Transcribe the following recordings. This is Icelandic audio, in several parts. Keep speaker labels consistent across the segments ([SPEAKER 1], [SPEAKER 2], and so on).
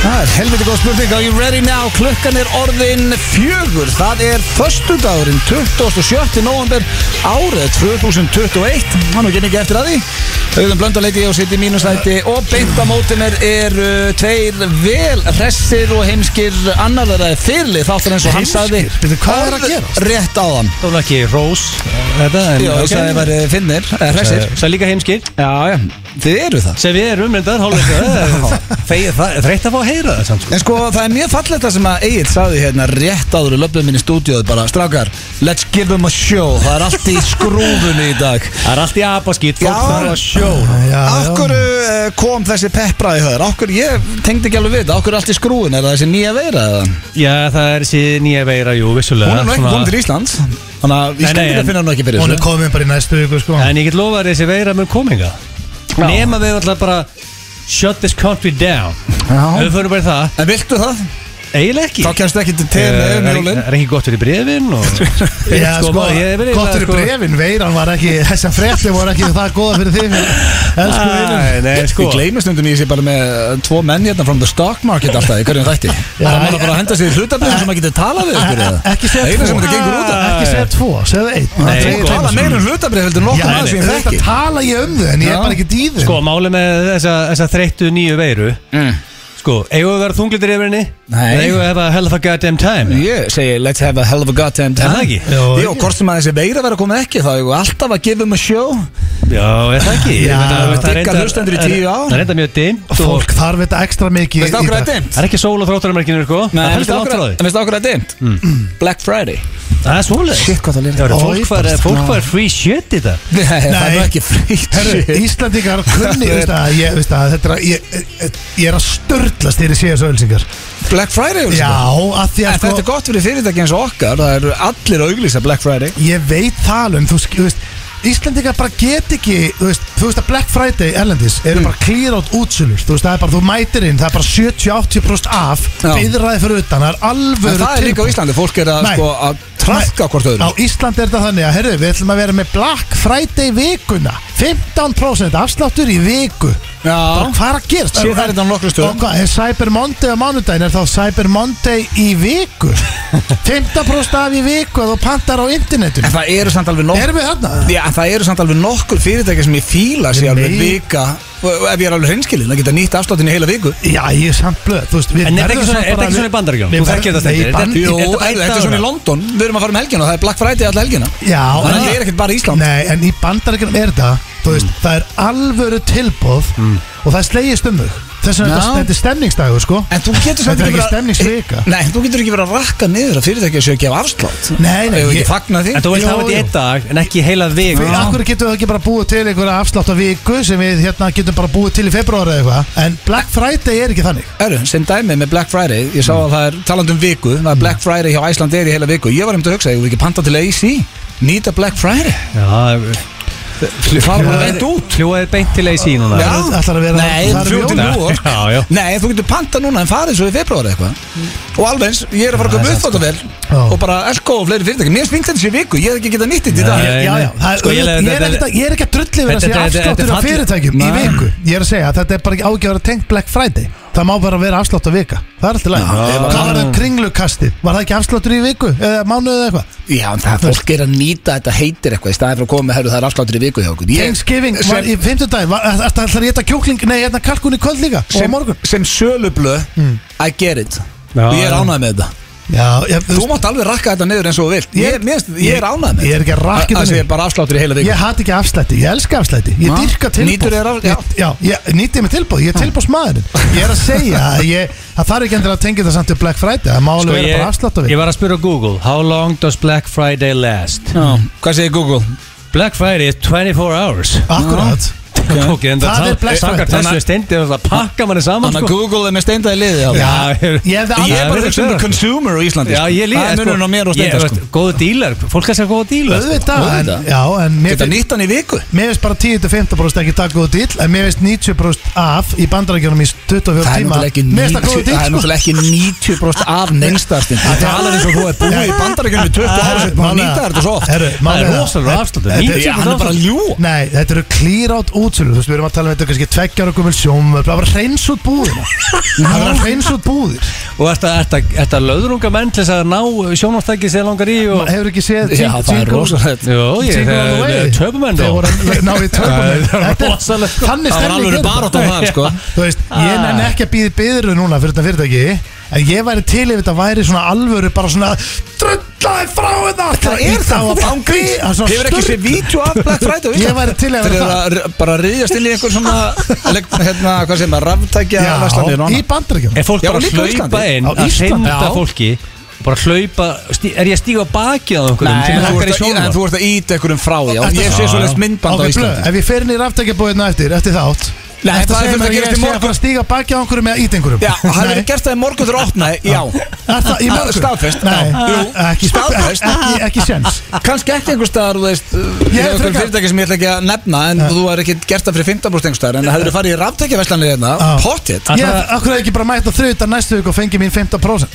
[SPEAKER 1] Það er helviti góð spurning Are you ready now? Klukkan er orðin fjögur Það er föstudagurinn 27. november árið 2021 Hann og genið ekki eftir að því Auðvitað um blönduleiti og sitt í mínustætti og beint á mótum er, er uh, tveir vel hressir og heimskir annarlega fyrli þáttur eins og hann sagði
[SPEAKER 2] Heimskir? Bíddu, hvað er að gerast?
[SPEAKER 1] Rétt á þann
[SPEAKER 3] Það var ekki rós Þetta en-
[SPEAKER 1] Já,
[SPEAKER 3] ok.
[SPEAKER 1] það sagði væri finnir, eh, hressir
[SPEAKER 3] Það er líka heimskir
[SPEAKER 1] Já, já, þið eru það
[SPEAKER 3] sem við erum reyndar hálfleika þreytt að fá að heyra það samt sko.
[SPEAKER 1] En sko, það er mjög fallegt það sem að Egil saði hérna rétt áður í löpum minni stúdíóð bara, strákar, let's give them a show það er allt í skrúfunni í dag
[SPEAKER 3] það er allt í apaskýt
[SPEAKER 1] Já.
[SPEAKER 3] fólk þarf að sjó
[SPEAKER 2] Já,
[SPEAKER 1] Af
[SPEAKER 2] já.
[SPEAKER 1] hverju eh, kom þessi peppræði höður? Af hverju, ég tengdi ekki alveg við þetta, af hverju er allt í skrúfunni er það þessi nýja veira eða?
[SPEAKER 3] já það er þessi nýja veira jú vissulega
[SPEAKER 1] Hún er nú ekki
[SPEAKER 3] svona-
[SPEAKER 1] komið til Íslands Þannig að
[SPEAKER 3] Nei, nei,
[SPEAKER 1] Íslandingar
[SPEAKER 3] en-
[SPEAKER 1] finna hún ekki fyrir
[SPEAKER 2] Hún er
[SPEAKER 1] þessu
[SPEAKER 2] komin bara í næstu viku sko
[SPEAKER 3] en ég get lofa þér þessi veira mun kominga nema við alltaf bara shut this country down ef
[SPEAKER 1] Já.
[SPEAKER 3] við fyrir bara í það
[SPEAKER 1] En viltu það?
[SPEAKER 3] eiginlega ekki
[SPEAKER 1] Þá kemstu ekki til tegni
[SPEAKER 3] Eh,
[SPEAKER 1] um
[SPEAKER 3] er,
[SPEAKER 1] jólinn
[SPEAKER 3] er ekki gott fyrir brefin og,
[SPEAKER 2] Já, sko,
[SPEAKER 3] ég er eiginlega,
[SPEAKER 2] gott fyrir brefin, veiran var ekki, þessar frettir voru ekki það góða fyrir þig Elsku
[SPEAKER 3] Æ,
[SPEAKER 2] veirin
[SPEAKER 3] nei, sko.
[SPEAKER 1] Ég gleymi stundum í þessi bara með eh, tvo menn hérna from the stock market alltaf í hverjum þætti Það er maður bara að henda sér í hlutabrið sem maður getur talað við ykkur eða
[SPEAKER 2] Ekki segja
[SPEAKER 1] Eina
[SPEAKER 2] tvo,
[SPEAKER 1] sem þetta gengur út af
[SPEAKER 2] ekki segja tvo, segja einn Það
[SPEAKER 3] Nei,
[SPEAKER 2] er
[SPEAKER 3] sko.
[SPEAKER 2] tveir
[SPEAKER 1] Tala
[SPEAKER 2] tveir
[SPEAKER 1] meira um hlutabrið heldur nokkur
[SPEAKER 2] Já,
[SPEAKER 1] maður sem ég
[SPEAKER 2] þetta
[SPEAKER 1] þekki
[SPEAKER 2] tala ég um þau en ég
[SPEAKER 1] Já.
[SPEAKER 2] er bara ekki dýðin
[SPEAKER 3] sko máli með þessa, þessa þreyttu nýju veiru sko, eigum við að vera þunglindir yfir henni
[SPEAKER 1] Mm. Nei.
[SPEAKER 3] Eða eigum við að hafa hell of a goddamn time
[SPEAKER 1] Ég segi let's have a hell of a goddamn
[SPEAKER 3] Er
[SPEAKER 1] time
[SPEAKER 3] það ekki?
[SPEAKER 1] Jó,
[SPEAKER 2] Jó,
[SPEAKER 1] Jó hvort sem að þessi veira vera að koma ekki þá eigum við alltaf að give them a show
[SPEAKER 3] já, er það ekki
[SPEAKER 2] Já.
[SPEAKER 3] Ég veit að- það er
[SPEAKER 1] Digga
[SPEAKER 3] reyndar-
[SPEAKER 1] hlustendur í tíu ár.
[SPEAKER 3] það er reynda mjög dimmt og
[SPEAKER 2] Fólk þarf þetta ekstra mikið
[SPEAKER 1] Veist
[SPEAKER 2] í
[SPEAKER 1] okkur
[SPEAKER 2] dag.
[SPEAKER 1] að dimt?
[SPEAKER 3] það er ekki sól á þróttaramerkinu sko. það
[SPEAKER 1] Nei,
[SPEAKER 3] er
[SPEAKER 1] veist
[SPEAKER 3] heldur langt frá því
[SPEAKER 1] okkur að dimt?
[SPEAKER 3] Mm.
[SPEAKER 1] Black Friday
[SPEAKER 3] það er svoleiðis
[SPEAKER 1] Shit, hvað það lýrði.
[SPEAKER 3] Já, eru
[SPEAKER 2] Ó,
[SPEAKER 3] fólk
[SPEAKER 2] ég
[SPEAKER 3] fær-
[SPEAKER 2] bara-
[SPEAKER 3] fólk fær free shit í það
[SPEAKER 1] Nei, það er
[SPEAKER 2] Nei.
[SPEAKER 1] nú ekki frýtt
[SPEAKER 2] Herru, Íslandingar kunni,
[SPEAKER 1] Það er-
[SPEAKER 2] veist að, ég, veist að, þetta er að, ég, ég er að störtlast þegar ég sé þessu ölsingar
[SPEAKER 1] Black Friday auglýsingar.
[SPEAKER 2] Já, að því að
[SPEAKER 1] En
[SPEAKER 2] sko
[SPEAKER 1] þetta er gott fyrir fyrirtæki eins og okkar Það eru allir að auglýsa Black Friday
[SPEAKER 2] Ég veit það alveg, en þú sk- þú veist Íslandingar bara get ekki, þú veist, þú veist að Black Friday erlendis eru bara clear out útsölur Þú veist, það er bara, þú mætir inn, það er bara 70-80% af
[SPEAKER 1] Já.
[SPEAKER 2] Byðraði fyrir utan, það er alvöru
[SPEAKER 1] En það er líka á
[SPEAKER 2] tilboð.
[SPEAKER 1] Íslandi, fólk er að,
[SPEAKER 2] Nei.
[SPEAKER 1] sko, að trafka hvort
[SPEAKER 2] Á
[SPEAKER 1] öðru
[SPEAKER 2] Íslandi er þetta þannig að, herru, við ætlum að vera með Black Friday vikuna 15% afsláttur í viku Bara,
[SPEAKER 1] Já,
[SPEAKER 2] Hvað er að gerast?
[SPEAKER 1] Sér það er þetta á nokkrum stöðum.
[SPEAKER 2] Og hvað, er Cyber Monday á mánudaginn er þá Cyber Monday í viku 15% af í viku að þú pantar á
[SPEAKER 1] en
[SPEAKER 2] internetinu
[SPEAKER 1] það eru samt alveg nokkur
[SPEAKER 2] Erum við þarna?
[SPEAKER 1] Já, en það eru samt alveg nokkur fyrirtæki sem ég fíla sér alveg
[SPEAKER 2] Nei.
[SPEAKER 1] vika og Ef ég er alveg hreinskilin, það geta nýtt afsláttinu í heila viku
[SPEAKER 2] Já, ég er samt blöð Þú veist, við
[SPEAKER 3] En er þetta ekki
[SPEAKER 2] verðum
[SPEAKER 3] svona-
[SPEAKER 2] samt
[SPEAKER 3] er þetta
[SPEAKER 2] bara
[SPEAKER 3] ekki
[SPEAKER 2] að-
[SPEAKER 3] svona í Bandaríkjunum?
[SPEAKER 2] Við
[SPEAKER 3] Þú þekkir þetta,
[SPEAKER 2] verðum- Nei,
[SPEAKER 3] Steindi. Er þetta-
[SPEAKER 2] Ban-
[SPEAKER 1] Jú,
[SPEAKER 3] er þetta
[SPEAKER 1] þetta er
[SPEAKER 3] bæta
[SPEAKER 1] svona í
[SPEAKER 3] ára?
[SPEAKER 1] London, við erum að fara um helgina og það er Black Friday alla helgina
[SPEAKER 2] Já,
[SPEAKER 1] Þannig að þetta er ekkert bara Ísland Mm.
[SPEAKER 2] Nei, en í bandaríkjunum er þetta Þú veist, það er alvöru tilbóð Og það slegist um þau Þess vegna er
[SPEAKER 1] Já.
[SPEAKER 2] þetta- þetta er stemningsdagur, sko
[SPEAKER 1] En þú getur samt
[SPEAKER 2] Þetta er ekki
[SPEAKER 1] verið að-
[SPEAKER 2] stemningsvika.
[SPEAKER 1] Nei, en þú getur ekki verið að rakka niður að fyrirtæki séu að gefa afslátt
[SPEAKER 2] Nei, nei,
[SPEAKER 1] Ef við
[SPEAKER 2] ég-
[SPEAKER 1] ekki fagna því
[SPEAKER 3] en þú veist
[SPEAKER 2] Jú,
[SPEAKER 3] hafa þetta í
[SPEAKER 2] jú.
[SPEAKER 3] einn dag en ekki í heila vik
[SPEAKER 2] Fyrir akkur getum við ekki bara búið til einhverja afslátt á viku sem við hérna getum bara búið til í februar eða eitthvað En Black Friday er ekki þannig
[SPEAKER 1] Erðu, sem dæmi með Black Friday Ég sá að það er talandi um viku Það er Black Friday hjá Æsland er í heila viku Ég var um til að hugsa, ég vil ekki panta til AC Nýta Black Friday Fara bara veit út
[SPEAKER 3] hljóðið beint til AC núna
[SPEAKER 1] Já.
[SPEAKER 2] Ætlar að vera
[SPEAKER 1] Nei,
[SPEAKER 2] það er
[SPEAKER 1] fljóti
[SPEAKER 2] jólin.
[SPEAKER 1] nú sko.
[SPEAKER 3] Já, já.
[SPEAKER 1] Nei, þú getur panta núna en farið svo í februar eitthvað
[SPEAKER 3] Mm.
[SPEAKER 1] Og alveg eins, ég er að fara að koma upp þetta
[SPEAKER 3] sko.
[SPEAKER 1] vel
[SPEAKER 2] Já.
[SPEAKER 1] Og bara elko og fleiri fyrirtæki Mér svingt þetta sér viku, ég hef ekki getað nýtt þetta í
[SPEAKER 3] Nei.
[SPEAKER 1] dag
[SPEAKER 2] Já, já, já, það er
[SPEAKER 3] Sko, ég
[SPEAKER 2] auðvitað-
[SPEAKER 3] leiði-
[SPEAKER 2] ég er ekkert að- ég er ekki að drulli verið að
[SPEAKER 3] Þetta-
[SPEAKER 2] segja
[SPEAKER 3] þetta- þetta-
[SPEAKER 2] afsláttur
[SPEAKER 3] þetta
[SPEAKER 2] á
[SPEAKER 3] er falleg-
[SPEAKER 2] fyrirtækjum í
[SPEAKER 3] Nei.
[SPEAKER 2] viku Ég er að segja að þetta er bara ekki ágjöf að vera tengt Black Friday Það má bara vera afslátt á vika Það er alltaf læg
[SPEAKER 1] Já.
[SPEAKER 2] Hvað var það kringlukastið? Var það ekki afsláttur í viku? Eða mánuð eða eitthvað?
[SPEAKER 1] Já, en það fólk er að nýta þetta heitir eitthvað Í staðið fyrir að koma með, herru, það er afsláttur í viku hjá okkur Ég-
[SPEAKER 2] Thanksgiving
[SPEAKER 1] sem-
[SPEAKER 2] var í fimmtudag Það ætlar ég að kjúkling, nei, hérna kalkun í kvöld líka Og á
[SPEAKER 1] sem,
[SPEAKER 2] morgun
[SPEAKER 1] sem sölublö I get it
[SPEAKER 3] Já,
[SPEAKER 1] og ég er
[SPEAKER 3] já.
[SPEAKER 1] ánægð með þetta
[SPEAKER 2] Já, ég,
[SPEAKER 1] þú mátt alveg rakka þetta niður eins og þú vilt ég, ég, ég, ég er ánægð með
[SPEAKER 2] Ég er ekki að rakka
[SPEAKER 1] þetta
[SPEAKER 2] þetta
[SPEAKER 1] það sé
[SPEAKER 2] niður.
[SPEAKER 1] bara afsláttur í heila viku
[SPEAKER 2] ég hati ekki afslætti, ég elska afslætti Ég
[SPEAKER 1] Já.
[SPEAKER 2] dyrka
[SPEAKER 1] Nýtur
[SPEAKER 2] tilbúð
[SPEAKER 1] þér af- já.
[SPEAKER 2] Ég- Já, ég nýtti mig tilbúð, ég er tilbúðsmaðurinn Ég er að segja að ég, það þarf ekki endur að tengja það samt til Black Friday Það má
[SPEAKER 1] Sko,
[SPEAKER 2] alveg vera bara afslátt á
[SPEAKER 3] Sko, ég
[SPEAKER 2] við
[SPEAKER 3] var að spyrja Google How long does Black Friday last?
[SPEAKER 1] Já. hvað segir Google
[SPEAKER 3] Black Friday is 24 hours
[SPEAKER 2] Akkurat
[SPEAKER 3] Ok, en
[SPEAKER 2] Það er Black
[SPEAKER 3] Sankar
[SPEAKER 2] Friday.
[SPEAKER 3] þessu er steindi og það pakka manni saman
[SPEAKER 1] þannig að
[SPEAKER 3] sko.
[SPEAKER 1] Google er með steindaði liði hjá
[SPEAKER 3] Já,
[SPEAKER 2] Ég
[SPEAKER 1] þér.
[SPEAKER 2] hefði
[SPEAKER 1] ég
[SPEAKER 2] aldrei
[SPEAKER 1] er bara að hugsa um
[SPEAKER 3] sko.
[SPEAKER 1] consumer á Íslandi
[SPEAKER 3] Já,
[SPEAKER 1] sko.
[SPEAKER 3] ég líka
[SPEAKER 1] það er munurinn á mér og
[SPEAKER 3] Ég-
[SPEAKER 1] steinda sko.
[SPEAKER 3] veist, Góðu dílar, fólk er sér góðu dílar sko.
[SPEAKER 2] Auðvitað,
[SPEAKER 1] Auðvitað.
[SPEAKER 2] en, já, en mér,
[SPEAKER 1] geta
[SPEAKER 2] fin-
[SPEAKER 1] nýtt hann í viku
[SPEAKER 2] mér finnst bara 10-15% ekki það góð dýll En mér finnst 90% af í bandarækjunum í 24
[SPEAKER 1] það er
[SPEAKER 2] tíma
[SPEAKER 1] náttúrulega ekki
[SPEAKER 2] Mér finnst það
[SPEAKER 1] 90
[SPEAKER 2] góð
[SPEAKER 1] það er
[SPEAKER 2] dýll sko
[SPEAKER 1] náttúrulega ekki 90% af neynstarstinn það talar eins og þú er búið í bandarækjunum í 20 ára sem maður nýta þetta svo oft
[SPEAKER 2] Herru,
[SPEAKER 3] Það
[SPEAKER 2] málið
[SPEAKER 3] er
[SPEAKER 2] það-
[SPEAKER 3] rosalega afsláttur
[SPEAKER 2] Þetta-
[SPEAKER 1] Já, hann er bara að ljúga.
[SPEAKER 2] Nei, þetta eru clear out útsölur útsölu Þú veist, við erum að tala um þetta kannski tveggjar og gummul sjóm Það var að reynsa út búðina Það var að reynsa út búðir
[SPEAKER 3] Og þetta, þetta, þetta löðrunga menn til þess að ná sjónáttæki sem þið langar í og...
[SPEAKER 2] Hefur ekki séð
[SPEAKER 1] Já, það er rosalegt
[SPEAKER 3] Jó, ég, töpumenn
[SPEAKER 2] Þegar voru að ná í töpumenn
[SPEAKER 3] Það er
[SPEAKER 2] Þetta er-
[SPEAKER 3] rosalegt, sko.
[SPEAKER 2] Þannig
[SPEAKER 1] Það var
[SPEAKER 2] stemning
[SPEAKER 1] alveg
[SPEAKER 2] er
[SPEAKER 1] barótt á
[SPEAKER 2] þetta.
[SPEAKER 1] það sko
[SPEAKER 2] Þú veist, ég nenni ekki að býði byðru núna fyrir þetta fyrirtæki En ég væri til ef þetta væri svona alvöru Bara svona Drullaði frá hérna!" þetta
[SPEAKER 1] Það er það
[SPEAKER 2] var bara
[SPEAKER 1] ángríns
[SPEAKER 2] það var svona
[SPEAKER 1] Hefur ekki
[SPEAKER 2] sturl-
[SPEAKER 1] sér vídeo af Black Friday á Íslandi?
[SPEAKER 2] Ég væri til að vera
[SPEAKER 1] Þeir eru
[SPEAKER 2] það
[SPEAKER 1] að r- bara riðjast inn í einhver svona leg- Hérna, hvað segir maður, raftækja verslanir og
[SPEAKER 2] Já, í
[SPEAKER 1] annað.
[SPEAKER 2] bandaríkjum
[SPEAKER 3] Er fólk
[SPEAKER 1] Já,
[SPEAKER 3] bara
[SPEAKER 1] líka á
[SPEAKER 3] að hlaupa
[SPEAKER 1] Íslandi.
[SPEAKER 3] inn
[SPEAKER 2] Á
[SPEAKER 3] að
[SPEAKER 2] Íslandi.
[SPEAKER 3] hrinda
[SPEAKER 2] Já.
[SPEAKER 3] fólki bara að hlaupa, stí- er ég að stíga á bakið á einhverjum
[SPEAKER 1] Nei,
[SPEAKER 3] sem
[SPEAKER 1] en þú
[SPEAKER 3] langar í
[SPEAKER 1] ert að- en
[SPEAKER 3] sjónvarp?
[SPEAKER 1] þú ert að íta einhverjum frá já
[SPEAKER 2] Þetta-
[SPEAKER 1] Ég sé
[SPEAKER 3] Já,
[SPEAKER 1] svo
[SPEAKER 3] já.
[SPEAKER 1] myndband á
[SPEAKER 2] Ok, blöð,
[SPEAKER 1] Íslandi
[SPEAKER 2] ef ég fer inn í raftækjabóðina eftir, eftir þátt
[SPEAKER 1] Nei,
[SPEAKER 2] Ertu að
[SPEAKER 1] það er
[SPEAKER 2] segja
[SPEAKER 1] fyrir
[SPEAKER 2] mér
[SPEAKER 1] að
[SPEAKER 2] að ég
[SPEAKER 1] gerast í
[SPEAKER 2] sé að
[SPEAKER 1] morgun.
[SPEAKER 2] fara að stíga baki á einhverjum eða ít einhverjum
[SPEAKER 1] Já, það hefur
[SPEAKER 2] Nei.
[SPEAKER 1] verið gert það í morgun þegar opnaði, já
[SPEAKER 2] Er það í morgun?
[SPEAKER 1] Ah, Staðfest.
[SPEAKER 2] Nei, eh,
[SPEAKER 1] Jú,
[SPEAKER 2] ekki
[SPEAKER 1] staðfest.
[SPEAKER 2] Ekki, ekki sens
[SPEAKER 1] Kanski ekki einhver staðar, þú veist Ég
[SPEAKER 2] Ég
[SPEAKER 1] hef einhver
[SPEAKER 2] frekar- Eh.
[SPEAKER 1] fyrirtæki sem ég ætla ekki að nefna En þú er ekki gert það fyrir 15% einhver staðar En það hefur farið í ráftækjaverslanir hérna,
[SPEAKER 2] Já.
[SPEAKER 1] pottitt
[SPEAKER 2] Ég, akkur hef ekki bara mætt á þriðutan næstu viku og fengið mín 15%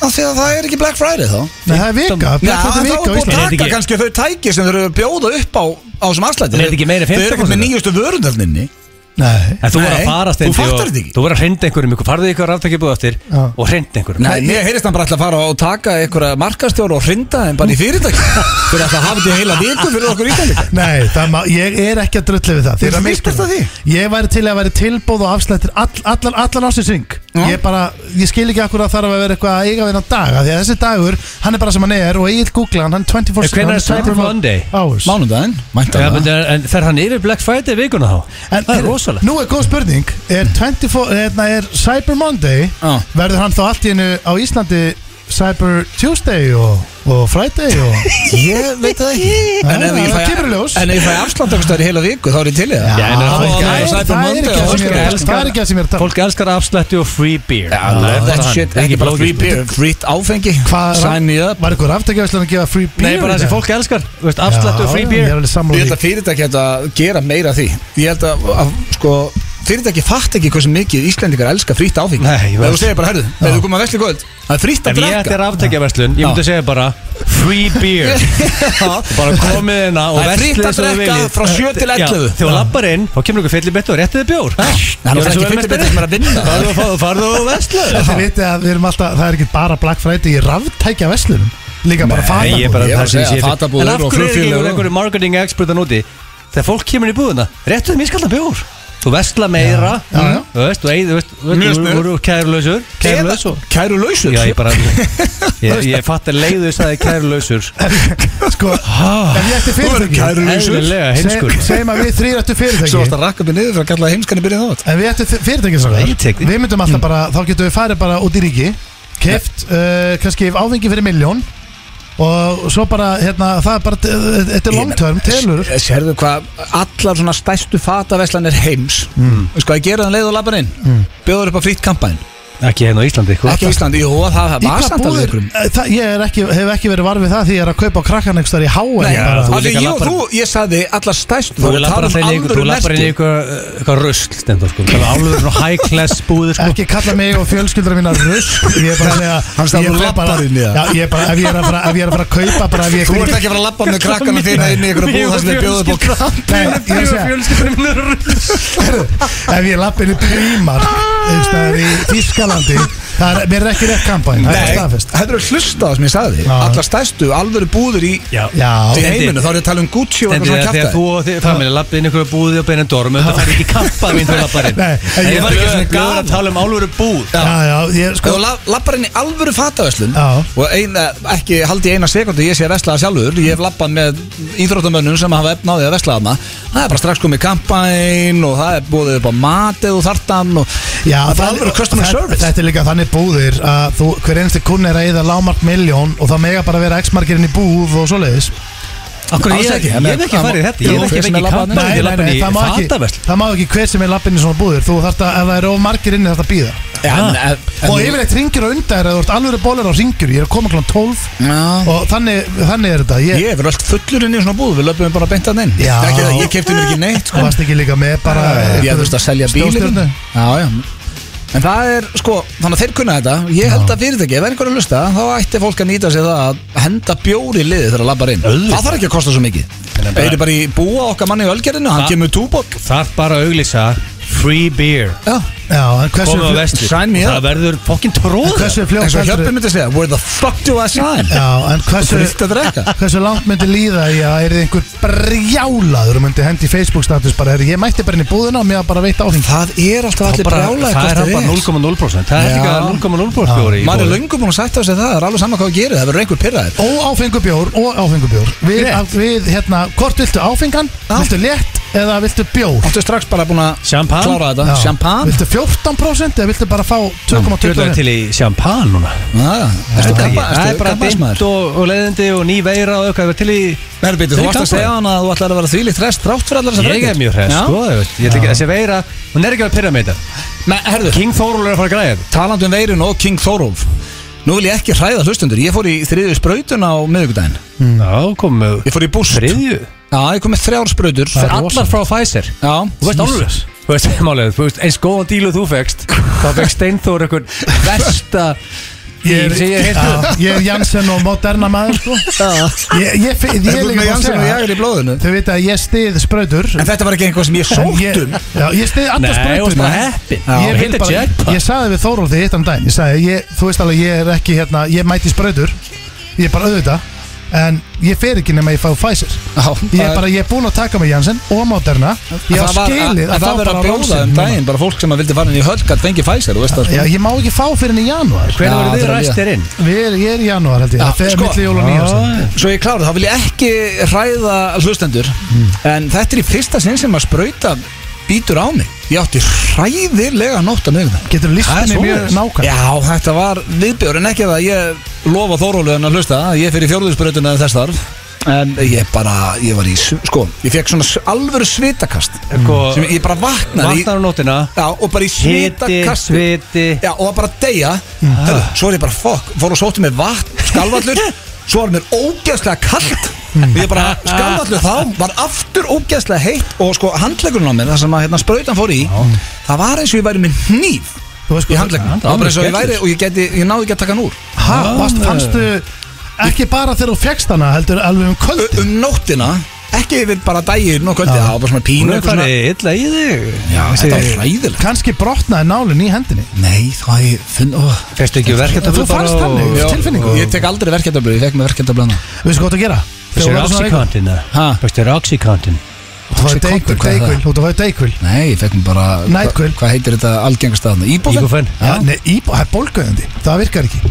[SPEAKER 1] Af því að það er ekki Black Friday þá
[SPEAKER 2] Nei, það er vika, Black
[SPEAKER 1] Já,
[SPEAKER 2] Friday
[SPEAKER 1] en þá er
[SPEAKER 2] vika á
[SPEAKER 1] búið
[SPEAKER 2] Íslandi
[SPEAKER 1] að
[SPEAKER 3] Er þetta
[SPEAKER 1] taka
[SPEAKER 3] ekki-
[SPEAKER 1] kannski þau tæki sem þau eru að bjóða upp á á þessum afslætti
[SPEAKER 3] En er þetta ekki meira en
[SPEAKER 1] Þau eru ekkert með
[SPEAKER 3] 15%?
[SPEAKER 1] nýjustu vörundöfninni
[SPEAKER 2] Nei,
[SPEAKER 3] En þú verður
[SPEAKER 1] Nei,
[SPEAKER 3] að fara
[SPEAKER 1] þú
[SPEAKER 3] stendi
[SPEAKER 1] fattar þetta ekki.
[SPEAKER 3] Þú verður að hrinda einhverjum ykkur, farðu ykkur ráttækibúð eftir
[SPEAKER 2] Já.
[SPEAKER 3] og hrinda einhverjum
[SPEAKER 1] Nei, mér heyrist hann bara ætla að fara og taka einhverja markastjóra og hrinda þeim bara í fyrirtæki Fyrir að það hafa þetta í heila viku fyrir okkur íslendinga
[SPEAKER 2] Nei, það má, ég er ekki að drulli við það Þið
[SPEAKER 1] Þú
[SPEAKER 2] eru að
[SPEAKER 1] vissir
[SPEAKER 2] misskilja.
[SPEAKER 1] þetta
[SPEAKER 2] Ég væri til að væri tilbúð og afslættir all, allan, allan ásins ring
[SPEAKER 1] Já.
[SPEAKER 2] Ég bara, ég skil ekki akkur að þarf að vera eitthvað að eiga við hennan dag af Því að þessi dagur, hann er bara sem hann er og Egil googla hann, hann 24
[SPEAKER 3] En hvenær er
[SPEAKER 2] hann
[SPEAKER 3] Cyber
[SPEAKER 2] 24
[SPEAKER 3] Monday?
[SPEAKER 2] Hours
[SPEAKER 1] Mánudaginn,
[SPEAKER 3] Já,
[SPEAKER 1] mæntan
[SPEAKER 3] menn, en, en fer hann yfir Black Friday vikuna þá?
[SPEAKER 2] En,
[SPEAKER 3] það er
[SPEAKER 2] heyrðu,
[SPEAKER 3] rosalegt
[SPEAKER 2] Nú er góð spurning Er, 24, hérna er Cyber Monday
[SPEAKER 1] Já.
[SPEAKER 2] Verður hann þá allt í hennu á Íslandi Cyber Tuesday og, og Friday og
[SPEAKER 1] Ég veit það ekki En ef ég
[SPEAKER 2] Það
[SPEAKER 1] fæ,
[SPEAKER 2] kemur í ljós.
[SPEAKER 1] en ef ég fæ afslátt einhver staðar í heila viku þá er ég til í það
[SPEAKER 3] Já, en er
[SPEAKER 2] það er
[SPEAKER 3] það ekki-
[SPEAKER 2] ekki-
[SPEAKER 1] Cyber
[SPEAKER 2] það er
[SPEAKER 1] Monday
[SPEAKER 2] ekki
[SPEAKER 1] og
[SPEAKER 2] það sem ég er að
[SPEAKER 1] Oscar.
[SPEAKER 2] tala Það er ekki það sem ég er að tala um.
[SPEAKER 3] Fólk elskar afslætti og free beer
[SPEAKER 1] Já, love that shit, ekki bara free beer, frýtt áfengi
[SPEAKER 2] Hvað er-
[SPEAKER 1] Sign me up
[SPEAKER 2] Var eitthvað aftekjavæslan að gefa free beer
[SPEAKER 3] Nei,
[SPEAKER 2] í
[SPEAKER 3] bara þessi
[SPEAKER 2] dag?
[SPEAKER 3] fólk elskar þú veist, Afslætti og free
[SPEAKER 2] Já, Ég er
[SPEAKER 3] beer
[SPEAKER 2] alveg
[SPEAKER 1] Ég
[SPEAKER 2] sammála
[SPEAKER 1] held
[SPEAKER 2] því
[SPEAKER 1] að fyrirtæki ættu að gera meira af því Ég held að, að sko, fyrirtæki fatt ekki hversu mikið Íslendingar elska frýtt áfengi
[SPEAKER 3] Nei, ég veit.
[SPEAKER 1] Ef þú segir bara, herðu, ef þú komið að vesli kvöld Það er frýtt að
[SPEAKER 3] Ef ég ætti
[SPEAKER 1] drekka
[SPEAKER 3] ráttækjaverslun, ég myndi segja bara free beer
[SPEAKER 1] Já.
[SPEAKER 3] Bara komið hérna og
[SPEAKER 1] Það er frítt
[SPEAKER 3] verslið
[SPEAKER 1] að
[SPEAKER 3] svo þið
[SPEAKER 1] drekka
[SPEAKER 3] viljið.
[SPEAKER 1] frá sjö til
[SPEAKER 3] Já,
[SPEAKER 1] 11.
[SPEAKER 3] Þegar þú lappar inn, þá kemur ykkur fyllir og réttið þið bjór
[SPEAKER 1] Það er ekki fyrir betur sem er að vinna
[SPEAKER 3] Farðu og- Farðu og verslið
[SPEAKER 2] Þið vitið að við erum alltaf, það er ekki bara Black Friday í ráftækja veslunum Líka bara
[SPEAKER 3] Nei, ég er bara
[SPEAKER 2] fatabúð
[SPEAKER 1] Ég var að segja, fatabúðir
[SPEAKER 3] það sem ég sé En af
[SPEAKER 1] og
[SPEAKER 3] hverju er ekki
[SPEAKER 1] flugfélög og-
[SPEAKER 2] sko.
[SPEAKER 3] einhverju marketing expert að núti Þegar fólk kemur í búðuna Réttu þeim ískalda bjór Þú vesla meira mm,
[SPEAKER 2] Já, já.
[SPEAKER 3] Þú veist, þú eigið, þú veist Þú
[SPEAKER 1] Mjög
[SPEAKER 3] veist,
[SPEAKER 1] sniðugt.
[SPEAKER 3] þú eru kærulausur Kærulausur
[SPEAKER 1] Kæru lausur
[SPEAKER 3] Já, ég bara Ég, ég fatt að leiðu þess að það er kærulausur
[SPEAKER 2] Sko, ef ég ætti
[SPEAKER 1] Þú verður
[SPEAKER 2] fyrirtæki
[SPEAKER 1] kæru lausur
[SPEAKER 3] Eðlilega hinskur
[SPEAKER 2] seg- Segjum að við þrýr ættu
[SPEAKER 1] Svo varst
[SPEAKER 2] fyrirtæki
[SPEAKER 1] að rakka upp í niður fyrir að kalla heimskan í byrjun þátt Mm.
[SPEAKER 2] En við ættum fyrirtækið
[SPEAKER 3] Nei, ég tek því.
[SPEAKER 2] Við myndum alltaf bara, þá getum við farið bara út í ríki Keft, uh, kannski áfengi fyrir miljón Og svo bara, hérna, það er bara Þetta er long term, telur
[SPEAKER 1] S- Eh, Sérðu hvað, allar svona stæstu fataveslanir heims
[SPEAKER 3] Mm.
[SPEAKER 1] Þú sko, að gera þann leið og labbar inn
[SPEAKER 2] Mm.
[SPEAKER 1] Bjóður upp á frýtt kampæn
[SPEAKER 3] Ekki hérna á Íslandi hvað?
[SPEAKER 1] Ekki Íslandi, jú, það
[SPEAKER 2] Í
[SPEAKER 1] var
[SPEAKER 2] hvað
[SPEAKER 1] samt alveg
[SPEAKER 2] búðir?
[SPEAKER 1] ykkur
[SPEAKER 2] Eh, það- Ég er ekki, hef ekki verið varfið það því ég er að kaupa á krakkan einhverstaðar í háa
[SPEAKER 1] Nei,
[SPEAKER 3] bara-
[SPEAKER 1] af
[SPEAKER 3] þú
[SPEAKER 1] því
[SPEAKER 3] líka
[SPEAKER 1] ég og
[SPEAKER 3] labbar-
[SPEAKER 1] þú, ég saði allar stæstu
[SPEAKER 3] Þú
[SPEAKER 1] vorum að
[SPEAKER 3] lappar
[SPEAKER 1] tala um
[SPEAKER 3] alltaf inn í ykkur- þú
[SPEAKER 1] alvöru
[SPEAKER 3] lappar inn í
[SPEAKER 1] merki.
[SPEAKER 3] ykkur Eitthvað rusl stendur sko
[SPEAKER 2] um
[SPEAKER 3] Það er alveg svona high class búðir sko
[SPEAKER 2] ekki kalla mig og fjölskyldra mína rusk ég er bara að segja
[SPEAKER 1] Hann sagði
[SPEAKER 2] ég
[SPEAKER 1] þú
[SPEAKER 2] fer bara-
[SPEAKER 1] labbar inn í það.
[SPEAKER 2] Já, ég er bara, ef ég er að fara, ef ég er að fara að kaupa bara ef ég
[SPEAKER 1] Þú ert ekki að fara að labba með krakkana þína inn í ykkur
[SPEAKER 3] Ég
[SPEAKER 1] búð
[SPEAKER 3] og
[SPEAKER 1] þar sem er bjóður upp á
[SPEAKER 3] fjölskyldan-
[SPEAKER 1] kampæn
[SPEAKER 2] Nei, ég er að segja,
[SPEAKER 3] Fjölskyldan minn er rusl
[SPEAKER 2] ef ég lapp inn í prímar það er í Þískalandi það er, mér er ekki rétt kampæn það er
[SPEAKER 1] Nei,
[SPEAKER 2] staðfest
[SPEAKER 1] það er að hlusta það sem ég saði
[SPEAKER 2] Já.
[SPEAKER 1] Allar stæstu, alvöru búður í
[SPEAKER 3] Já
[SPEAKER 2] Já.
[SPEAKER 1] í
[SPEAKER 3] Steindi.
[SPEAKER 1] heiminu, þá er ég að tala um Gucci og
[SPEAKER 3] En
[SPEAKER 1] eitthvað
[SPEAKER 3] því að
[SPEAKER 1] svona
[SPEAKER 3] þegar
[SPEAKER 1] kjafta
[SPEAKER 3] þú og þið familja lappið inn ykkur búði og beinin dorm þetta fær ekki kappa mín til lapparinn
[SPEAKER 2] Nei, en
[SPEAKER 3] en
[SPEAKER 2] ég-
[SPEAKER 3] ég var ekki svona
[SPEAKER 1] Blöð-
[SPEAKER 3] gafur að tala um álveru búð
[SPEAKER 2] já, já, ég
[SPEAKER 1] Sko,
[SPEAKER 2] sko
[SPEAKER 1] þú la- lappar inn í alvöru fataverslun
[SPEAKER 2] Já.
[SPEAKER 1] og eina, ekki haldi í eina sekundu ég sé að vesla það sjálfur, ég hef lappað með íþróttamönnum sem hafa efnaði að vesla þarna það er bara strax komið kampæn og það er búið upp á mat eða þartan og
[SPEAKER 2] Já,
[SPEAKER 1] það er alvöru customer
[SPEAKER 2] það-
[SPEAKER 1] service
[SPEAKER 2] Þetta er líka þannig búðir að þú, hver einstu kunn er að eða lámark miljón og það mega bara vera x-markirinn í búð og svoleiðis
[SPEAKER 3] Akkur
[SPEAKER 1] Alls
[SPEAKER 3] ég
[SPEAKER 1] ekki.
[SPEAKER 3] ég hef ekki farið í þetta ég
[SPEAKER 1] Jú,
[SPEAKER 3] hef
[SPEAKER 1] hver
[SPEAKER 3] ekki
[SPEAKER 1] sem er
[SPEAKER 3] fengið
[SPEAKER 1] labbað
[SPEAKER 3] kappa mín til lappin í
[SPEAKER 2] það má ekki
[SPEAKER 3] fataversl
[SPEAKER 2] Það má ekki hver sem er lappin í svona búðir Þú þarft að, ef það eru of margir inni þarft að býða
[SPEAKER 1] Já, en, en,
[SPEAKER 2] Og yfirleitt ringir og undar eða þú ert alveg bólar á ringjur Ég er að koma kl. 12
[SPEAKER 3] Ah.
[SPEAKER 1] Já,
[SPEAKER 2] og þannig, þannig er þetta Ég
[SPEAKER 1] ég hef verið allt fullur inn í svona búð við löpum bara beint að inn
[SPEAKER 2] Já.
[SPEAKER 1] ekki, það, ég kefti mér ekki neitt sko.
[SPEAKER 2] varst ekki líka með bara
[SPEAKER 1] ég þú veist að selja bílinn
[SPEAKER 2] Stórstjörnu.
[SPEAKER 1] já, já En það er, sko, þannig að þeir kunna þetta Ég held að fyrirtæki, ef einhverju lusta Þá ætti fólk að nýta sér það að henda bjóri liði þegar það labbar inn
[SPEAKER 3] Auðvitað.
[SPEAKER 1] Það þarf ekki að kosta svo mikið
[SPEAKER 3] Þannig að
[SPEAKER 1] Það er bara í búa okkar manni í ölgerðinu Hann
[SPEAKER 3] Það-
[SPEAKER 1] kemur túbók
[SPEAKER 3] Þarf bara að auglýsa Free beer
[SPEAKER 1] Já,
[SPEAKER 2] Já, en hversu
[SPEAKER 3] Komum á vesti
[SPEAKER 1] sign me
[SPEAKER 3] Það verður fokkin tróð
[SPEAKER 2] Hversu er
[SPEAKER 1] eins
[SPEAKER 2] fljótt
[SPEAKER 1] og
[SPEAKER 2] heldur
[SPEAKER 1] hjöppum myndi segja Where the fuck do I sign?
[SPEAKER 2] Já, en
[SPEAKER 1] Þú þurft
[SPEAKER 2] hversu
[SPEAKER 1] að drekka
[SPEAKER 2] Hversu langt myndi líða í að er þið einhver brjálaður og myndi hendi í Facebook status bara er ég mætti bara inn í búðina og mér var bara að veita áfengi
[SPEAKER 1] Það er alltaf allir brjálæði
[SPEAKER 3] Það er hann bara 0,0% Það er
[SPEAKER 1] Já.
[SPEAKER 3] líka 0,0% bjóri í
[SPEAKER 1] Man er
[SPEAKER 3] boði.
[SPEAKER 1] löngum búin að sætta á sig það Það er alveg saman hvað að gera Það verður einhver pyrraðir
[SPEAKER 2] Óáfengubjór og áfengubjór við,
[SPEAKER 1] Rétt.
[SPEAKER 2] við, hérna, hvort viltu áfengan,
[SPEAKER 1] Já.
[SPEAKER 2] viltu létt eða viltu bjór
[SPEAKER 1] Áttu strax bara búin að
[SPEAKER 3] Champagne?
[SPEAKER 1] klára
[SPEAKER 2] Já.
[SPEAKER 1] þetta Champagne
[SPEAKER 2] Viltu 14% eða viltu bara fá
[SPEAKER 3] Tjóðlega er
[SPEAKER 2] 2,25
[SPEAKER 3] til í champagne núna
[SPEAKER 1] Já,
[SPEAKER 3] Veistu
[SPEAKER 1] ertu
[SPEAKER 3] hvað
[SPEAKER 1] gabba-
[SPEAKER 3] ég- Það er
[SPEAKER 1] ertu
[SPEAKER 3] bara
[SPEAKER 1] gabbasmaður?
[SPEAKER 3] dimt og, og leiðindi og ný veira og eitthvað til í
[SPEAKER 1] Nei, byrju,
[SPEAKER 3] Til
[SPEAKER 1] þú varst að
[SPEAKER 3] kampavín.
[SPEAKER 1] segja hann að þú ætlar að vera þvílíkt hress þrátt fyrir allar þessar
[SPEAKER 3] Ég er
[SPEAKER 1] breytingar.
[SPEAKER 3] mjög hress
[SPEAKER 1] Já.
[SPEAKER 3] sko þú veist, Ég ætla ekki þessi veira Hún er ekki að pyrra með þetta
[SPEAKER 1] Men, herðu,
[SPEAKER 3] King Thorol er að fara að græða þetta.
[SPEAKER 1] talandu um veirun og King Thorolf Nú vil ég ekki hræða hlustundur Ég fór í þriðju sprautun á miðvikudaginn
[SPEAKER 3] Já, komum við
[SPEAKER 1] Ég fór í búst
[SPEAKER 3] Þriðju
[SPEAKER 1] Já, ég kom með þrjár sprautur
[SPEAKER 3] Það er allar frá Pfizer
[SPEAKER 1] Já
[SPEAKER 3] Þú veist alveg Þú veist, málið, þú veist, eins góðan díl og þú fegst Þá fegst Steinþór einhvern versta
[SPEAKER 2] Ég
[SPEAKER 3] díl
[SPEAKER 2] er,
[SPEAKER 3] sem ég
[SPEAKER 2] ég,
[SPEAKER 3] heilt
[SPEAKER 2] ég er Janssen og Moderna maður sko. Ég, ég, ég, ég,
[SPEAKER 1] Þú
[SPEAKER 2] er
[SPEAKER 1] ert
[SPEAKER 2] líka
[SPEAKER 1] með
[SPEAKER 2] bara að
[SPEAKER 1] Janssen og
[SPEAKER 2] segja
[SPEAKER 1] Jagger í blóðinu
[SPEAKER 2] Þau vita að ég stið sprautur
[SPEAKER 1] En þetta var ekki einhvað sem ég um? sóttum
[SPEAKER 2] Ég- Já, ég stið
[SPEAKER 3] Nei,
[SPEAKER 2] alltaf
[SPEAKER 3] þú veist bara
[SPEAKER 2] sprautur
[SPEAKER 3] heppin
[SPEAKER 1] Já,
[SPEAKER 2] Ég,
[SPEAKER 3] Ég
[SPEAKER 2] vil
[SPEAKER 3] hitt að
[SPEAKER 2] bara,
[SPEAKER 3] jackpot
[SPEAKER 2] ég sagði við Þóról því eitt um daginn Ég sagði, ég, þú veist alveg, ég er ekki hérna Ég mæti sprautur, ég er bara auðvitað En ég fer ekki nema ég fá Pfizer
[SPEAKER 1] Já,
[SPEAKER 2] Ég er
[SPEAKER 1] það-
[SPEAKER 2] bara, ég er búinn að taka mig Janssen og Moderna Ég
[SPEAKER 1] það
[SPEAKER 2] á
[SPEAKER 1] var-
[SPEAKER 2] skilið
[SPEAKER 1] að
[SPEAKER 2] að fá
[SPEAKER 1] Það
[SPEAKER 2] bara
[SPEAKER 1] verður að bjóða
[SPEAKER 2] Rósin
[SPEAKER 1] um
[SPEAKER 2] núna.
[SPEAKER 1] daginn Bara fólk sem að vildi fara inn í hölgat fengi Pfizer Þú veist það
[SPEAKER 2] Já,
[SPEAKER 1] sko
[SPEAKER 2] ég má ekki fá fyrir henni í janúar
[SPEAKER 3] Hvernig
[SPEAKER 1] Já,
[SPEAKER 3] voru
[SPEAKER 1] það
[SPEAKER 3] þið
[SPEAKER 1] er
[SPEAKER 3] ræst
[SPEAKER 1] ég.
[SPEAKER 3] þér inn?
[SPEAKER 2] Við er, ég er í janúar held ég
[SPEAKER 1] Já,
[SPEAKER 2] Það fer
[SPEAKER 1] sko.
[SPEAKER 2] milli jól og nýjárs
[SPEAKER 1] Svo ég klára, þá vil ég ekki hræða hlustendur
[SPEAKER 2] Mm.
[SPEAKER 1] En þetta er í fyrsta sinn sem að sprauta býtur á mig Ég átti hræðilega nótt að miðvikudaginn
[SPEAKER 2] Getur
[SPEAKER 1] Það er
[SPEAKER 2] listinni mjög
[SPEAKER 1] svoleiðis.
[SPEAKER 2] nákvæm
[SPEAKER 1] Já, þetta var viðbjör en ekki það ég lofa Þórólu en að hlusta að ég fyrir fjórðursbreytuna þess þarf en ég bara, ég var í s- sko, ég fekk svona s- alvöru svitakast sem ég bara vaknaði í,
[SPEAKER 3] Sko, Vaknar á nótina
[SPEAKER 1] já, og bara í
[SPEAKER 3] Hiti,
[SPEAKER 1] svitakast
[SPEAKER 3] sviti
[SPEAKER 1] já, og var bara að deyja Herru, svo er ég bara fokk, fór og sótti mér vatn skalvallur, svo var mér ógeðslega kallt ég bara skalvallur þá var aftur ógeðslega heitt og sko handlegurinn á mér, það sem að hérna, sprautan fór í það var eins og ég væri með hníf
[SPEAKER 2] Þú veist
[SPEAKER 1] í
[SPEAKER 2] sko
[SPEAKER 1] handleggnum
[SPEAKER 3] það
[SPEAKER 1] það var bara eins og ég
[SPEAKER 3] skellur.
[SPEAKER 1] væri og ég, geti, ég náði ekki að taka hann úr
[SPEAKER 2] Ha, varst,
[SPEAKER 3] Já,
[SPEAKER 2] fannstu ekki bara þegar þú fegst hana heldur alveg um
[SPEAKER 1] U
[SPEAKER 2] kvöldin
[SPEAKER 1] um nóttina ekki yfir bara daginn og kvöldið það var bara svona
[SPEAKER 3] Hún
[SPEAKER 1] pínu
[SPEAKER 3] er
[SPEAKER 1] eitthvað svona-
[SPEAKER 3] farið illa í þig
[SPEAKER 1] Já, þetta var hræðilegt
[SPEAKER 2] Kanski brotnaði nálin í hendinni
[SPEAKER 1] nei þá hef ég finn ó.
[SPEAKER 3] Fyrstu ekki verkefnið
[SPEAKER 2] Þú fannst þannig,
[SPEAKER 1] Já,
[SPEAKER 2] tilfinningu
[SPEAKER 1] ég tek aldrei verkefndablu ég fekk með verkefndablan
[SPEAKER 2] Veistu hvað þú átt að gera?
[SPEAKER 3] Fyrstu er
[SPEAKER 2] verður svona veikur.
[SPEAKER 3] Oxycontin
[SPEAKER 1] Ha?
[SPEAKER 3] Fyrstu er Oxycontin
[SPEAKER 2] Þú fæði
[SPEAKER 1] Oxycontin,
[SPEAKER 2] deikul,
[SPEAKER 1] hvað er það?
[SPEAKER 2] deikul, þú fæði deikul
[SPEAKER 1] nei ég fekk mér bara
[SPEAKER 2] Nightquil.
[SPEAKER 1] hva- hvað heitir þetta algengastafna
[SPEAKER 3] Ibuprofen.
[SPEAKER 2] Já, nei, íbú, það er bólgöðandi, það virkar ekki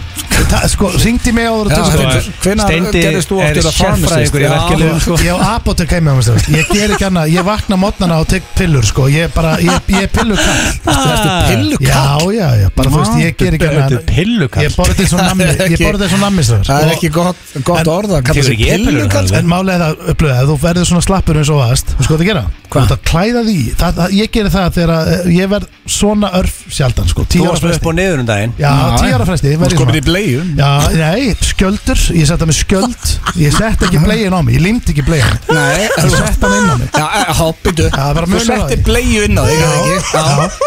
[SPEAKER 2] Það, sko, ringdi mig áður og
[SPEAKER 1] Já,
[SPEAKER 2] tókst
[SPEAKER 1] sko,
[SPEAKER 2] deikul
[SPEAKER 1] hvenær
[SPEAKER 3] Steindi
[SPEAKER 1] gerðist þú
[SPEAKER 3] er
[SPEAKER 1] aftur að
[SPEAKER 3] sérfræðingur í
[SPEAKER 1] pharmacist? Já.
[SPEAKER 3] verkefninu. sko.
[SPEAKER 2] Ég á apotek heim með mér stjórn Ég ger ekki annað, ég vakna mótnana og tek pillur sko Ég er bara, ég, ég er pillur kall
[SPEAKER 1] þetta
[SPEAKER 3] Ah.
[SPEAKER 1] er pillu
[SPEAKER 2] Já, já, já, bara þú veist, ég ger ekki
[SPEAKER 3] Þetta
[SPEAKER 2] annað
[SPEAKER 3] er pillukall
[SPEAKER 2] Ég borði þessu nammi, ég borði þessu nammi stjórn
[SPEAKER 1] það er ekki gott, gott
[SPEAKER 2] En-
[SPEAKER 1] orð að kalla
[SPEAKER 3] Þið eru
[SPEAKER 1] sig
[SPEAKER 3] ekki
[SPEAKER 1] pillu
[SPEAKER 3] epilur,
[SPEAKER 1] kannski.
[SPEAKER 3] alveg.
[SPEAKER 2] En málega það upplöðu, ef þú verður svona slappur eins og aðast, þú sko það gera Þú
[SPEAKER 1] Hvað?
[SPEAKER 2] ert að klæða því, það, það, ég gerir það þegar að, eh, ég verð svona örf sjaldan sko,
[SPEAKER 3] Þú
[SPEAKER 2] tíu ára
[SPEAKER 3] varst með upp
[SPEAKER 2] fresti
[SPEAKER 3] og niður um daginn
[SPEAKER 2] Já, tíu ára fresti,
[SPEAKER 1] þú
[SPEAKER 2] verð ég
[SPEAKER 1] sko
[SPEAKER 2] svona
[SPEAKER 1] mér í bleiu
[SPEAKER 2] Já, nei, skjöldur, ég setta mig skjöld Ég sett ekki blegin á mig, ég limt ekki blegin
[SPEAKER 1] nei
[SPEAKER 2] Ég sett hann inn á mig
[SPEAKER 1] Já, eh, já, byrju,
[SPEAKER 2] það er bara
[SPEAKER 1] þú
[SPEAKER 2] munur á
[SPEAKER 1] settir
[SPEAKER 2] því.
[SPEAKER 1] bleiu inn á þig, eða ekki? Já.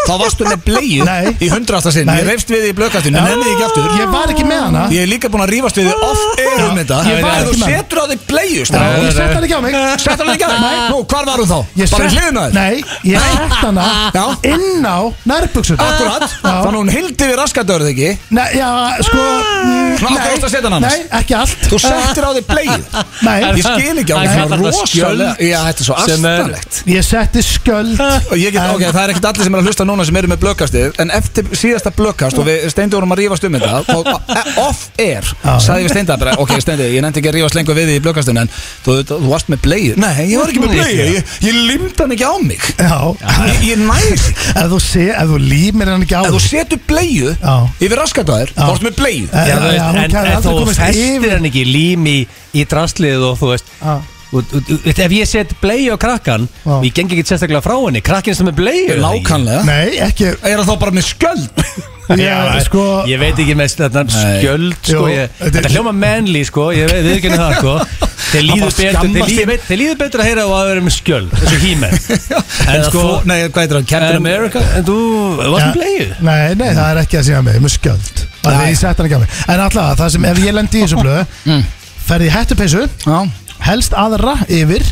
[SPEAKER 1] Þá varstu með bleiu
[SPEAKER 2] Nei.
[SPEAKER 1] í hundrasta sinn,
[SPEAKER 2] Nei.
[SPEAKER 1] ég reyfst við því í blökastinu, en henni ekki aftur.
[SPEAKER 2] Ég var ekki með hana
[SPEAKER 1] Ég er líka búinn að rífast við þig off-air um þetta.
[SPEAKER 2] ég var
[SPEAKER 1] En
[SPEAKER 2] ekki
[SPEAKER 1] þú
[SPEAKER 2] með hana.
[SPEAKER 1] setur á þig bleiu,
[SPEAKER 2] Já,
[SPEAKER 1] stráð.
[SPEAKER 2] Ég sett hann ekki á mig
[SPEAKER 1] Sett hann ekki að þig? Nú, hvar var hún þá?
[SPEAKER 2] Ég
[SPEAKER 1] Bara
[SPEAKER 2] sett-
[SPEAKER 1] í hliðinu að þig?
[SPEAKER 2] Nei, ég sett hana
[SPEAKER 1] Já.
[SPEAKER 2] inn á nærbuxun
[SPEAKER 1] Akkurat. Þannig að
[SPEAKER 2] Já,
[SPEAKER 1] hún hildi við raskadörð, ekki?
[SPEAKER 2] Nei, já sko mm,
[SPEAKER 1] Svona af hverju varstu að setja hana annars?
[SPEAKER 2] Nei, ekki allt
[SPEAKER 1] Þú settir á þig bleiu.
[SPEAKER 2] Nei,
[SPEAKER 1] Ég skil ekki á
[SPEAKER 3] Hann
[SPEAKER 1] hún.
[SPEAKER 3] kallar það
[SPEAKER 1] rosalega-
[SPEAKER 3] skjöld
[SPEAKER 1] Já, þetta er svo
[SPEAKER 3] sem er-
[SPEAKER 1] astalegt.
[SPEAKER 2] ég setti skjöld
[SPEAKER 1] Og ég get, ok, það er ekkert allir sem er að hlusta núna sem eru með blökastið En eftir síðasta blökast og við steindi vorum að rífast um þetta Og eh, off-air, sagði við steinda bara Ok, steindi, ég nefndi ekki að rífast lengur við því í blökastinu En þú, þú, þú varst með bleið Nei, ég var ekki með bleið, ég, ég limdi hann ekki á mig
[SPEAKER 2] Já,
[SPEAKER 1] Ég, ég næs ekki
[SPEAKER 2] ef þú sé, ef þú límir hann ekki á
[SPEAKER 1] Ef þú
[SPEAKER 2] þig.
[SPEAKER 1] setur bleið
[SPEAKER 2] Já.
[SPEAKER 1] yfir raskataðir Þá
[SPEAKER 2] Já.
[SPEAKER 1] ertu með bleið
[SPEAKER 2] Já,
[SPEAKER 3] Já, þú
[SPEAKER 2] já,
[SPEAKER 3] veist,
[SPEAKER 2] hún
[SPEAKER 3] en,
[SPEAKER 2] kæði
[SPEAKER 3] en
[SPEAKER 2] aldrei
[SPEAKER 3] þú
[SPEAKER 2] komist
[SPEAKER 3] festir
[SPEAKER 2] yfir.
[SPEAKER 3] hann ekki lím í, í draslið og þú veist
[SPEAKER 2] Já.
[SPEAKER 3] og, og, og, ef ég set blei á krakkan
[SPEAKER 2] Já.
[SPEAKER 3] og ég gengi ekki sérstaklega frá henni krakkin sem er blei
[SPEAKER 1] Lákanlega
[SPEAKER 2] Nei, ekki
[SPEAKER 1] Er það þá bara með skjöld?
[SPEAKER 2] Já, sko
[SPEAKER 3] ég veit ekki með þetta skjöld sko,
[SPEAKER 2] Jú,
[SPEAKER 3] ég,
[SPEAKER 2] þetta-
[SPEAKER 3] þetta hljóma manly sko, ég veit ekki henni það sko. þeir líður
[SPEAKER 1] bara
[SPEAKER 3] betur
[SPEAKER 1] skammast
[SPEAKER 3] þeir líður,
[SPEAKER 1] sín.
[SPEAKER 3] betur- þeir líður betur að heyra á að vera með skjöld þessu hímen en
[SPEAKER 1] Eða
[SPEAKER 3] sko
[SPEAKER 1] þó- Nei, hvað heitir það?
[SPEAKER 3] Captain
[SPEAKER 1] Captain
[SPEAKER 3] America, en þú varst með bleið
[SPEAKER 2] Nei, nei, það er ekki að segja mig, með skjöld Það er
[SPEAKER 1] Nei.
[SPEAKER 2] ég sett hann ekki að mig En alltaf, það sem ef ég lendi í þessu blöðu mm. Ferði í hættupeysu,
[SPEAKER 1] Já
[SPEAKER 2] helst aðra yfir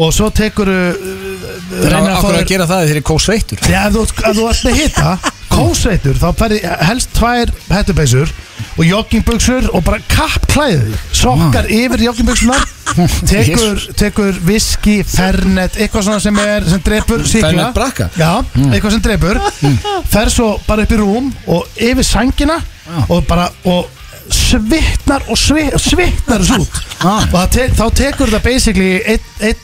[SPEAKER 2] Og svo tekur Reynir að
[SPEAKER 1] Akkur
[SPEAKER 2] fá
[SPEAKER 1] að
[SPEAKER 2] þér
[SPEAKER 1] gera það þegar ég kós veitur
[SPEAKER 2] Já, ef þú, ef þú ert með hita Kósveitur, þá ferði helst tvær hættupeysur Og joggingbuksur Og bara kappklæði
[SPEAKER 1] Ah.
[SPEAKER 2] Sokkar yfir joggingbuksunar Tekur, tekur viski, fernet Eitthvað svona sem er, sem drepur síkla
[SPEAKER 1] Fernet Mm. Bracca?
[SPEAKER 2] Já, eitthvað sem drepur Fer svo bara upp í rúm Og yfir sængina Og bara, og svitnar og svi, svitnar þessu út
[SPEAKER 1] Ah.
[SPEAKER 2] og það te, þá tekur það basically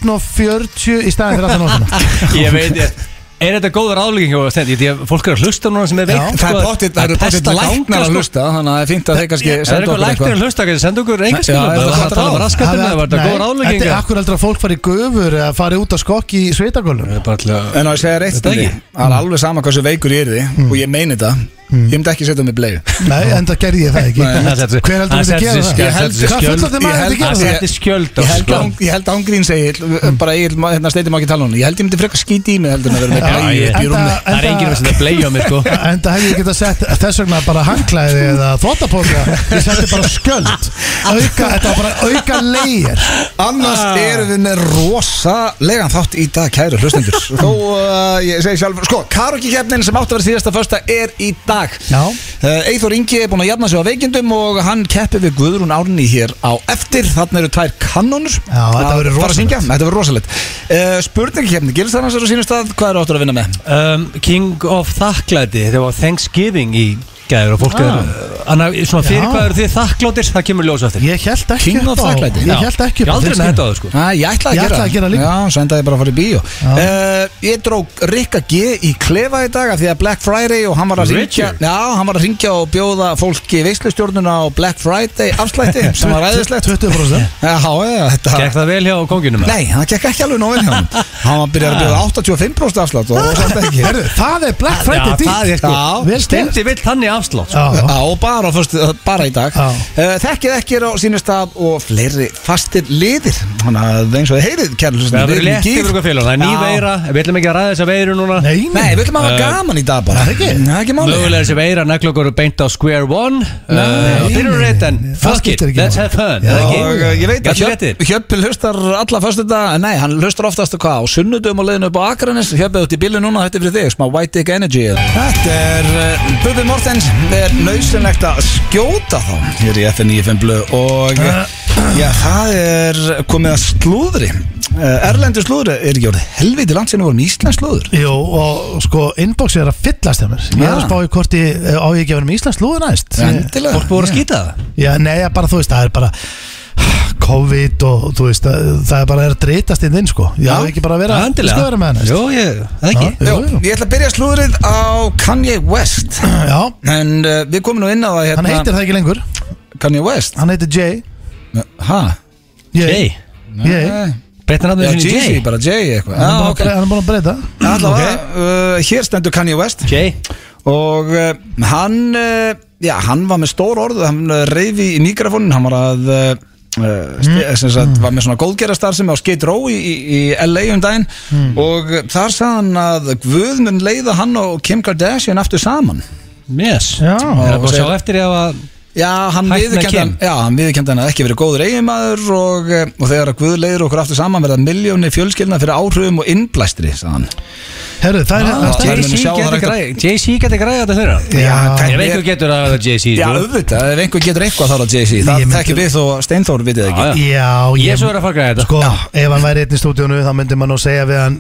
[SPEAKER 2] 1.40 í staðin fyrir alltaf nóttina
[SPEAKER 3] ég veit ég Er þetta góður álíking og stendi? Því að fólk er að hlusta núna sem er veikt sko,
[SPEAKER 1] Það er pottitt, það eru pottitt
[SPEAKER 3] pest að ganga,
[SPEAKER 1] læknar að
[SPEAKER 3] sko.
[SPEAKER 1] hlusta Þannig að það er fínt að þeir
[SPEAKER 3] Það
[SPEAKER 1] kannski
[SPEAKER 3] er
[SPEAKER 1] senda
[SPEAKER 3] eitthvað
[SPEAKER 1] okkur
[SPEAKER 3] læknar
[SPEAKER 1] eitthvað
[SPEAKER 3] að hlusta kannski Senda okkur
[SPEAKER 1] Já,
[SPEAKER 3] einhver skilum
[SPEAKER 1] já,
[SPEAKER 3] Það var
[SPEAKER 1] þetta
[SPEAKER 3] að tala um
[SPEAKER 1] ráð.
[SPEAKER 3] raskatinn
[SPEAKER 2] Hafi-
[SPEAKER 3] Það var þetta
[SPEAKER 2] Nei,
[SPEAKER 3] góður álíking
[SPEAKER 2] Þetta er akkur heldur að fólk fari í gufur eða fari út að skokki í sveitagölum
[SPEAKER 3] Það
[SPEAKER 1] En á að segja reitt
[SPEAKER 3] Þetta ekki.
[SPEAKER 1] Það er alveg sama hversu veikur ég er því Og ég meini þetta Ég myndi ekki setja mig bleið
[SPEAKER 2] Mm. Nei, en það gerði ég það ekki
[SPEAKER 1] Nei,
[SPEAKER 3] hann setti-
[SPEAKER 2] Hver heldur
[SPEAKER 3] hann
[SPEAKER 2] að þetta
[SPEAKER 3] setti
[SPEAKER 2] gera
[SPEAKER 3] sig
[SPEAKER 2] það?
[SPEAKER 3] skjöld-
[SPEAKER 2] Ég held-
[SPEAKER 3] setti sig
[SPEAKER 2] Hvað
[SPEAKER 3] skjöld-
[SPEAKER 2] fullar þið
[SPEAKER 1] ég
[SPEAKER 2] maður
[SPEAKER 1] held-
[SPEAKER 2] þetta gera
[SPEAKER 1] hann
[SPEAKER 2] það?
[SPEAKER 1] setti-
[SPEAKER 3] er skjöld á
[SPEAKER 1] Ég held,
[SPEAKER 3] sko.
[SPEAKER 1] án, ég held ángrín segi, bara ég held, hérna steiti maður ekki tala hún Ég held ég myndi frekar skíti í mig heldur en að vera með
[SPEAKER 2] Já,
[SPEAKER 1] blæju
[SPEAKER 2] ég-
[SPEAKER 1] upp í
[SPEAKER 2] enda-
[SPEAKER 1] rúmi
[SPEAKER 3] er enginn að setja bleið á mig sko
[SPEAKER 2] En það hefði ég getað sett þess vegna bara hangklæði eða þvóttapóka Ég setti bara skjöld auka, Þetta var bara auka leir
[SPEAKER 1] Annars
[SPEAKER 3] Ah.
[SPEAKER 1] erum við með rosalega þátt í dag, kæru hlustendur Þó, uh, ég segi sjálfur, sko, karokikefnin sem átti að vera síðasta fösta er í dag
[SPEAKER 2] Já.
[SPEAKER 1] uh, Eithor Ingi er búin að jafna sig á veikindum og hann keppi við Guðrún Árni hér á eftir Þarna eru tvær kannonur
[SPEAKER 2] Já, þetta
[SPEAKER 1] Að
[SPEAKER 2] verður
[SPEAKER 1] fara að
[SPEAKER 2] rosalegt.
[SPEAKER 1] syngja. Þetta verður rosalegt uh, Spurningakefni, gilst það annars eru sínum stað, hvað er áttur að vinna með?
[SPEAKER 3] um, King of Þakklæti Þetta var Thanksgiving í gæður og fólk er
[SPEAKER 1] Ah.
[SPEAKER 3] Anna, svona fyrir
[SPEAKER 2] Já.
[SPEAKER 3] hvað eru þið þakkláttir það kemur ljós eftir
[SPEAKER 2] Ég held ekki
[SPEAKER 1] King of
[SPEAKER 2] upp á
[SPEAKER 1] þakklæti.
[SPEAKER 2] Ég held ekki
[SPEAKER 3] Ég
[SPEAKER 2] upp á
[SPEAKER 3] aldrei
[SPEAKER 2] þeim
[SPEAKER 3] nefndi á
[SPEAKER 2] skjöld.
[SPEAKER 3] það sko
[SPEAKER 1] Æ, ég ætlaði
[SPEAKER 2] Ég
[SPEAKER 1] að,
[SPEAKER 2] ætlaði að gera
[SPEAKER 1] gera
[SPEAKER 2] líka.
[SPEAKER 1] Já, svo endaði ég bara að fara í bíó uh, Ég drók Rikka G í klefa í dag af Því að Black Friday og hann var að ringja
[SPEAKER 3] Richard?
[SPEAKER 1] Já, hann var að ringja og bjóða fólki Veislustjórnuna á Black Friday afslætti Sem var æðislegt Já,
[SPEAKER 2] 20%
[SPEAKER 1] já, þetta
[SPEAKER 3] Gekk það vel hjá konginum?
[SPEAKER 1] Nei, það gekk ekki alveg nóg vel hjá hann Hann var að byrja að bjóða 85% afslátt og og samt ekki
[SPEAKER 2] Herðu, það er Black Friday
[SPEAKER 3] Ah.
[SPEAKER 2] dýrt.
[SPEAKER 3] Já, það er sko
[SPEAKER 1] Já,
[SPEAKER 2] vel gert.
[SPEAKER 3] Stendi vill þannig afslátt sko.
[SPEAKER 2] Já.
[SPEAKER 1] Já, og bara, á föstu, bara í dag
[SPEAKER 2] Já.
[SPEAKER 1] uh, Þekkið ekki er á sínum stað og fleiri fastir liðir Þannig að eins og þið heyrið, kærlu
[SPEAKER 3] Það verður létt yfir okkur félag Það er ný veira Við ætlum ekki að ræða þessa veiru núna
[SPEAKER 2] Nei,
[SPEAKER 1] Nei, við ætlum að hafa
[SPEAKER 3] Eh,
[SPEAKER 1] gaman í dag bara
[SPEAKER 2] það er ekki.
[SPEAKER 1] Það er ekki máli
[SPEAKER 3] Mögulega þessi veira negla okkur beint á Square One
[SPEAKER 2] Nei,
[SPEAKER 3] Þeir eru
[SPEAKER 2] nei,
[SPEAKER 3] reynd en
[SPEAKER 2] nei, það
[SPEAKER 3] Fuck it,
[SPEAKER 2] skiptir ekki
[SPEAKER 3] let's
[SPEAKER 2] máli.
[SPEAKER 3] have
[SPEAKER 2] Já,
[SPEAKER 3] fun er það
[SPEAKER 1] Og
[SPEAKER 3] ekki?
[SPEAKER 1] eh, ég veit að
[SPEAKER 3] Gætu
[SPEAKER 1] Hjöpp-
[SPEAKER 3] réttir.
[SPEAKER 1] Hjöppil hlustar alla föstuda Nei, hann hlustar oftast hvað á sunnudum og leiðinu upp á Akranes Hjöppil út í bílu núna, þetta er fyrir þig Smá White Dick Energy Þetta er uh, Bubi Mortens er nauðsynlegt að skjóta þá Hér í FN95 Blu Og
[SPEAKER 2] Eh.
[SPEAKER 1] já, það er komið að slúðri uh, Erlendur slúðri er ekki orðið helviti land sinni vorum Íslands slúður
[SPEAKER 2] Jú, og sko, inboxið er að fyllast hjá mér Ég er að
[SPEAKER 1] Já.
[SPEAKER 2] spá í hvort ég eh, á ég ekki að vera með Íslands lúðu næst
[SPEAKER 1] Ah. Endilega
[SPEAKER 3] Fólk búið að skýta það
[SPEAKER 2] Já, nei, ég bara, þú veist, það er bara COVID og þú veist, það, það er bara er að dreytast inn þinn, sko Ég
[SPEAKER 1] Já.
[SPEAKER 2] hef ekki bara að vera,
[SPEAKER 3] Það endilega.
[SPEAKER 2] sko, vera með hann næst
[SPEAKER 3] Jú, ég,
[SPEAKER 2] Já,
[SPEAKER 3] það ekki
[SPEAKER 1] Jó,
[SPEAKER 2] Ah, jú, jú.
[SPEAKER 1] ég ætla að byrja slúðrið á Kanye West
[SPEAKER 2] Já,
[SPEAKER 1] En uh, við komum nú inn á það hérna
[SPEAKER 2] hann heitir það ekki lengur
[SPEAKER 1] Kanye West
[SPEAKER 2] Hann heitir Jay
[SPEAKER 1] Hæ?
[SPEAKER 3] Jay
[SPEAKER 2] Jay
[SPEAKER 3] Breytta
[SPEAKER 1] Eh. Já,
[SPEAKER 3] nafnum sinni
[SPEAKER 1] Jay-Z,
[SPEAKER 3] Jay
[SPEAKER 1] bara Jay eitthvað
[SPEAKER 2] Hann er
[SPEAKER 1] Já,
[SPEAKER 2] búinn að
[SPEAKER 1] ok
[SPEAKER 2] breyta- hann er búin að breyta
[SPEAKER 1] Alla uh, hér stendur Kanye West
[SPEAKER 3] Jay
[SPEAKER 1] Og uh, hann, uh, já, hann var með stór orð Hann uh, reyði í mikrofónin Hann var að uh, Uh,
[SPEAKER 3] Mm.
[SPEAKER 1] sem sagt, var með svona góðgerastarfsemi á Skid Row í, í, í LA um daginn
[SPEAKER 3] Mm.
[SPEAKER 1] og uh, þar sagði hann að Guð mun leiða hann og Kim Kardashian aftur saman
[SPEAKER 3] Yes
[SPEAKER 2] Já.
[SPEAKER 3] Það er að búið að sjá eftir ég að
[SPEAKER 1] Já, hann
[SPEAKER 3] Hætt með
[SPEAKER 1] viðurkenndi hann,
[SPEAKER 3] Kim.
[SPEAKER 1] já, hann viðurkenndi hann að ekki verið góður eiginmaður og, eh, og þegar að Guð leiður okkur aftur saman verða miljóni fjölskyldna fyrir áhrifum og innblæstri, sagði hann.
[SPEAKER 2] Herru, það
[SPEAKER 3] Ah,
[SPEAKER 2] er
[SPEAKER 1] Já.
[SPEAKER 2] hann
[SPEAKER 1] verður að sjá það er hægt að-
[SPEAKER 3] Jay-Z getur græða þetta þeirra
[SPEAKER 2] Já,
[SPEAKER 3] Ef einhver getur að það Jay-Z
[SPEAKER 1] Já,
[SPEAKER 3] sko.
[SPEAKER 1] auðvitað, ef einhver getur eitthvað þá er það Jay-Z, það
[SPEAKER 2] Ég myndi-
[SPEAKER 1] tekir við og Steinþór vitið ekki.
[SPEAKER 3] Já, já.
[SPEAKER 2] Já,
[SPEAKER 3] Ég er svo verið að fara að græða þetta
[SPEAKER 2] Sko, ef hann væri einn í stúdíónu þá myndi maður nú segja við hann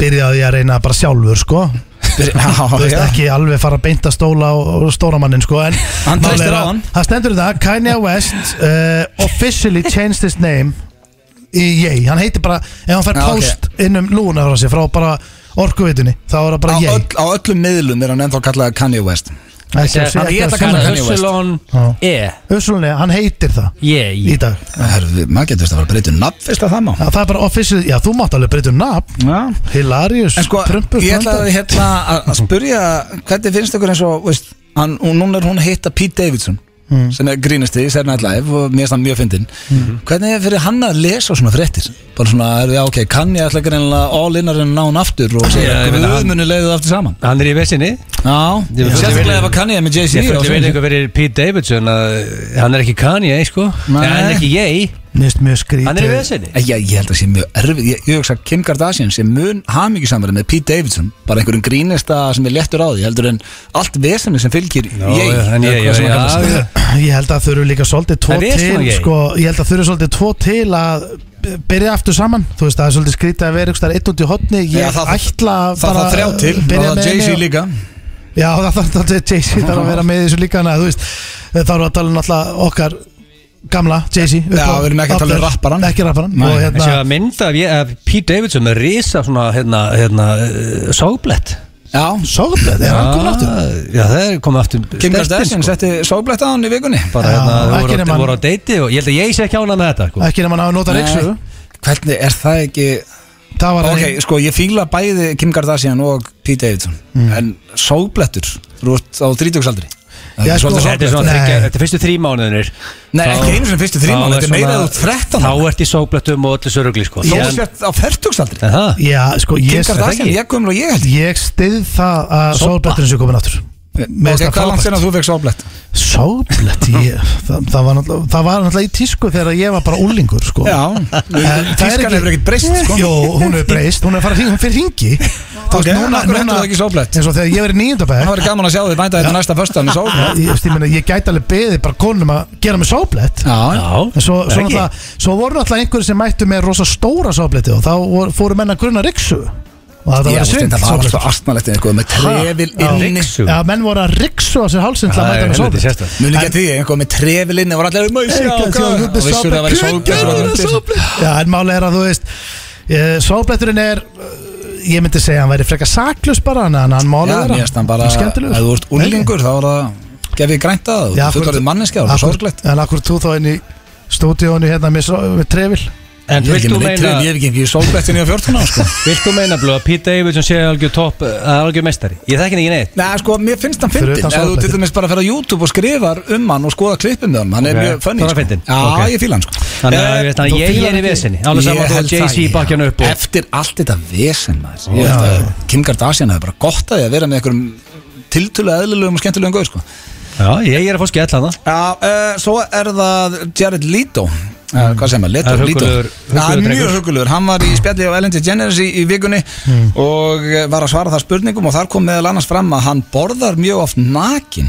[SPEAKER 2] byrjaði að reyna bara sjálfur, sko Þú
[SPEAKER 1] Já,
[SPEAKER 2] veist
[SPEAKER 1] já.
[SPEAKER 2] ekki alveg fara að beinta stóla og, og stóra mannin sko en
[SPEAKER 1] Hann
[SPEAKER 2] málið
[SPEAKER 1] treystir
[SPEAKER 2] er
[SPEAKER 1] á
[SPEAKER 2] að-
[SPEAKER 1] hann.
[SPEAKER 2] Það stendur um það Kanye West uh, officially changed his name í Yay Hann heitir bara ef hann fær
[SPEAKER 1] Já, Ah, ok.
[SPEAKER 2] post inn um lúna frá sér frá bara orkuvitunni þá er það
[SPEAKER 1] Á,
[SPEAKER 2] bara Yay
[SPEAKER 1] öll, á öllum miðlum er hann ennþá kallaði Kanye West.
[SPEAKER 2] Ekki að
[SPEAKER 1] Hann-
[SPEAKER 2] segja
[SPEAKER 1] ég
[SPEAKER 2] ekki að
[SPEAKER 1] ætla að kalla
[SPEAKER 2] segja
[SPEAKER 1] Kanye West.
[SPEAKER 3] Össulón E
[SPEAKER 2] Usually, hann heitir það
[SPEAKER 3] Ég
[SPEAKER 2] í dag
[SPEAKER 1] Herðu, maður getur þetta að fara að breyta um nafn fyrst að það má
[SPEAKER 2] Já, það er bara official, já þú mátt alveg breyta um nafn
[SPEAKER 1] Já
[SPEAKER 2] Hilarius,
[SPEAKER 1] En sko,
[SPEAKER 2] Trumpus
[SPEAKER 1] ég ætla að, hérna, að að spyrja hvernig finnst ykkur eins og veist, hann, hún, núna er hún að hitta Pete Davidson
[SPEAKER 3] Mm.
[SPEAKER 1] sem er grínasti í Saturday Night Live og mér finnst hann mjög fyndinn hvernig er fyrir hann að lesa svona fréttir bara svona, er, já ok, kann ég ætla ekki reynilega all innarinn ná hann aftur og segja
[SPEAKER 3] Já, ég veit að hann-
[SPEAKER 1] guðmunni leiðið aftur saman
[SPEAKER 3] Hann er í vesinni
[SPEAKER 1] Já,
[SPEAKER 3] Ég veit-
[SPEAKER 1] sérstaklega ef að kann ég með
[SPEAKER 3] Ég
[SPEAKER 1] Jay-Z á
[SPEAKER 3] fyrir að
[SPEAKER 1] sviðinu.
[SPEAKER 3] vinna eitthvað verið Pete Davidson að hann er ekki Kanye sko
[SPEAKER 1] Nei.
[SPEAKER 3] Nei, hann er ekki ég
[SPEAKER 2] Nýst mjög skrítið
[SPEAKER 3] Hann er í vesinni
[SPEAKER 1] Ég, ég held að það sé mjög erfið Ég, ég hugsa að Kim Kardashian sé mun hamingi samverðin með Pete Davidson bara einhverjum grínista sem er lettur á því heldur en allt vesenni sem fylgir
[SPEAKER 3] Já,
[SPEAKER 1] ég,
[SPEAKER 3] já, en ég-
[SPEAKER 1] hvað sem
[SPEAKER 3] já,
[SPEAKER 1] hann kallar
[SPEAKER 3] já,
[SPEAKER 1] sig.
[SPEAKER 3] já.
[SPEAKER 2] Ég held að þau eru líka svolítið tvo
[SPEAKER 3] En við erum
[SPEAKER 2] til
[SPEAKER 3] ekki.
[SPEAKER 2] sko, Ég held að þau eru svolítið tvo til að byrja aftur saman Þú veist það er svolítið skrítið að vera einhvers staðar einn út í hotni Ég
[SPEAKER 1] Já, það-
[SPEAKER 2] ætla
[SPEAKER 1] það það þrjá til
[SPEAKER 2] byrja
[SPEAKER 1] það
[SPEAKER 2] með
[SPEAKER 1] Jay-Z
[SPEAKER 2] henni-
[SPEAKER 1] líka
[SPEAKER 2] Já það þarf það Jay-Z þarf að vera með í þessu líka Þannig að þú veist þá erum við að tala um alltaf okkar gamla Jay-Z upp
[SPEAKER 1] Já,
[SPEAKER 2] á-
[SPEAKER 1] við erum ekki að tala um
[SPEAKER 2] aftur.
[SPEAKER 1] rapparann.
[SPEAKER 2] Ekki rapparann
[SPEAKER 1] Nei.
[SPEAKER 2] Og
[SPEAKER 3] Það
[SPEAKER 2] hérna
[SPEAKER 3] sé að mynda af, ég, af Pete Davidson með risa svona hérna, hérna uh, sóblett
[SPEAKER 1] Já,
[SPEAKER 2] Sorglega, er hann komin aftur?
[SPEAKER 3] Já, það er komið aftur
[SPEAKER 1] Kim
[SPEAKER 3] sterkt inn,
[SPEAKER 1] Kardashian
[SPEAKER 3] sko.
[SPEAKER 1] setti sóblætt á hann í vikunni
[SPEAKER 3] Bara
[SPEAKER 2] Já,
[SPEAKER 3] hérna,
[SPEAKER 2] ekki nema
[SPEAKER 3] þau voru,
[SPEAKER 2] hann-
[SPEAKER 3] voru á deiti og ég held að ég sé ekki ánað með þetta sko.
[SPEAKER 2] Ekki nema hann hafa notað reyksu
[SPEAKER 1] Nei, Hvernig er það ekki
[SPEAKER 2] Það var
[SPEAKER 1] Ok,
[SPEAKER 2] hann-
[SPEAKER 1] sko ég fíla bæði Kim Kardashian og Pete Davidson
[SPEAKER 2] Mm.
[SPEAKER 1] en sóblættur þú ert á 30 aldri
[SPEAKER 2] Já, sko,
[SPEAKER 3] Þetta er svona
[SPEAKER 2] Nei.
[SPEAKER 3] þryggja, þetta er fyrstu þrý mánuðinir
[SPEAKER 1] Nei,
[SPEAKER 3] Þá-
[SPEAKER 1] ekki einu sem fyrstu
[SPEAKER 3] þá
[SPEAKER 1] þrýmann
[SPEAKER 3] er
[SPEAKER 1] Þetta er meira
[SPEAKER 3] svona-
[SPEAKER 1] að þú ert 13
[SPEAKER 3] Þá
[SPEAKER 1] ára.
[SPEAKER 3] ert í sóblettum og öllu sörugli sko.
[SPEAKER 1] Þú
[SPEAKER 3] En-
[SPEAKER 1] ert á 40 aldri
[SPEAKER 3] en það?
[SPEAKER 2] Já, sko, ég
[SPEAKER 1] Kim Kardashian,
[SPEAKER 3] ekki.
[SPEAKER 1] ég gömur og ég held ég.
[SPEAKER 2] Ég stið það að
[SPEAKER 3] Soppa.
[SPEAKER 2] sórbletturinn sé komin aftur Mér
[SPEAKER 1] Ok,
[SPEAKER 2] finnst það
[SPEAKER 1] hvað er langt
[SPEAKER 2] frábært.
[SPEAKER 1] sen að þú fekk sóblett?
[SPEAKER 2] Sóblett, ég, það, það, var náttúrulega- það var náttúrulega í tísku þegar ég var bara úlingur sko. En það er
[SPEAKER 1] tískan
[SPEAKER 2] ekki-
[SPEAKER 1] hefur ekkert breyst sko
[SPEAKER 2] Jó, hún hefur breyst, hún hefur farið hring, hún fyrir hringi Þú
[SPEAKER 1] Ok, en af hverju hendur það ekki sóblett?
[SPEAKER 2] eins og þegar ég var í
[SPEAKER 1] Það
[SPEAKER 2] nýjöndabæk
[SPEAKER 1] væri gaman að sjá þig mænta þetta næsta första með sóblett
[SPEAKER 2] ég, veist, ég, meina, ég gæti alveg beðið bara konum að gera mig sóblett
[SPEAKER 1] Já,
[SPEAKER 3] Já,
[SPEAKER 2] En svo,
[SPEAKER 3] er
[SPEAKER 2] svo,
[SPEAKER 3] ekki?
[SPEAKER 2] náttúrulega- svo voru alltaf einhverjir sem mættu með rosa stóra sóbletti og þá voru- fóru menna grunna riksu og það var
[SPEAKER 1] Já, veist,
[SPEAKER 2] svind
[SPEAKER 1] þetta var alltaf astnalegt eitthvað með trefil inni
[SPEAKER 3] Ryksu.
[SPEAKER 2] Já, menn voru að riksu á sér hálsinn til að
[SPEAKER 3] Það
[SPEAKER 2] mæta
[SPEAKER 3] er
[SPEAKER 2] með
[SPEAKER 3] helviti
[SPEAKER 2] sóblett
[SPEAKER 3] sérstætt
[SPEAKER 1] Muni ekki að því, eitthvað með trefil inni var allir með sjá
[SPEAKER 2] Ekki að sjá,
[SPEAKER 1] hvað
[SPEAKER 2] þetta er
[SPEAKER 1] Og vissur að það væri
[SPEAKER 2] sóblett.
[SPEAKER 1] sóblett
[SPEAKER 2] Já, en málega er að þú veist eh, Sóbletturinn er eh, Ég myndi segja að hann væri frekar saklus bara En hann
[SPEAKER 1] Já,
[SPEAKER 2] málega
[SPEAKER 1] mér finnst hann bara
[SPEAKER 2] Skemmtilegur
[SPEAKER 1] Ef þú ert unlingur þá er það Gefið grænt að það,
[SPEAKER 2] Já,
[SPEAKER 1] þú
[SPEAKER 2] akkurat-
[SPEAKER 1] fullorðið manneskja Það er sorglegt
[SPEAKER 2] En akkur þú þá inn í stúdíónu hérna með, só- með trefil
[SPEAKER 3] En
[SPEAKER 1] Ég er
[SPEAKER 3] vilt
[SPEAKER 1] ekki
[SPEAKER 3] þú
[SPEAKER 1] með neitt
[SPEAKER 3] meina
[SPEAKER 1] trefil, ég hef ekki ekki sóblett inn í 14 ára sko
[SPEAKER 3] Vilt þú meina blöð að Pete Davidson sé algjör topp, að algjör mestari? Ég þekki hann ekki neitt
[SPEAKER 1] Nei, sko, mér finnst hann
[SPEAKER 2] Fyrir
[SPEAKER 1] fyndin
[SPEAKER 2] utan
[SPEAKER 1] Ef þú
[SPEAKER 2] sóblettin.
[SPEAKER 1] til dæmis bara fer á YouTube og skrifar um hann og skoða klippum með hann Hann er
[SPEAKER 3] Ok,
[SPEAKER 1] mjög funny
[SPEAKER 3] þá
[SPEAKER 1] sko.
[SPEAKER 3] er hann fyndinn.
[SPEAKER 1] Já,
[SPEAKER 3] Ok.
[SPEAKER 1] ég fíla hann sko
[SPEAKER 3] Þannig að hérna,
[SPEAKER 1] Eh,
[SPEAKER 3] ég veist að
[SPEAKER 2] þú
[SPEAKER 3] ég
[SPEAKER 2] fílar
[SPEAKER 3] er í
[SPEAKER 2] ekki-
[SPEAKER 3] vesinni
[SPEAKER 1] Ég
[SPEAKER 3] Alveg saman
[SPEAKER 1] held það,
[SPEAKER 3] þú Jay-Z
[SPEAKER 1] já.
[SPEAKER 3] bakkja hann upp og
[SPEAKER 1] Eftir allt þetta vesen maður Ég held að Kim Kardashian hefði bara gott að því að vera með einhverjum tiltölu eðlilegum og skemmtilegum gauð sko.
[SPEAKER 3] Já, ég er að fá skell hana
[SPEAKER 1] Já, uh, svo er það Jared Leto Uh, hvað sem er, Leto,
[SPEAKER 3] Mm. Það er
[SPEAKER 1] Leto
[SPEAKER 3] huggulegur-
[SPEAKER 1] Það er
[SPEAKER 3] huggulegur
[SPEAKER 1] mjög
[SPEAKER 3] drengur. Mm.
[SPEAKER 1] huggulegur, hann var í spjalli á Ellen DeGeneres í, í vikunni og eh, var að svara það spurningum og þar kom meðal annars fram að hann borðar mjög oft nakin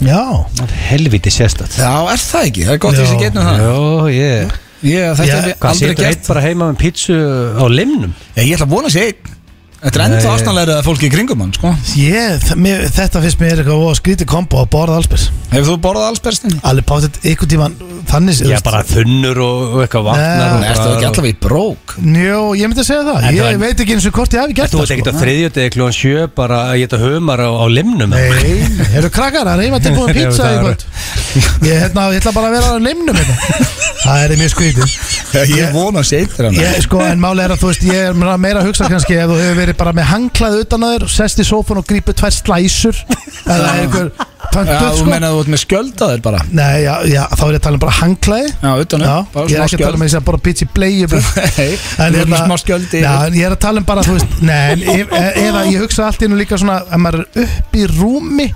[SPEAKER 2] Já
[SPEAKER 3] Helviti sérstætt
[SPEAKER 1] Já, er það ekki, það er gott
[SPEAKER 2] Já.
[SPEAKER 1] því sem getum um það
[SPEAKER 3] Jó, ég
[SPEAKER 1] Ég, þetta
[SPEAKER 2] Já,
[SPEAKER 1] hef ég
[SPEAKER 3] Hvað
[SPEAKER 1] aldrei
[SPEAKER 3] setur
[SPEAKER 1] gert
[SPEAKER 3] eitt bara heima með pítsu á limnum?
[SPEAKER 1] Ég, ég ætla að vona að sé einn Þetta er enda ástæðanlega að fólki í kringum hann sko.
[SPEAKER 2] Ég, þ- mér, þetta finnst mér eitthvað voða skrítið kombo að borða allsbyrs
[SPEAKER 1] Hefur þú borðað allsbergstinni?
[SPEAKER 2] Alveg bátt eitthvað tíman þannig
[SPEAKER 3] Já, bara þunnur og, og eitthvað vatnar
[SPEAKER 2] Nei,
[SPEAKER 3] og
[SPEAKER 1] Nei, ertu
[SPEAKER 3] bara-
[SPEAKER 1] ekki allavega í brók?
[SPEAKER 2] Njó, ég myndi að segja það
[SPEAKER 3] En
[SPEAKER 2] Ég
[SPEAKER 3] það er-
[SPEAKER 2] veit ekki eins og hvort ég hafi gert sko.
[SPEAKER 3] Þú ert ekkert
[SPEAKER 1] sko-
[SPEAKER 3] á þriðjöti klón sjö bara að geta humar á, á limnum
[SPEAKER 2] Nei, eru krakkar, það er heima tilbúin
[SPEAKER 3] Já,
[SPEAKER 2] pizza
[SPEAKER 3] það
[SPEAKER 2] í
[SPEAKER 3] er-
[SPEAKER 2] kvöld Ég, hérna, ég ætla bara að vera á limnum hérna. Það er mjög skrítið
[SPEAKER 1] Ég vona að sé einn þegar
[SPEAKER 2] Ég, sko, en máli er að þú veist, ég er meira að hugsa kannski ef þú hefur verið bara með hangklað utan að þér sest í sófun og grípur tvær slæsur eða einhver
[SPEAKER 1] Já,
[SPEAKER 2] pöntuð,
[SPEAKER 1] þú
[SPEAKER 2] sko
[SPEAKER 1] meina að þú ert með skjöld að þér bara
[SPEAKER 2] Nei, já, já, þá er ég að tala um bara hangklaði
[SPEAKER 1] Já, utan
[SPEAKER 2] Já,
[SPEAKER 1] upp, bara
[SPEAKER 2] ég er
[SPEAKER 1] smá
[SPEAKER 2] ekki að tala um
[SPEAKER 1] skjöld
[SPEAKER 2] þess að bara bitch í bleju
[SPEAKER 1] Nei, þú ert með smá skjöldi
[SPEAKER 2] hérna- Já, en ég er að tala um bara, þú veist Nei, en ef- e- eða ég hugsa allt innu líka svona ef maður er upp í rúmi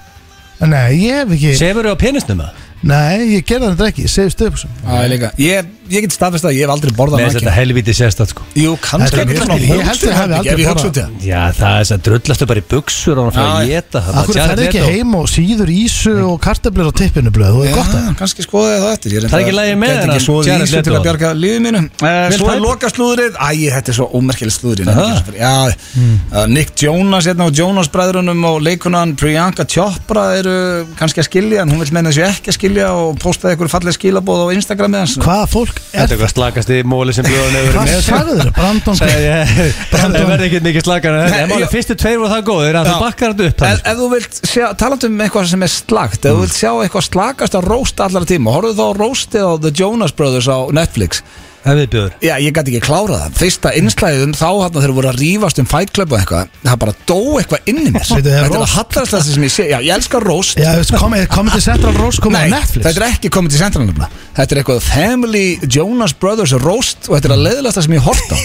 [SPEAKER 2] Nei, ég hef ekki
[SPEAKER 3] Sefur þú á penisnum að?
[SPEAKER 2] Nei, ég gerði þetta ekki, segist upp sko.
[SPEAKER 1] Já, ég líka Ég, ég get staðfest að ég hef aldrei borðað
[SPEAKER 3] Nei, þetta
[SPEAKER 1] nakin
[SPEAKER 3] helviti sérstætt sko
[SPEAKER 1] Jú, kannski
[SPEAKER 2] Þetta er mjög
[SPEAKER 1] svona
[SPEAKER 2] skrítið. Ég held
[SPEAKER 1] hótun
[SPEAKER 2] ég hafi
[SPEAKER 1] herbergi,
[SPEAKER 2] aldrei
[SPEAKER 1] ef ég
[SPEAKER 2] borðað.
[SPEAKER 1] hugsa út í það.
[SPEAKER 3] Já, það er þess að drullastu bara í buxur og hann fyrir að
[SPEAKER 1] Já,
[SPEAKER 3] geta það
[SPEAKER 2] Akkur
[SPEAKER 3] Jared
[SPEAKER 2] ferði ekki
[SPEAKER 3] Leto.
[SPEAKER 2] heim og síður ísu og kartöflur á tippinu blöð Þú er gott að
[SPEAKER 1] Já, kannski skoði það eftir Ég
[SPEAKER 3] Það er ekki í lagi með
[SPEAKER 1] Gæti
[SPEAKER 3] þennan
[SPEAKER 1] ekki svoðið í
[SPEAKER 3] Jared
[SPEAKER 1] þessu til
[SPEAKER 3] Leto.
[SPEAKER 1] að bjarga lífið mínu Eh,
[SPEAKER 3] Vel
[SPEAKER 1] Svo er
[SPEAKER 3] tæpur.
[SPEAKER 1] loka slúðrið Æ, þetta er svo ómerkileg slúðri
[SPEAKER 3] Aha.
[SPEAKER 1] Já, eh, Nick Jonas hérna og Jonas bræðrunum og leikunan Priyanka Chopra eru kannski að skilja en hún vil meina þessu ekki að skilja og postaði ykkur falleg skilabóð á Instagram eða hans
[SPEAKER 2] Hvaða fólk
[SPEAKER 3] Þetta er
[SPEAKER 2] er
[SPEAKER 3] eitthvað slakast í móli sem blöðan hefur verið
[SPEAKER 2] Hvað
[SPEAKER 3] með
[SPEAKER 2] sagðu þér? Brandon
[SPEAKER 3] Sagði ég, Það
[SPEAKER 2] Brandon.
[SPEAKER 3] verði ekki mikið slakar en þetta
[SPEAKER 1] Nei,
[SPEAKER 3] En máli,
[SPEAKER 1] ég-
[SPEAKER 3] fyrstu tveir voru það góðir að þú
[SPEAKER 1] Já.
[SPEAKER 3] bakkar þetta upp Mm.
[SPEAKER 1] Ef,
[SPEAKER 3] þannig.
[SPEAKER 1] ef þú vilt sjá, talandi um eitthvað sem er slagt ef þú vilt sjá eitthvað slagast að rósta allara tíma horfðu þá á róstið á The Jonas Brothers á Netflix
[SPEAKER 3] Ef við bjóður
[SPEAKER 1] Já, ég gæti ekki klárað það Fyrsta innslæðið um þá hann þegar voru að rífast um Fight Club og eitthvað það bara dó eitthvað inn í mér
[SPEAKER 2] Veitu, það er
[SPEAKER 1] Þetta er að
[SPEAKER 2] roast.
[SPEAKER 1] hallast það sem ég sé Já, ég elska róst
[SPEAKER 2] Já, veist, komið komi til Central Rose, komið á
[SPEAKER 1] Nei,
[SPEAKER 2] Netflix
[SPEAKER 1] þetta er ekki komið til central nefnilega Þetta er eitthvað Family Jonas Brothers Roast og þetta er að leiðilegsta sem ég hort á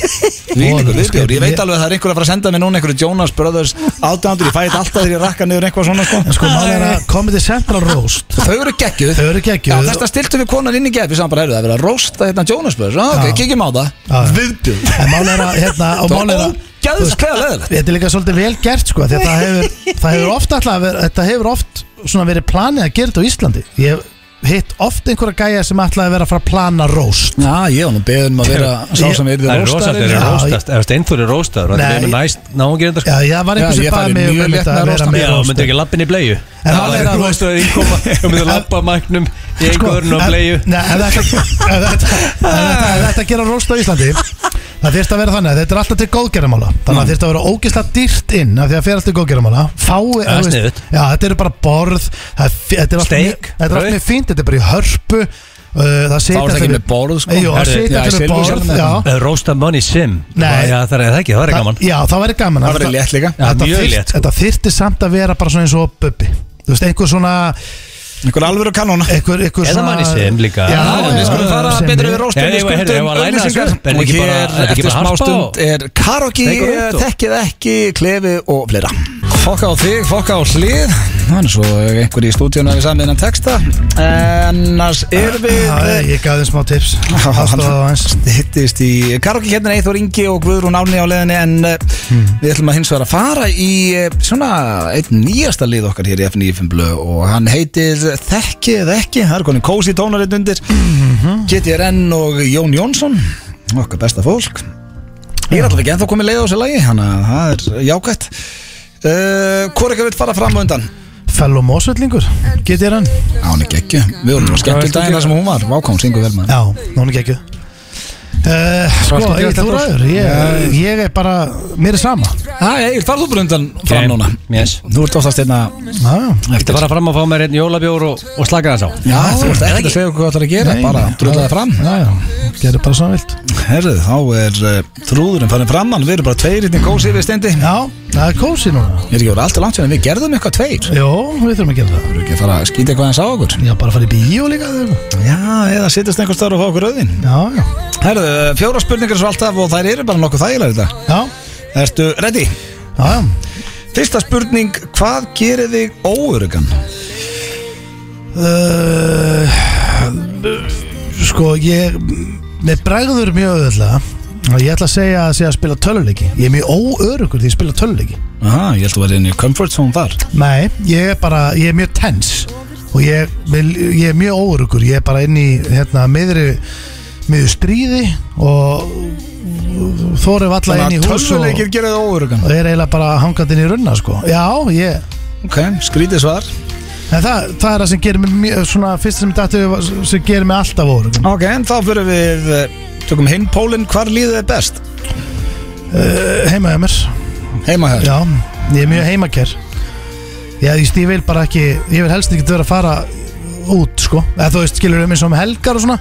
[SPEAKER 1] Vílíkur
[SPEAKER 2] Ó,
[SPEAKER 1] viðbjóður, ég veit
[SPEAKER 2] ég-
[SPEAKER 1] alveg að það er einhver að fara að senda mér núna einhverju Jonas Brothers átdándur, ég fæ þetta alltaf þegar ég rakka niður eitthvað svona sko.
[SPEAKER 2] Sko, mál er að komið til Central Roast
[SPEAKER 1] Þau eru geggjuð
[SPEAKER 2] Þau eru geggjuð.
[SPEAKER 1] Já, þetta stiltum við konan inn í gefi saman bara, heyrðu, það er verið að roasta hérna Jonas Brothers Já, ok,
[SPEAKER 2] Já.
[SPEAKER 1] kikjum á það
[SPEAKER 2] Já, já.
[SPEAKER 1] Viðbjóð
[SPEAKER 2] En mál er að, hérna, og
[SPEAKER 1] Það
[SPEAKER 2] mál er
[SPEAKER 1] var
[SPEAKER 2] að
[SPEAKER 1] ógæðslega leðilegt
[SPEAKER 2] Þetta er líka svolítið vel gert sko því að það hefur, það hefur oft alltaf verið, þetta hefur oft svona verið planið að gera þetta á Íslandi Ég hef hitt oft einhverja gæja sem alltaf að vera að fara að plana roast
[SPEAKER 1] Já, ég var nú beðið um að vera sá sem
[SPEAKER 3] Það
[SPEAKER 1] yrði
[SPEAKER 3] er rosast,
[SPEAKER 1] rostaður
[SPEAKER 3] það er
[SPEAKER 2] Já,
[SPEAKER 3] róstast Ef Steinfur er róstaður, það
[SPEAKER 2] Nei.
[SPEAKER 3] er með næst sko. náungjörðar
[SPEAKER 2] Já, það var einhver
[SPEAKER 1] Já, ég
[SPEAKER 2] sem
[SPEAKER 1] færi
[SPEAKER 2] baði mig um
[SPEAKER 1] mjög létt
[SPEAKER 2] einmitt
[SPEAKER 1] með
[SPEAKER 2] að vera
[SPEAKER 1] roast.
[SPEAKER 2] með
[SPEAKER 3] Já,
[SPEAKER 2] roast
[SPEAKER 3] myndu ekki lappin í bleiðu
[SPEAKER 2] það er
[SPEAKER 3] Það er
[SPEAKER 2] að-
[SPEAKER 3] róstaður innkoma og myndu lappa mæknum í einhverjum og bleiðu
[SPEAKER 2] Sko, Nei, ef þetta- ef þetta ef þetta- ef þetta gera roast á Íslandi Það þyrst að vera þannig að þetta er alltaf til góðgerðamála Þannig
[SPEAKER 1] Mm.
[SPEAKER 2] að þyrst að vera ógislega dýrt inn af Því að fyrir alltaf til góðgerðamála Fái,
[SPEAKER 3] Það er
[SPEAKER 2] þú veist-
[SPEAKER 3] sniðugt.
[SPEAKER 2] Já, þetta eru bara borð það er fi- Þetta er allt
[SPEAKER 3] Steik,
[SPEAKER 2] mjög- þetta er allt
[SPEAKER 3] brauð.
[SPEAKER 2] mjög fínt, þetta er bara í hörpu uh, Það
[SPEAKER 1] Þá
[SPEAKER 2] sitja
[SPEAKER 1] er það ekki
[SPEAKER 2] allir-
[SPEAKER 1] með borð, sko.
[SPEAKER 2] Jú, það
[SPEAKER 1] Herri,
[SPEAKER 2] sitja
[SPEAKER 1] já, í
[SPEAKER 2] allir
[SPEAKER 1] hérna.
[SPEAKER 2] með
[SPEAKER 1] Silfursjálfum
[SPEAKER 2] borð
[SPEAKER 1] eða
[SPEAKER 2] Já,
[SPEAKER 1] eitthvað.
[SPEAKER 3] Rósta money sim
[SPEAKER 2] Nei.
[SPEAKER 3] Já, það er það ekki, það er gaman
[SPEAKER 2] Það- já, það væri gaman
[SPEAKER 1] Það væri létt líka.
[SPEAKER 3] Já,
[SPEAKER 2] Þetta
[SPEAKER 3] mjög
[SPEAKER 2] þyrst-
[SPEAKER 3] létt, sko.
[SPEAKER 2] Þetta þyrfti samt að vera bara svona eins og Bubbi Þú veist, einhver svona
[SPEAKER 1] Einhver alvöru kanóna
[SPEAKER 2] einhver, einhver
[SPEAKER 3] Eða manni sem líka.
[SPEAKER 2] já,
[SPEAKER 3] Já,
[SPEAKER 1] Við skulum fara
[SPEAKER 2] sem
[SPEAKER 1] betur
[SPEAKER 2] er-
[SPEAKER 1] yfir
[SPEAKER 3] Já,
[SPEAKER 1] róstunni
[SPEAKER 3] ég- heyrðu, ég var að læna þessu upp. Er
[SPEAKER 1] Og
[SPEAKER 3] ekki
[SPEAKER 1] hér
[SPEAKER 3] bara- er ekki
[SPEAKER 1] eftir
[SPEAKER 3] bara
[SPEAKER 1] smá
[SPEAKER 3] harpa
[SPEAKER 1] stund
[SPEAKER 3] og-
[SPEAKER 1] er Karogi,
[SPEAKER 3] Steik og rúnt og-
[SPEAKER 1] Þekkið ekki, Klefi og fleira Fokka á þig, fokka á hlið Þannig svo einhver í stúdíun að við saman innan texta Ennars er við
[SPEAKER 2] Já, ég- ég gaf þeim smá tips Það stóð á hans
[SPEAKER 1] hittist í Karogi hérna Eithor Ingi og Guðrún Árni á leðinni en eh, við ætlum að hins vegar að fara í eh, svona einn nýjasta lið okkar hér í F95 Blö og hann heitir Þekkið ekki, það er konin Kósi tónarinn undir GTRN og Jón Jónsson okkar besta fólk ég er alltaf ekki ennþá komið leið á þessu lagi þannig að það er jákvætt uh, hvor ekki vil fara fram á undan
[SPEAKER 2] Fellow Mosvellingur, getið hann
[SPEAKER 1] á hann ekki ekki, við vorum nú skemmt til daginn þar sem hún var, vákváum syngu vel maður
[SPEAKER 2] Já, hún er gekkjuð Uh, sko,
[SPEAKER 3] skemmtilegt
[SPEAKER 2] ég, þú
[SPEAKER 3] þetta
[SPEAKER 2] ræður, ég, ég er bara, mér er sama
[SPEAKER 1] Æ, Ah, Egil, farðu bara undan fram
[SPEAKER 3] Ok,
[SPEAKER 1] núna
[SPEAKER 3] yes.
[SPEAKER 1] Þú ert oftast hérna- einna
[SPEAKER 2] Já,
[SPEAKER 3] Þetta fara fram að fá mér einn jólabjór og, og slaka þess á
[SPEAKER 1] Já, þú ert ekkert að segja okkur hvað það er að gera,
[SPEAKER 2] nei,
[SPEAKER 1] bara
[SPEAKER 2] nei,
[SPEAKER 1] drulla
[SPEAKER 2] já,
[SPEAKER 1] það fram
[SPEAKER 2] Já, já, gerir bara svona vilt
[SPEAKER 1] Herðu, þá er uh, þrúðurinn farin fram, hann við erum bara tveir hérna í kósi við steindi Ég
[SPEAKER 2] Já, það er kósi núna
[SPEAKER 1] er ekki voru alltaf langt fyrir en við gerðum eitthvað tveir Þú
[SPEAKER 2] Jó, við þurfum að gera það
[SPEAKER 1] erum ekki að fara að skýta eitthvað eins á okkur
[SPEAKER 2] Já, bara fara í bíó líka eða eitthvað.
[SPEAKER 1] Já, eða sittast einhvers staðar og fá okkur auðin
[SPEAKER 2] Já, já,
[SPEAKER 1] Herðu, fjóra spurningar svo alltaf og þær eru bara nokkuð þægilega þetta
[SPEAKER 2] já,
[SPEAKER 1] Ertu ready?
[SPEAKER 2] já, já.
[SPEAKER 1] Fyrsta spurning, hvað gerir þig óörugan?
[SPEAKER 2] Uh, sko ég með bregður mjög öðvöldlega og ég ætla að segja að segja að spila töluleiki ég er mjög óörugur því að spila töluleiki
[SPEAKER 1] Aha, Ah, ég held að vera inn í comfort zone þar
[SPEAKER 2] nei, ég er bara, ég er mjög tens og ég, mér- ég er mjög óörugur ég er bara inn í hérna miðri miður stríði og þórið alla inn í
[SPEAKER 1] Þannig að
[SPEAKER 2] hús og,
[SPEAKER 1] tölvuleikir gerir þig óörugan
[SPEAKER 2] og er eiginlega bara hangandi inn í runna sko já, ég
[SPEAKER 1] Ok, skrítið svar
[SPEAKER 2] En það, það er það sem gerir mig mjög, svona, fyrst sem dættu sem gerir mig alltaf óörugur
[SPEAKER 1] Ok, en þá fyrir við, eh, tökum hinn pólinn, hvar líður þig best?
[SPEAKER 2] Eh, heima hjá mér
[SPEAKER 1] Heima hér
[SPEAKER 2] Já, ég er mjög heimakær Já, ég, ég vil bara ekki Ég vil helst ekki vera að fara út sko. eða þú veist, skilur um eins og um helgar og svona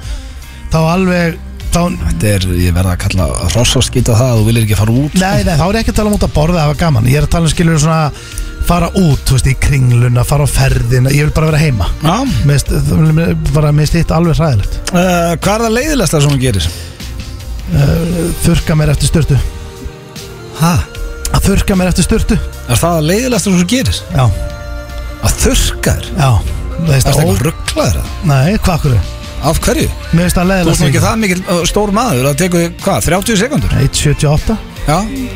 [SPEAKER 2] þá alveg þá,
[SPEAKER 1] Þetta er, ég verða að kalla hrossaskýt á það að þú vilir ekki fara út sko.
[SPEAKER 2] Nei, nei, þá er ég ekki að tala um út að borða, það var gaman Ég er að tala um skilur svona fara út, þú veist, í kringluna, fara á ferðina Ég vil bara vera heima
[SPEAKER 1] Já,
[SPEAKER 2] Mest, bara mist hitt alveg hræðilegt
[SPEAKER 1] uh, hvað er það leiðilegsta sem hún gerir?
[SPEAKER 2] Þurka Eh, mér eftir styrtu
[SPEAKER 1] Hæ?
[SPEAKER 2] Að þurka mér eftir styrtu
[SPEAKER 1] Er það að leiðilegsta sem hún gerir?
[SPEAKER 2] Já,
[SPEAKER 1] Að þurrka þér?
[SPEAKER 2] já Þú veist,
[SPEAKER 1] Er það
[SPEAKER 2] ó,
[SPEAKER 1] eitthvað rugglaður?
[SPEAKER 2] Nei, hvað akkur er
[SPEAKER 1] Af hverju?
[SPEAKER 2] Mér veist að
[SPEAKER 1] Þú
[SPEAKER 2] leðilega
[SPEAKER 1] ert nú ekki það mikil uh, stór maður að teku, hvað, 30 sekundur?
[SPEAKER 2] 1.78
[SPEAKER 1] Já,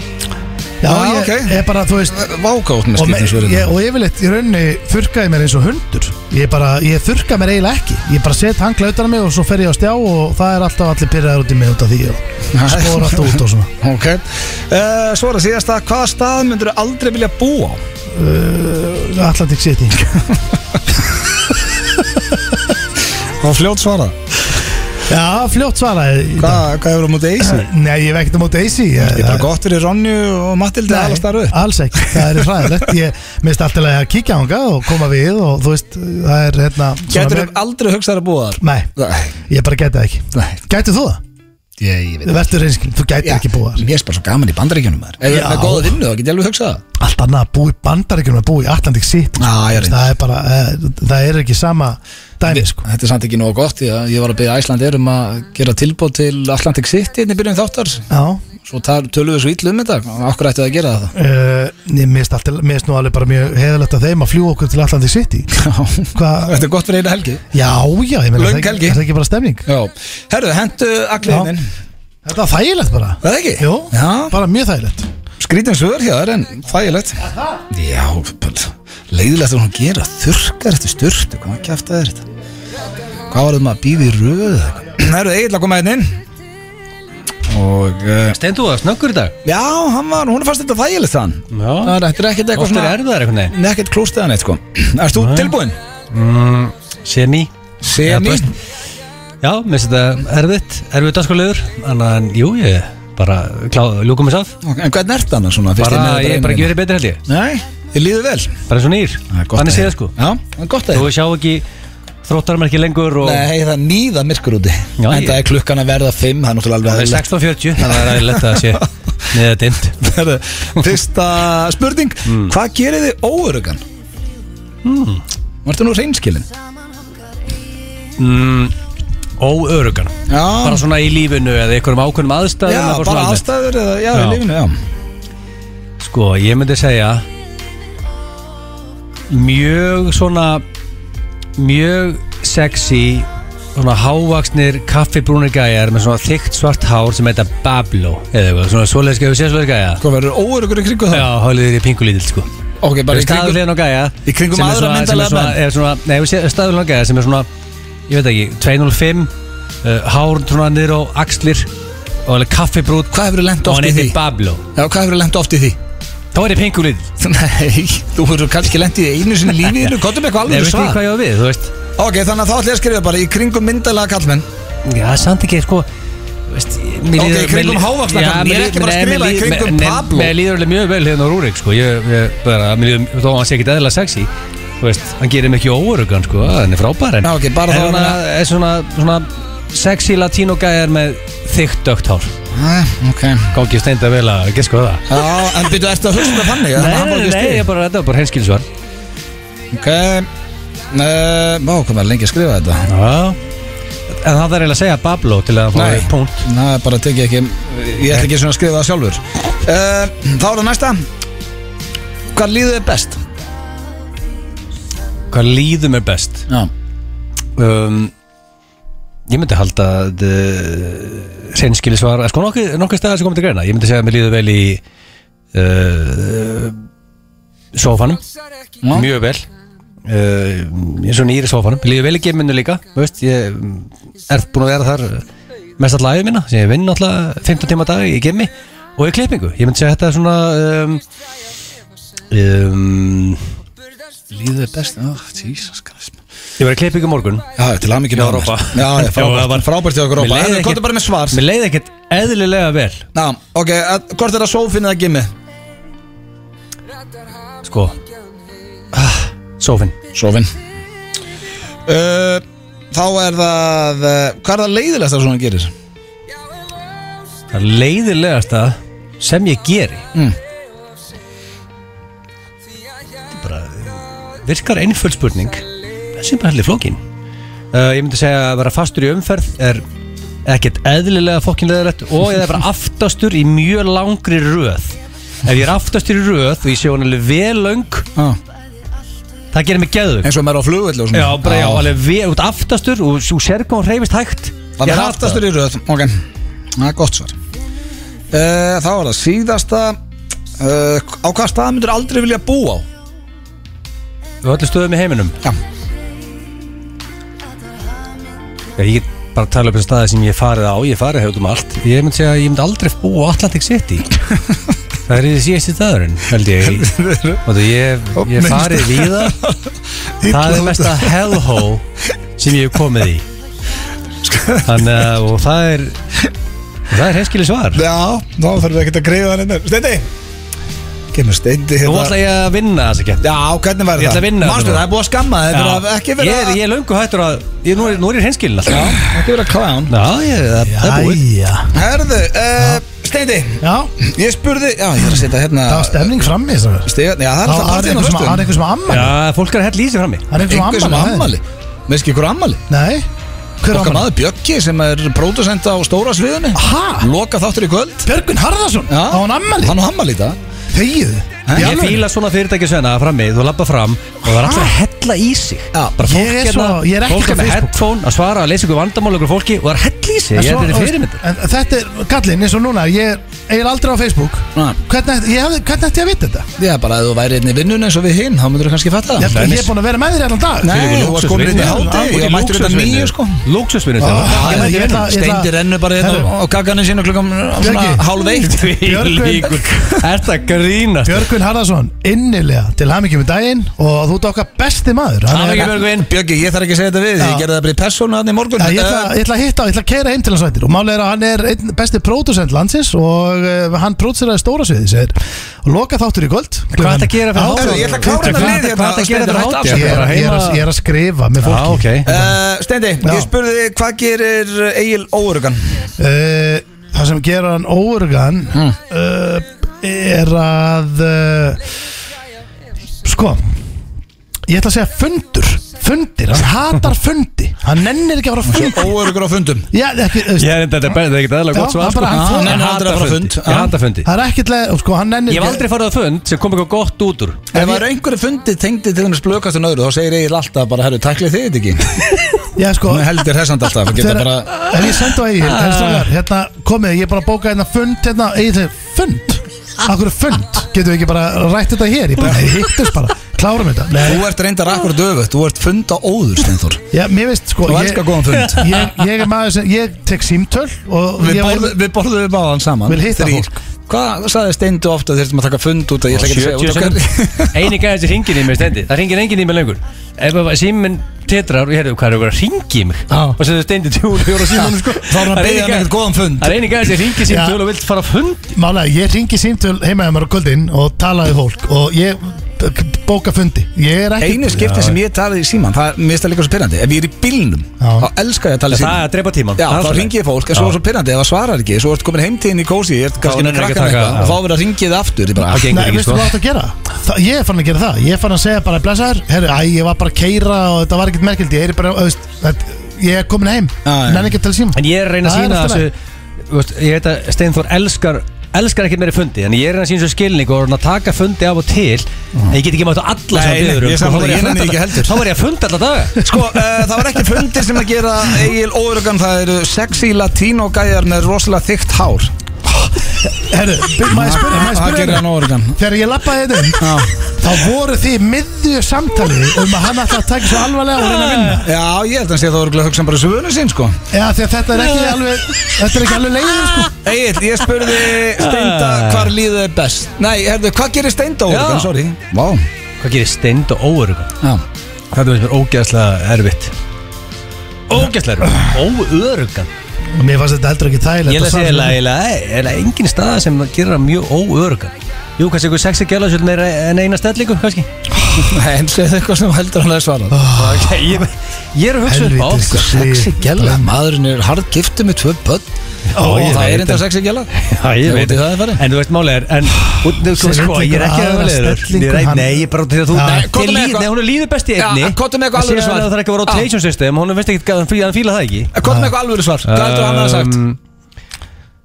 [SPEAKER 2] Já,
[SPEAKER 1] Já,
[SPEAKER 2] ég,
[SPEAKER 1] ok.
[SPEAKER 2] ég bara, þú veist og,
[SPEAKER 1] vákátt með
[SPEAKER 2] me, ég,
[SPEAKER 1] skýtnisverðinu
[SPEAKER 2] og yfirleitt í rauninni þurrkaði mér eins og hundur ég bara, ég þurrka mér eiginlega ekki ég bara set hangla utan á mig og svo fer ég á stjá og það er alltaf allir pyrraður út í mig út af því og skor alltaf út og svona
[SPEAKER 1] Ok, uh, svo er það síðast að hvaða stað myndur þú aldrei vilja búa á?
[SPEAKER 2] Eh, Uh, Atlantic City
[SPEAKER 1] var fljótt svara
[SPEAKER 2] Já, fljótt svaraði í
[SPEAKER 1] Hva,
[SPEAKER 2] dag.
[SPEAKER 1] Hvað hefur þú mútið AC?
[SPEAKER 2] Nei, ég hef ekkert á móti AC Ég
[SPEAKER 1] Þetta er bara gott fyrir Ronju og Matildi að alast þar upp
[SPEAKER 2] alls ekki, það er hræðilegt Ég minnst alltaf að kíkja hangað og koma við og þú veist, það er hérna svona
[SPEAKER 1] Getur
[SPEAKER 2] með-
[SPEAKER 1] þau aldrei hugsað að búa þar?
[SPEAKER 2] Nei,
[SPEAKER 1] Nei,
[SPEAKER 2] ég bara geti það ekki
[SPEAKER 1] nei
[SPEAKER 2] Gætið þú það?
[SPEAKER 1] Ég, ég veit
[SPEAKER 2] Vertu reynskil, þú gætið ekki búið þar
[SPEAKER 1] Ég er bara svo gaman í bandaríkjunum maður Ef við erum
[SPEAKER 2] Já.
[SPEAKER 1] með góða vinnu þá get ég alveg hugsað það
[SPEAKER 2] Allt annað að búa í bandaríkjunum að búa í Atlantic City
[SPEAKER 1] Já, ég reyndi
[SPEAKER 2] Það er bara, eh, það er ekki sama dæmi sko
[SPEAKER 1] Þetta er samt ekki nóg gott ég, ég var að byggja Æsland er um að gera tilbúð til Atlantic City hérna í byrjun þáttar
[SPEAKER 2] Já,
[SPEAKER 1] Svo tar, tölum við svo illa um þetta Akkur ættu það að gera það
[SPEAKER 2] eh, ég mist alltaf, mist nú alveg bara mjög heðalegt að þeim að fljúa okkur til Atlantic City
[SPEAKER 1] Já.
[SPEAKER 2] Hvað,
[SPEAKER 1] Þetta er gott fyrir einu helgi
[SPEAKER 2] já, já, ég meina það er
[SPEAKER 1] Löng
[SPEAKER 2] ekki-
[SPEAKER 1] helgi.
[SPEAKER 2] er það ekki bara stemning
[SPEAKER 1] Já, herðu, hendu
[SPEAKER 2] Já.
[SPEAKER 1] allir inn
[SPEAKER 2] Þetta var þægilegt bara
[SPEAKER 1] Það er ekki?
[SPEAKER 2] Jú,
[SPEAKER 1] Já,
[SPEAKER 2] bara mjög þægilegt
[SPEAKER 1] skrítin svör hjá þér en þægilegt Já, bara, leiðilegt að hún gera þurrkar eftir styrtu, hvað kæft að er þetta? Hvað var það maður að býði í röð? Herðu, eiginlega koma einn inn Og, uh,
[SPEAKER 3] Steindu það, snöggur í dag
[SPEAKER 1] já, hann var, hún er fast þetta þægilegt þann Það
[SPEAKER 3] Já,
[SPEAKER 1] er þetta er ekkert eitthvað
[SPEAKER 3] oft er
[SPEAKER 1] svona
[SPEAKER 3] erfiðar einhvern veginn
[SPEAKER 1] Nei, ekkert klústaðan eitt sko Erst þú tilbúinn?
[SPEAKER 3] mm, Semi Já,
[SPEAKER 1] Semi
[SPEAKER 3] best. Já, mér finnst þetta erfitt, erfitt dagskorlegur Þannig að, jú, ég bara klá, ljúkum þess að
[SPEAKER 1] Ok, En hvernig ert annars svona? fyrst
[SPEAKER 3] Bara,
[SPEAKER 1] inn með þetta
[SPEAKER 3] ég er bara ekki
[SPEAKER 1] reynina?
[SPEAKER 3] verið betri held ég
[SPEAKER 1] Nei, þið líður vel
[SPEAKER 3] Bara eins og nýr,
[SPEAKER 1] Það er gott
[SPEAKER 3] þannig
[SPEAKER 1] að
[SPEAKER 3] séð
[SPEAKER 1] heyra.
[SPEAKER 3] sko
[SPEAKER 1] Já, það er gott að
[SPEAKER 3] Þú sjá ekki þróttarmerki lengur og
[SPEAKER 1] Nei, það er nýða myrkur úti
[SPEAKER 3] Já,
[SPEAKER 1] En
[SPEAKER 3] ég-
[SPEAKER 1] það er klukkan að verða 5 Það er náttúrulega
[SPEAKER 3] Það
[SPEAKER 1] alveg
[SPEAKER 3] er 16.40, þannig að það er lett að sé Niður dimt
[SPEAKER 1] aðeins Fyrsta spurning
[SPEAKER 3] Hmm.
[SPEAKER 1] Hvað gerir þið óörugan? Mm. Ertu nú reynskilin?
[SPEAKER 3] mm, Óörugan
[SPEAKER 1] Já,
[SPEAKER 3] Bara svona í lífinu eða einhverjum ákveðnum aðstæðum
[SPEAKER 1] já
[SPEAKER 3] eða
[SPEAKER 1] bara,
[SPEAKER 3] svona almennt.
[SPEAKER 1] aðstæður eða, já, í
[SPEAKER 3] Já.
[SPEAKER 1] lífinu já.
[SPEAKER 3] Sko, ég myndi segja Mjög svona Mjög sexy Svona hávaksnir kaffibrúnir gæjar Með svona þykkt svart hár sem heita Bablo Eða eitthvað, svona svoleiðis gæjar Sér svoleiðis gæja
[SPEAKER 1] Hvað Sko, verður óörugur í kringu það?
[SPEAKER 3] Já, hálfið þér í pingulítil sko
[SPEAKER 1] Ok, bara í
[SPEAKER 3] Staður
[SPEAKER 1] kringu
[SPEAKER 3] hliðin á gæja
[SPEAKER 1] Í kringum
[SPEAKER 3] sem er
[SPEAKER 1] aðra
[SPEAKER 3] svona- sem er
[SPEAKER 1] myndarlega
[SPEAKER 3] svona-
[SPEAKER 1] menn.
[SPEAKER 3] er svona- Nei, við séum staður hliðin á gæja sem er svona Ég veit ekki, 205 uh, Hár svona niður á axlir Og alveg kaffibrút
[SPEAKER 1] Hvað hefur lent
[SPEAKER 3] Og
[SPEAKER 1] oft
[SPEAKER 3] hann
[SPEAKER 1] í því?
[SPEAKER 3] heitir Bablo
[SPEAKER 1] Já, hvað hefur lent oft í því?
[SPEAKER 3] Þá er ég pingulítil
[SPEAKER 1] Nei, þú hefur kannski lent í því einu sinni í lífinu Kottum eitthvað
[SPEAKER 3] Nei,
[SPEAKER 1] alveg
[SPEAKER 3] veit ekki
[SPEAKER 1] svar
[SPEAKER 3] hvað ég á við, þú veist
[SPEAKER 1] Ok, þannig að þá ætla ég að skrifa bara Í kringum myndalega kallmenn
[SPEAKER 3] Já, samt ekki, sko veist,
[SPEAKER 1] Ok,
[SPEAKER 3] mér líður-
[SPEAKER 1] í kringum
[SPEAKER 3] mér-
[SPEAKER 1] hávaxna
[SPEAKER 3] Já,
[SPEAKER 1] kall,
[SPEAKER 3] mér
[SPEAKER 1] ég er
[SPEAKER 3] líður-
[SPEAKER 1] ekki bara að
[SPEAKER 3] nei, mér
[SPEAKER 1] skrifa í
[SPEAKER 3] líður-
[SPEAKER 1] kringum
[SPEAKER 3] mér-
[SPEAKER 1] Pablo.
[SPEAKER 3] Mér líður alveg mjög vel hérna á Rúrik, sko Ég, ég bara, mér líður, þó að hann sé ekki eðla sexy Þú veist, hann gerir mig ekki óörugan, sko Hann er frábær, en
[SPEAKER 1] Já, ok, bara
[SPEAKER 3] en
[SPEAKER 1] þá-
[SPEAKER 3] hann er svona, svona sexy latino gæjar með þykkt dögt hár
[SPEAKER 1] Ah, Ok
[SPEAKER 3] Gangi steinda vel að geska á það
[SPEAKER 1] Já, en byrju, ertu að hugsa þetta þannig? að hann bara ekki stig?
[SPEAKER 3] ég bara, þetta var bara henskilsvar
[SPEAKER 1] Ok uh, Má, hvað maður lengi að skrifa þetta
[SPEAKER 3] Já En það er eiginlega að segja Pablo til að fá
[SPEAKER 1] Nei.
[SPEAKER 3] punkt
[SPEAKER 1] Næ, bara tekið ekki Ég ætla ekki svona að skrifa það sjálfur uh, Þá er það næsta Hvað líður þið best?
[SPEAKER 3] Hvað líður mér best?
[SPEAKER 1] Já
[SPEAKER 3] um, Ég myndi halda að reynskili svar sko nokkuð, nokkuð staðar sem komið til greina ég myndi segja að mér líður vel í uh, sofanum
[SPEAKER 1] Mjög
[SPEAKER 3] mjög vel uh, ég er svo nýri sofanum, mér líður vel í geiminu líka þú veist, ég mm, er búin að vera þar uh, mest alltaf æfið minna sem ég vinn alltaf 15 tíma á dag í geimi og í klippingu, ég myndi segja að þetta er svona um, um,
[SPEAKER 1] Líður þið best? Oh, Jesus Christ
[SPEAKER 3] ég var í klippingu í morgun
[SPEAKER 1] Já, til að mikið
[SPEAKER 3] Já, Rópa.
[SPEAKER 1] Já, já,
[SPEAKER 3] Já, það var-
[SPEAKER 1] frábært Frábært hjá okkur
[SPEAKER 3] Mér
[SPEAKER 1] Rópa
[SPEAKER 3] leið
[SPEAKER 1] En
[SPEAKER 3] ekki-
[SPEAKER 1] komdu bara með svar
[SPEAKER 3] mér leiði ekkert eðlilega vel
[SPEAKER 1] Já, ok, að, hvort er það sófin eða gimmi?
[SPEAKER 3] sko ah, sófinn
[SPEAKER 1] Sófin uh, Þá er það uh, Hvað er það leiðilegast að svona gerir?
[SPEAKER 3] það er leiðilegasta sem ég geri
[SPEAKER 1] Mm.
[SPEAKER 3] Þetta er bara, eh, virkar einföld spurning þessi er bara heldur flókin uh, ég myndi segja að vera fastur í umferð er ekkert eðlilega fokkinleðilegt og ég er bara aftastur í mjög langri röð ef ég er aftastur í röð og ég sé hún alveg vel löng
[SPEAKER 1] Ah.
[SPEAKER 3] það gerir mig geðug
[SPEAKER 1] Eins og maður á flugvelli og svona Ah.
[SPEAKER 3] Já, bara já, alveg við út aftastur og svo sérgum hún reyfist hægt
[SPEAKER 1] Það
[SPEAKER 3] Ég
[SPEAKER 1] er
[SPEAKER 3] rata.
[SPEAKER 1] aftastur í röð Ok, það er gott svar uh, Þá var það síðasta uh, Á hvað stað myndur aldrei vilja búa á?
[SPEAKER 3] Við öllu stöðum í heiminum
[SPEAKER 1] Já.
[SPEAKER 3] Já, Ég get bara að tala upp um staði sem ég hef farið á Ég hef farið hefðum allt Ég myndi segja að ég myndi aldrei búa á Atlantic City Það er í þessi síðasti staðurinn held ég Og þú, ég, ég hef farið víða Það er mesta hellhole sem ég hef komið í
[SPEAKER 1] Sko-
[SPEAKER 3] Þannig að og það er Það er henskili svar
[SPEAKER 1] Já, þá þurfum við ekkert að greiða hann inn Steindi Kemur Steindi
[SPEAKER 3] Nú
[SPEAKER 1] hérna
[SPEAKER 3] ætla ég að vinna þess ekki
[SPEAKER 1] Já, hvernig var
[SPEAKER 3] Ég
[SPEAKER 1] það?
[SPEAKER 3] ætla að vinna
[SPEAKER 1] Manstu,
[SPEAKER 3] þetta.
[SPEAKER 1] það er búið að skamma þig, Þetta er að ekki vera
[SPEAKER 3] Ég er, ég er löngu hættur að ég, nú, er, nú er ég henskilin alltaf Já,
[SPEAKER 1] Ekki vera klán
[SPEAKER 3] ég, það, það er búið
[SPEAKER 2] Æja
[SPEAKER 1] Herðu, uh, Steindi
[SPEAKER 2] Já,
[SPEAKER 1] Ég spurði Já, ég er að setja hérna
[SPEAKER 2] það var stemning frammi þess að
[SPEAKER 1] Stegan, já, það er
[SPEAKER 2] Það
[SPEAKER 1] alltaf
[SPEAKER 2] var
[SPEAKER 1] partíð á
[SPEAKER 2] einhver sem- það var einhver sem
[SPEAKER 1] föstum
[SPEAKER 2] var ammali
[SPEAKER 3] Já, fólk er að hella í sig frammi
[SPEAKER 2] Það er
[SPEAKER 1] Einhver
[SPEAKER 2] einhver
[SPEAKER 1] sem
[SPEAKER 2] sem
[SPEAKER 1] á
[SPEAKER 2] var ammali
[SPEAKER 1] ammali Með ekki ykkur ammali
[SPEAKER 2] Nei, hver
[SPEAKER 1] Okkar
[SPEAKER 2] ammali?
[SPEAKER 1] maður Bjöggi sem er pródusent á stóra sviðunni
[SPEAKER 2] Ha?
[SPEAKER 1] Loka þáttur í kvöld
[SPEAKER 2] Björgun Harðarsson
[SPEAKER 1] Já.
[SPEAKER 2] Það var ammali
[SPEAKER 1] Hann á ammali í dag
[SPEAKER 2] Þegið
[SPEAKER 1] Hæ?
[SPEAKER 2] Í
[SPEAKER 3] Ég
[SPEAKER 2] alvöru?
[SPEAKER 3] fíla svona fyrirtæki svenna frammi Þú lappa fram og það er alltaf að hella í sig
[SPEAKER 1] Já,
[SPEAKER 3] Bara fólk hérna,
[SPEAKER 2] ég er svo- ég er ekkert
[SPEAKER 3] Fólk
[SPEAKER 2] á
[SPEAKER 3] er með
[SPEAKER 2] Facebook.
[SPEAKER 3] headphone að svara að leysa ykkur vandamál ykkur fólki og það er að hella í sig
[SPEAKER 2] En
[SPEAKER 3] Ég
[SPEAKER 2] svo-
[SPEAKER 3] er þetta
[SPEAKER 2] þú veist,
[SPEAKER 3] fyrirmyndir
[SPEAKER 2] en Þetta er gallin eins og núna Ég er, ég er aldrei á Facebook
[SPEAKER 1] Nei.
[SPEAKER 2] Hvernig ætti- ég hefði- hvernig ætti ég að vita þetta?
[SPEAKER 1] Já, bara að þú væri einn í vinnun eins og við hinn Þá myndur þú kannski fatta
[SPEAKER 2] Ég
[SPEAKER 1] það
[SPEAKER 2] ég er búin að vera með þér allan dag
[SPEAKER 1] Nei, þú varst komin inn í háti Ég mættur þetta nýju sko
[SPEAKER 2] Já,
[SPEAKER 3] Lúksusvinnu þegar
[SPEAKER 2] Ah, ég- ég ætla- ég ætla-
[SPEAKER 1] Steindi rennu bara hérna
[SPEAKER 2] Herru.
[SPEAKER 1] á kakkanum sínu klukkan svona
[SPEAKER 2] Björgi.
[SPEAKER 1] hálf eitt
[SPEAKER 2] Björgvin-
[SPEAKER 3] Líkur, er það grínast
[SPEAKER 2] Björgun Harðarsson, innilega til hamingjum í daginn og þú ert okkar besti maður Hann er- hérna.
[SPEAKER 3] Hamingju, Björgvin.
[SPEAKER 1] Björgi, ég þarf ekki að segja þetta við Ég
[SPEAKER 2] Já.
[SPEAKER 1] gerði það bara í persónu hann í morgun Eh,
[SPEAKER 2] Já, ég, ætla, ég ætla að hitta á, ég ætla að keira heim til hans veitir og málega er að hann er einn besti pródusent landsins og uh, hann próduseraði stóra sviði segir, og loka þáttur í kvöld
[SPEAKER 3] Hvað er að gera fyrir
[SPEAKER 1] Herru,
[SPEAKER 3] hátíð?
[SPEAKER 1] ég ætla að klára þetta lið hérna,
[SPEAKER 3] Hvað er að gera fyrir
[SPEAKER 1] Steindi, hættu
[SPEAKER 3] hátíð?
[SPEAKER 2] Ég er,
[SPEAKER 1] afsakið.
[SPEAKER 2] ég, er að, ég er að skrifa með
[SPEAKER 3] Já, ok
[SPEAKER 2] fólki
[SPEAKER 1] Eh, Steindi, ég
[SPEAKER 2] Já.
[SPEAKER 1] spurði þig hvað gerir Egil óörugan
[SPEAKER 2] uh, Það sem gera hann óurgan
[SPEAKER 3] Hmm.
[SPEAKER 2] uh, er að uh, sko ég ætla að segja fundur fundir, hann hatar fundi hann nennir ekki að fara á fundi
[SPEAKER 1] Óörugur á fundum
[SPEAKER 2] Já, ekki, þú veist,
[SPEAKER 3] Ég er enda þetta bæðið, það er ekki aðlega
[SPEAKER 2] Já,
[SPEAKER 3] gott svo
[SPEAKER 2] hann bara- hann
[SPEAKER 1] þolir-
[SPEAKER 3] Ég
[SPEAKER 1] hann hatar
[SPEAKER 3] hata
[SPEAKER 1] að fara á
[SPEAKER 3] fundi.
[SPEAKER 1] fund. Ah.
[SPEAKER 3] Ég hata fundi
[SPEAKER 2] það er ekkert leið sko, hann nennir
[SPEAKER 3] Ég hef
[SPEAKER 2] ekki-
[SPEAKER 3] aldrei farið á fund sem kom eitthvað gott út úr
[SPEAKER 1] Ef það eru einhverju fundi tengdi til þess blökast en öðru þá segir Egil alltaf bara, herru, tæklið þið þetta ekki
[SPEAKER 2] Já, sko,
[SPEAKER 1] Hún er heldur hressand alltaf geta
[SPEAKER 2] Þegar-
[SPEAKER 1] bara,
[SPEAKER 2] Ef ég senda á Egil en strákar, hérna, komið, ég er bara að bóka hérna fund hérna, Egil segir, fund? Akkur er fund? Getum við ekki bara rætt þetta hér? Ég bara, nei, hittust bara, klárum þetta Nei,
[SPEAKER 1] Þú ert reyndar akkur döfut, þú ert funda óður Steinþór,
[SPEAKER 2] já, mér veist, sko
[SPEAKER 1] þú
[SPEAKER 2] ég,
[SPEAKER 1] elskar góðan fund
[SPEAKER 2] ég, ég er maður sem, ég tek símtöl og
[SPEAKER 1] Við
[SPEAKER 2] ég var-
[SPEAKER 1] borðum- Við borðum við báðan saman
[SPEAKER 2] Vil hitta
[SPEAKER 1] þrír.
[SPEAKER 2] fólk.
[SPEAKER 1] Hvað sagði Steindi ofta þurftum að taka fund út að ég ætla ekki að segja
[SPEAKER 3] 70
[SPEAKER 1] út af hverju
[SPEAKER 3] sekúndur. Eini gæði þessi ringin í mig stendi Það ringir engin í mig lengur Ef að síminn titrar og ég hefði hvað er að vera að ringi í mig
[SPEAKER 2] Já.
[SPEAKER 3] Og sem þau steindi tjúl og jóra símanu sko
[SPEAKER 1] Þá er hann að
[SPEAKER 3] Það eini
[SPEAKER 1] beigja hann
[SPEAKER 3] gæði-
[SPEAKER 1] eitthvað góðan fund
[SPEAKER 3] Það er eini gæði þessi ringir síminn
[SPEAKER 2] Já.
[SPEAKER 3] tjúl og vilt fara á fund
[SPEAKER 2] Málega, ég ringi símtöl heima hjá mér á kvöldin og talaði fólk og ég bóka fundi Ég er ekki
[SPEAKER 1] Einu skipti sem ég talaði í síman Það er- mér finnst það líka svo pyrrandi Ef ég er í bílnum
[SPEAKER 2] Já.
[SPEAKER 1] Þá elska ég að tala í
[SPEAKER 3] Það er
[SPEAKER 1] síman
[SPEAKER 3] að drepa tíman
[SPEAKER 1] Já, þá ringi ég fólk En svo er svo pyrrandi Ef það svarar ekki Svo ertu komin heimtíðin í kósi Ég ert kannski með
[SPEAKER 3] nennir ekki að
[SPEAKER 1] krakkan
[SPEAKER 3] taka-
[SPEAKER 1] eitthvað
[SPEAKER 3] já.
[SPEAKER 1] Og þá verður að ringið aftur Ég bara,
[SPEAKER 3] Það gengur
[SPEAKER 2] Nei,
[SPEAKER 3] ekki
[SPEAKER 2] veistu
[SPEAKER 3] sko
[SPEAKER 2] hvað þetta að gera? Þa, ég er fann að gera það, ég er fann að segja bara blessaður, herru, æ, ég var bara að keira og þetta var ekkert merkild, ég er bara, þú veist, þetta, ég er komin heim,
[SPEAKER 1] Já, já.
[SPEAKER 2] nenni ekki að tala síma
[SPEAKER 3] En ég er að reyna
[SPEAKER 2] Það
[SPEAKER 3] að
[SPEAKER 2] er
[SPEAKER 3] sína
[SPEAKER 2] allt í
[SPEAKER 3] þessu þú veist, Ég veit að Steinþór elskar elskar ekkert meiri fundi en ég er að sína svo skilning og er að taka fundi af og til en ég get ekki mátt á alla sem
[SPEAKER 1] Nei, nei,
[SPEAKER 3] biður um,
[SPEAKER 1] ég sammála,
[SPEAKER 3] sko, þá var
[SPEAKER 1] ég nenni
[SPEAKER 3] að funda
[SPEAKER 1] ekki
[SPEAKER 3] alla-
[SPEAKER 1] heldur.
[SPEAKER 3] þá var ég að funda alla daga
[SPEAKER 1] Sko, uh, það var ekki fundir sem að gera Egil óörugan Það eru sexy latino gæjar Með rosalega þykkt hár
[SPEAKER 2] Herru, by- maður spyrir, maður
[SPEAKER 1] Það gerir
[SPEAKER 2] spyrir,
[SPEAKER 1] hann óörugan
[SPEAKER 2] þegar ég lappaði þetta um,
[SPEAKER 1] Já.
[SPEAKER 2] þá voru þið í miðju samtali um að hann ætla að taka svo alvarlega og reyna að vinna.
[SPEAKER 1] Já, ég held að hann sé að það voru að hugsa bara svönu sín sko
[SPEAKER 2] Já, þegar þetta er ekki alveg, þetta er ekki alveg leiðin, sko.
[SPEAKER 1] Egil, ég spurði Steinda hvar líðið er best Nei, herðu, hvað gerir Steinda óörugan,
[SPEAKER 3] Ah. Já.
[SPEAKER 1] sorry Vá
[SPEAKER 3] Hvað gerir steind og óörugan?
[SPEAKER 1] Já.
[SPEAKER 3] Þetta finnst mér ógeðslega erfitt Ógeðslega erfitt Óörugan
[SPEAKER 2] Mér fannst þetta heldur ekki þægilegt.
[SPEAKER 3] Ég
[SPEAKER 2] að
[SPEAKER 3] ætla að
[SPEAKER 2] svara
[SPEAKER 3] segja
[SPEAKER 2] svona.
[SPEAKER 3] eiginlega- eiginlega er það engin staða sem gerir það mjög óörugan Jú, kannski einhver sexi gæla svolítið meira en eina stellingu, kannski
[SPEAKER 1] Nei, en segðu eitthvað sem heldur hann að svara
[SPEAKER 3] okay, ég, ég er að hugsa upp á
[SPEAKER 2] Helvítis.
[SPEAKER 3] sko.
[SPEAKER 1] Sexy
[SPEAKER 2] Sýr.
[SPEAKER 1] gæla, maðurinn er hardgiftu með tvö börn
[SPEAKER 2] Ó,
[SPEAKER 1] og
[SPEAKER 2] ég
[SPEAKER 1] það
[SPEAKER 3] veit
[SPEAKER 1] er enda
[SPEAKER 3] það.
[SPEAKER 1] sexy gæla
[SPEAKER 3] Já, ég veit
[SPEAKER 1] Útið það er farið
[SPEAKER 3] En þú veist málið er En út, þú, sko,
[SPEAKER 2] Sem
[SPEAKER 3] sko, ég er ekki
[SPEAKER 2] aðra
[SPEAKER 3] að leiður
[SPEAKER 2] stellingu, hann-
[SPEAKER 3] Nei, ég er bara út af því að þú
[SPEAKER 2] Já.
[SPEAKER 3] Nei,
[SPEAKER 1] Nei, komdu
[SPEAKER 3] þér
[SPEAKER 1] með
[SPEAKER 3] líð-
[SPEAKER 1] eitthvað.
[SPEAKER 3] Nei, hún er líður best í
[SPEAKER 1] Já,
[SPEAKER 3] einni
[SPEAKER 1] komdu með eitthvað
[SPEAKER 3] Það sé
[SPEAKER 1] alveg
[SPEAKER 3] að
[SPEAKER 1] svar.
[SPEAKER 3] það þarf ekki að
[SPEAKER 1] Já.
[SPEAKER 3] vera rotation system Hún veist ekki að hann fíla- hann fíla það ekki
[SPEAKER 1] Hvað með eitthvað alvöru svar? Hvað heldur hann að hafa sagt?
[SPEAKER 3] Um,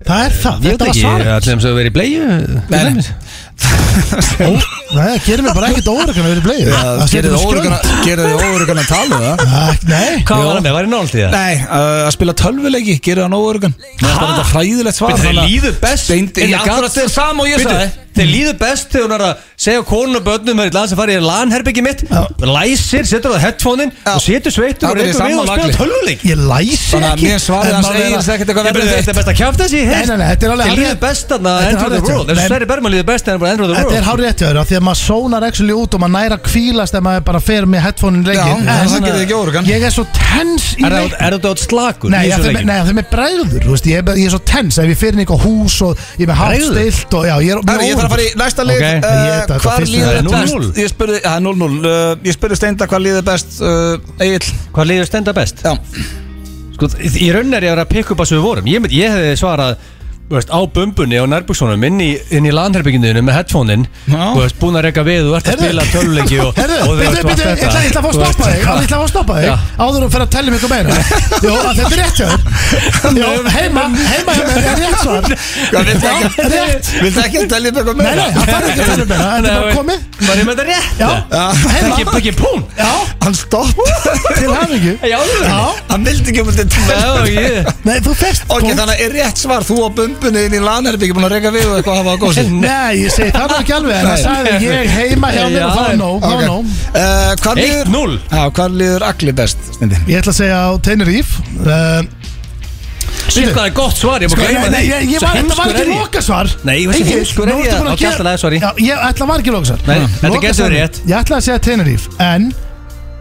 [SPEAKER 2] Það er það,
[SPEAKER 3] Ég veit
[SPEAKER 2] þetta var
[SPEAKER 3] ekki,
[SPEAKER 2] svarið.
[SPEAKER 3] allir sem þau verið í bleiðu
[SPEAKER 1] Nei, nei.
[SPEAKER 2] Nei, það gerir mér bara ekkert óorgan að vera í bleið.
[SPEAKER 1] Það gerir þið óörugan að tala um það?
[SPEAKER 2] Nei,
[SPEAKER 3] Hvað var hann með, var hann nált í það?
[SPEAKER 1] Nei, uh, að spila tölvuleiki, gerir hann óörugan Það er þetta hræðilegt svar
[SPEAKER 3] Bíddu, þeir
[SPEAKER 1] þannig að-
[SPEAKER 3] líður best
[SPEAKER 1] Steindi,
[SPEAKER 3] in
[SPEAKER 1] ég
[SPEAKER 3] the
[SPEAKER 1] akkurat
[SPEAKER 3] guts.
[SPEAKER 1] þeir sama og ég
[SPEAKER 3] Bíddu,
[SPEAKER 1] sagði
[SPEAKER 3] Þeir líður best þegar hún er að segja konun og börnum Það er lands að fara í lanherbyggi mitt Læsir, setur á headphone-in Og setur sveittur og
[SPEAKER 1] Það er
[SPEAKER 3] reykur við og
[SPEAKER 1] saman
[SPEAKER 3] spila
[SPEAKER 1] nagli.
[SPEAKER 3] tölvuleik
[SPEAKER 2] Ég læsi
[SPEAKER 1] Þannig að
[SPEAKER 2] ekki
[SPEAKER 1] mér svarið
[SPEAKER 2] En
[SPEAKER 1] hans
[SPEAKER 2] maður er
[SPEAKER 1] Egils
[SPEAKER 2] að-
[SPEAKER 1] ekkert eitthvað
[SPEAKER 3] Ég
[SPEAKER 1] verður
[SPEAKER 3] meina,
[SPEAKER 1] þitt.
[SPEAKER 3] Þetta er best að kjáfta þessi
[SPEAKER 2] Nei, nei, nei, þetta er alveg
[SPEAKER 3] Þeir
[SPEAKER 2] hárrétt.
[SPEAKER 3] líður best að
[SPEAKER 2] Þetta er
[SPEAKER 3] Enter the
[SPEAKER 2] hárrétt,
[SPEAKER 3] World Þessu
[SPEAKER 2] nei.
[SPEAKER 3] Sverri Bergman líður best að Enter the
[SPEAKER 2] Þetta er
[SPEAKER 3] World
[SPEAKER 2] hárið eftir öðru Því að maður sónar actually út og maður næra kvílast Ef maður bara fer með headphone-in leikinn
[SPEAKER 1] Já,
[SPEAKER 2] En
[SPEAKER 1] það getur þið ekki órugan.
[SPEAKER 2] Ég er svo tens í
[SPEAKER 3] Er
[SPEAKER 2] leikinn
[SPEAKER 3] það- er þetta átt slagur
[SPEAKER 2] Nei,
[SPEAKER 3] í
[SPEAKER 2] það
[SPEAKER 3] þessum
[SPEAKER 2] er með-
[SPEAKER 3] leikjum?
[SPEAKER 2] nei, það er með bræður veist, ég, er bara- ég er svo tens ef ég fyrir inn í eitthvað hús og ég er með hátt
[SPEAKER 3] Bregður?
[SPEAKER 2] stilt og já, ég er
[SPEAKER 1] Herri, ég þarf að fara í næsta lið
[SPEAKER 3] Ok.
[SPEAKER 1] okay.
[SPEAKER 2] Ég veit
[SPEAKER 1] uh,
[SPEAKER 2] að þetta
[SPEAKER 1] Hvar
[SPEAKER 2] fyrsta
[SPEAKER 1] líður
[SPEAKER 3] er
[SPEAKER 1] þér
[SPEAKER 3] 0-0.
[SPEAKER 1] best? Ég spurði, það er 0-0 uh, Ég spurði Steinda hvað líður best uh, Egil
[SPEAKER 3] Hvað líður stenda best?
[SPEAKER 1] Já,
[SPEAKER 3] Sko, í raun er ég að vera að pikka upp að sem við vorum Ég, mynd- ég hefði svarað þú veist, á bumbunni og nærbúksónum inn í, inn í landherbygginniðinu með headphone-in
[SPEAKER 1] Já.
[SPEAKER 3] Þú veist, búin að reyka við og ert að
[SPEAKER 2] Heyrðu.
[SPEAKER 3] spila töluleiki og,
[SPEAKER 2] Herðu,
[SPEAKER 3] og þú
[SPEAKER 2] byrju,
[SPEAKER 3] veist, og allt
[SPEAKER 2] byrju, ég
[SPEAKER 3] þetta.
[SPEAKER 2] ætla ég ætla að fá að
[SPEAKER 3] Þú veist,
[SPEAKER 2] stoppa þig
[SPEAKER 3] hvað-
[SPEAKER 2] Ég ætla að fá að stoppa
[SPEAKER 3] Já.
[SPEAKER 2] þig Áður og fyrir að tella mig eitthvað meira Jó, þetta er rétt hjá þér Jó, heima, heima hjá mér er rétt svar
[SPEAKER 1] Hvað, viltu
[SPEAKER 2] Já,
[SPEAKER 1] ekki-
[SPEAKER 2] rétt
[SPEAKER 1] viltu ekki að telja upp eitthvað
[SPEAKER 2] Nei, nei,
[SPEAKER 1] meira?
[SPEAKER 2] það þarf ekki að tella mig meira Þetta er bara komið
[SPEAKER 3] Var ég með þetta rétt?
[SPEAKER 2] Já,
[SPEAKER 3] Það
[SPEAKER 2] heima
[SPEAKER 3] er ekki pún
[SPEAKER 2] Já,
[SPEAKER 1] Hann stopp
[SPEAKER 2] til hafingju
[SPEAKER 3] Já,
[SPEAKER 2] Já,
[SPEAKER 1] Hann vildi ekki um þetta
[SPEAKER 3] já, ég
[SPEAKER 2] nei, þú fyrst
[SPEAKER 1] Ok, þannig að er rétt svar Þú á bumbunni inn í lanherbyggi Búin að reyka við og eitthvað hafa á gósi
[SPEAKER 2] Nei, ég segi það var ekki alveg En það
[SPEAKER 1] Nei.
[SPEAKER 2] sagði ég heima hjá mér og það
[SPEAKER 3] Já,
[SPEAKER 2] var nóg, það var nóg
[SPEAKER 1] uh, Hvar líður
[SPEAKER 3] 1-0
[SPEAKER 1] Já, hvar líður Agli best? Steindi?
[SPEAKER 2] Ég ætla að segja á Teneríf uh,
[SPEAKER 3] Sér hvað er gott svar, ég má
[SPEAKER 2] Sko,
[SPEAKER 3] gleyma
[SPEAKER 2] nei, nei, ég, ég
[SPEAKER 3] Svo
[SPEAKER 2] var, þetta var
[SPEAKER 3] heimskur
[SPEAKER 2] ekki
[SPEAKER 3] er ég.
[SPEAKER 2] lokasvar
[SPEAKER 3] Nei, ég veist ekki,
[SPEAKER 2] Egill,
[SPEAKER 3] heimskur
[SPEAKER 2] nú
[SPEAKER 3] er ég.
[SPEAKER 2] ertu búin að
[SPEAKER 3] Ok,
[SPEAKER 2] gera-
[SPEAKER 3] allt í lagi, sorry.
[SPEAKER 2] Já, ég ætla var ekki lokasvar
[SPEAKER 3] Nei, þetta
[SPEAKER 2] Lokasvar.
[SPEAKER 3] getur verið rétt.
[SPEAKER 2] Ég ætla að segja Teneríf En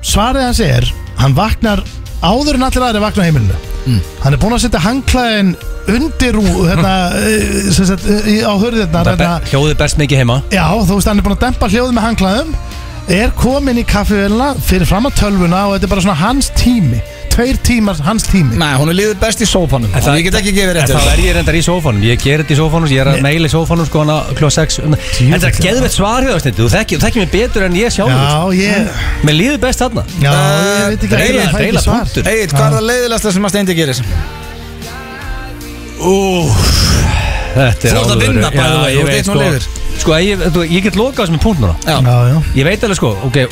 [SPEAKER 2] svarið hans er Hann vaknar áður en allir aðri vakna á heimilinu
[SPEAKER 3] Mm.
[SPEAKER 2] Hann er búin að setja hangklæðin undir rú Þetta, eh, sem sagt, eh, í- á hörðirnar
[SPEAKER 3] Það er
[SPEAKER 2] hérna-
[SPEAKER 3] be- Hljóðið berst mikið heima
[SPEAKER 2] Já, þú veist, hann er búin að dempa hljóðið með hangklæðum Er komin í kaffivélina Fyrir fram að tölvuna og þetta er bara svona hans tími Tveir tímar hans tími
[SPEAKER 1] Nei, hún líður best í sópanum
[SPEAKER 3] En það-
[SPEAKER 1] Ég get ekki gefið
[SPEAKER 3] En
[SPEAKER 1] rétt
[SPEAKER 2] hérna.
[SPEAKER 3] þá er ég reyndar í sófanum, ég ger þetta í sófanum, ég er að meila í sófanum sko hana klá 6 Þetta er
[SPEAKER 2] Djöfull,
[SPEAKER 3] geðvett svar hjá þessu, þú þekkir þekki mig betur en ég sjálfur sko.
[SPEAKER 2] Já, ég,
[SPEAKER 3] Mér líður best þarna
[SPEAKER 2] já,
[SPEAKER 1] Eh,
[SPEAKER 2] ég veit ekki
[SPEAKER 3] deila-
[SPEAKER 2] ég fæ ekki
[SPEAKER 3] deila
[SPEAKER 2] svar.
[SPEAKER 3] punktur.
[SPEAKER 1] Egil, hvað er það leiðilegasta sem að Steindi gerir?
[SPEAKER 3] Þetta
[SPEAKER 1] Þú
[SPEAKER 3] er
[SPEAKER 1] ert að vinna, by the way,
[SPEAKER 3] Já,
[SPEAKER 1] þú ert einn
[SPEAKER 3] ég veit
[SPEAKER 1] og
[SPEAKER 3] sko
[SPEAKER 1] lifir.
[SPEAKER 3] Sko, ég, þú, ég get lokað þessum punkt núna
[SPEAKER 1] Já,
[SPEAKER 2] Já, já
[SPEAKER 3] Ég veit alveg sko, ok,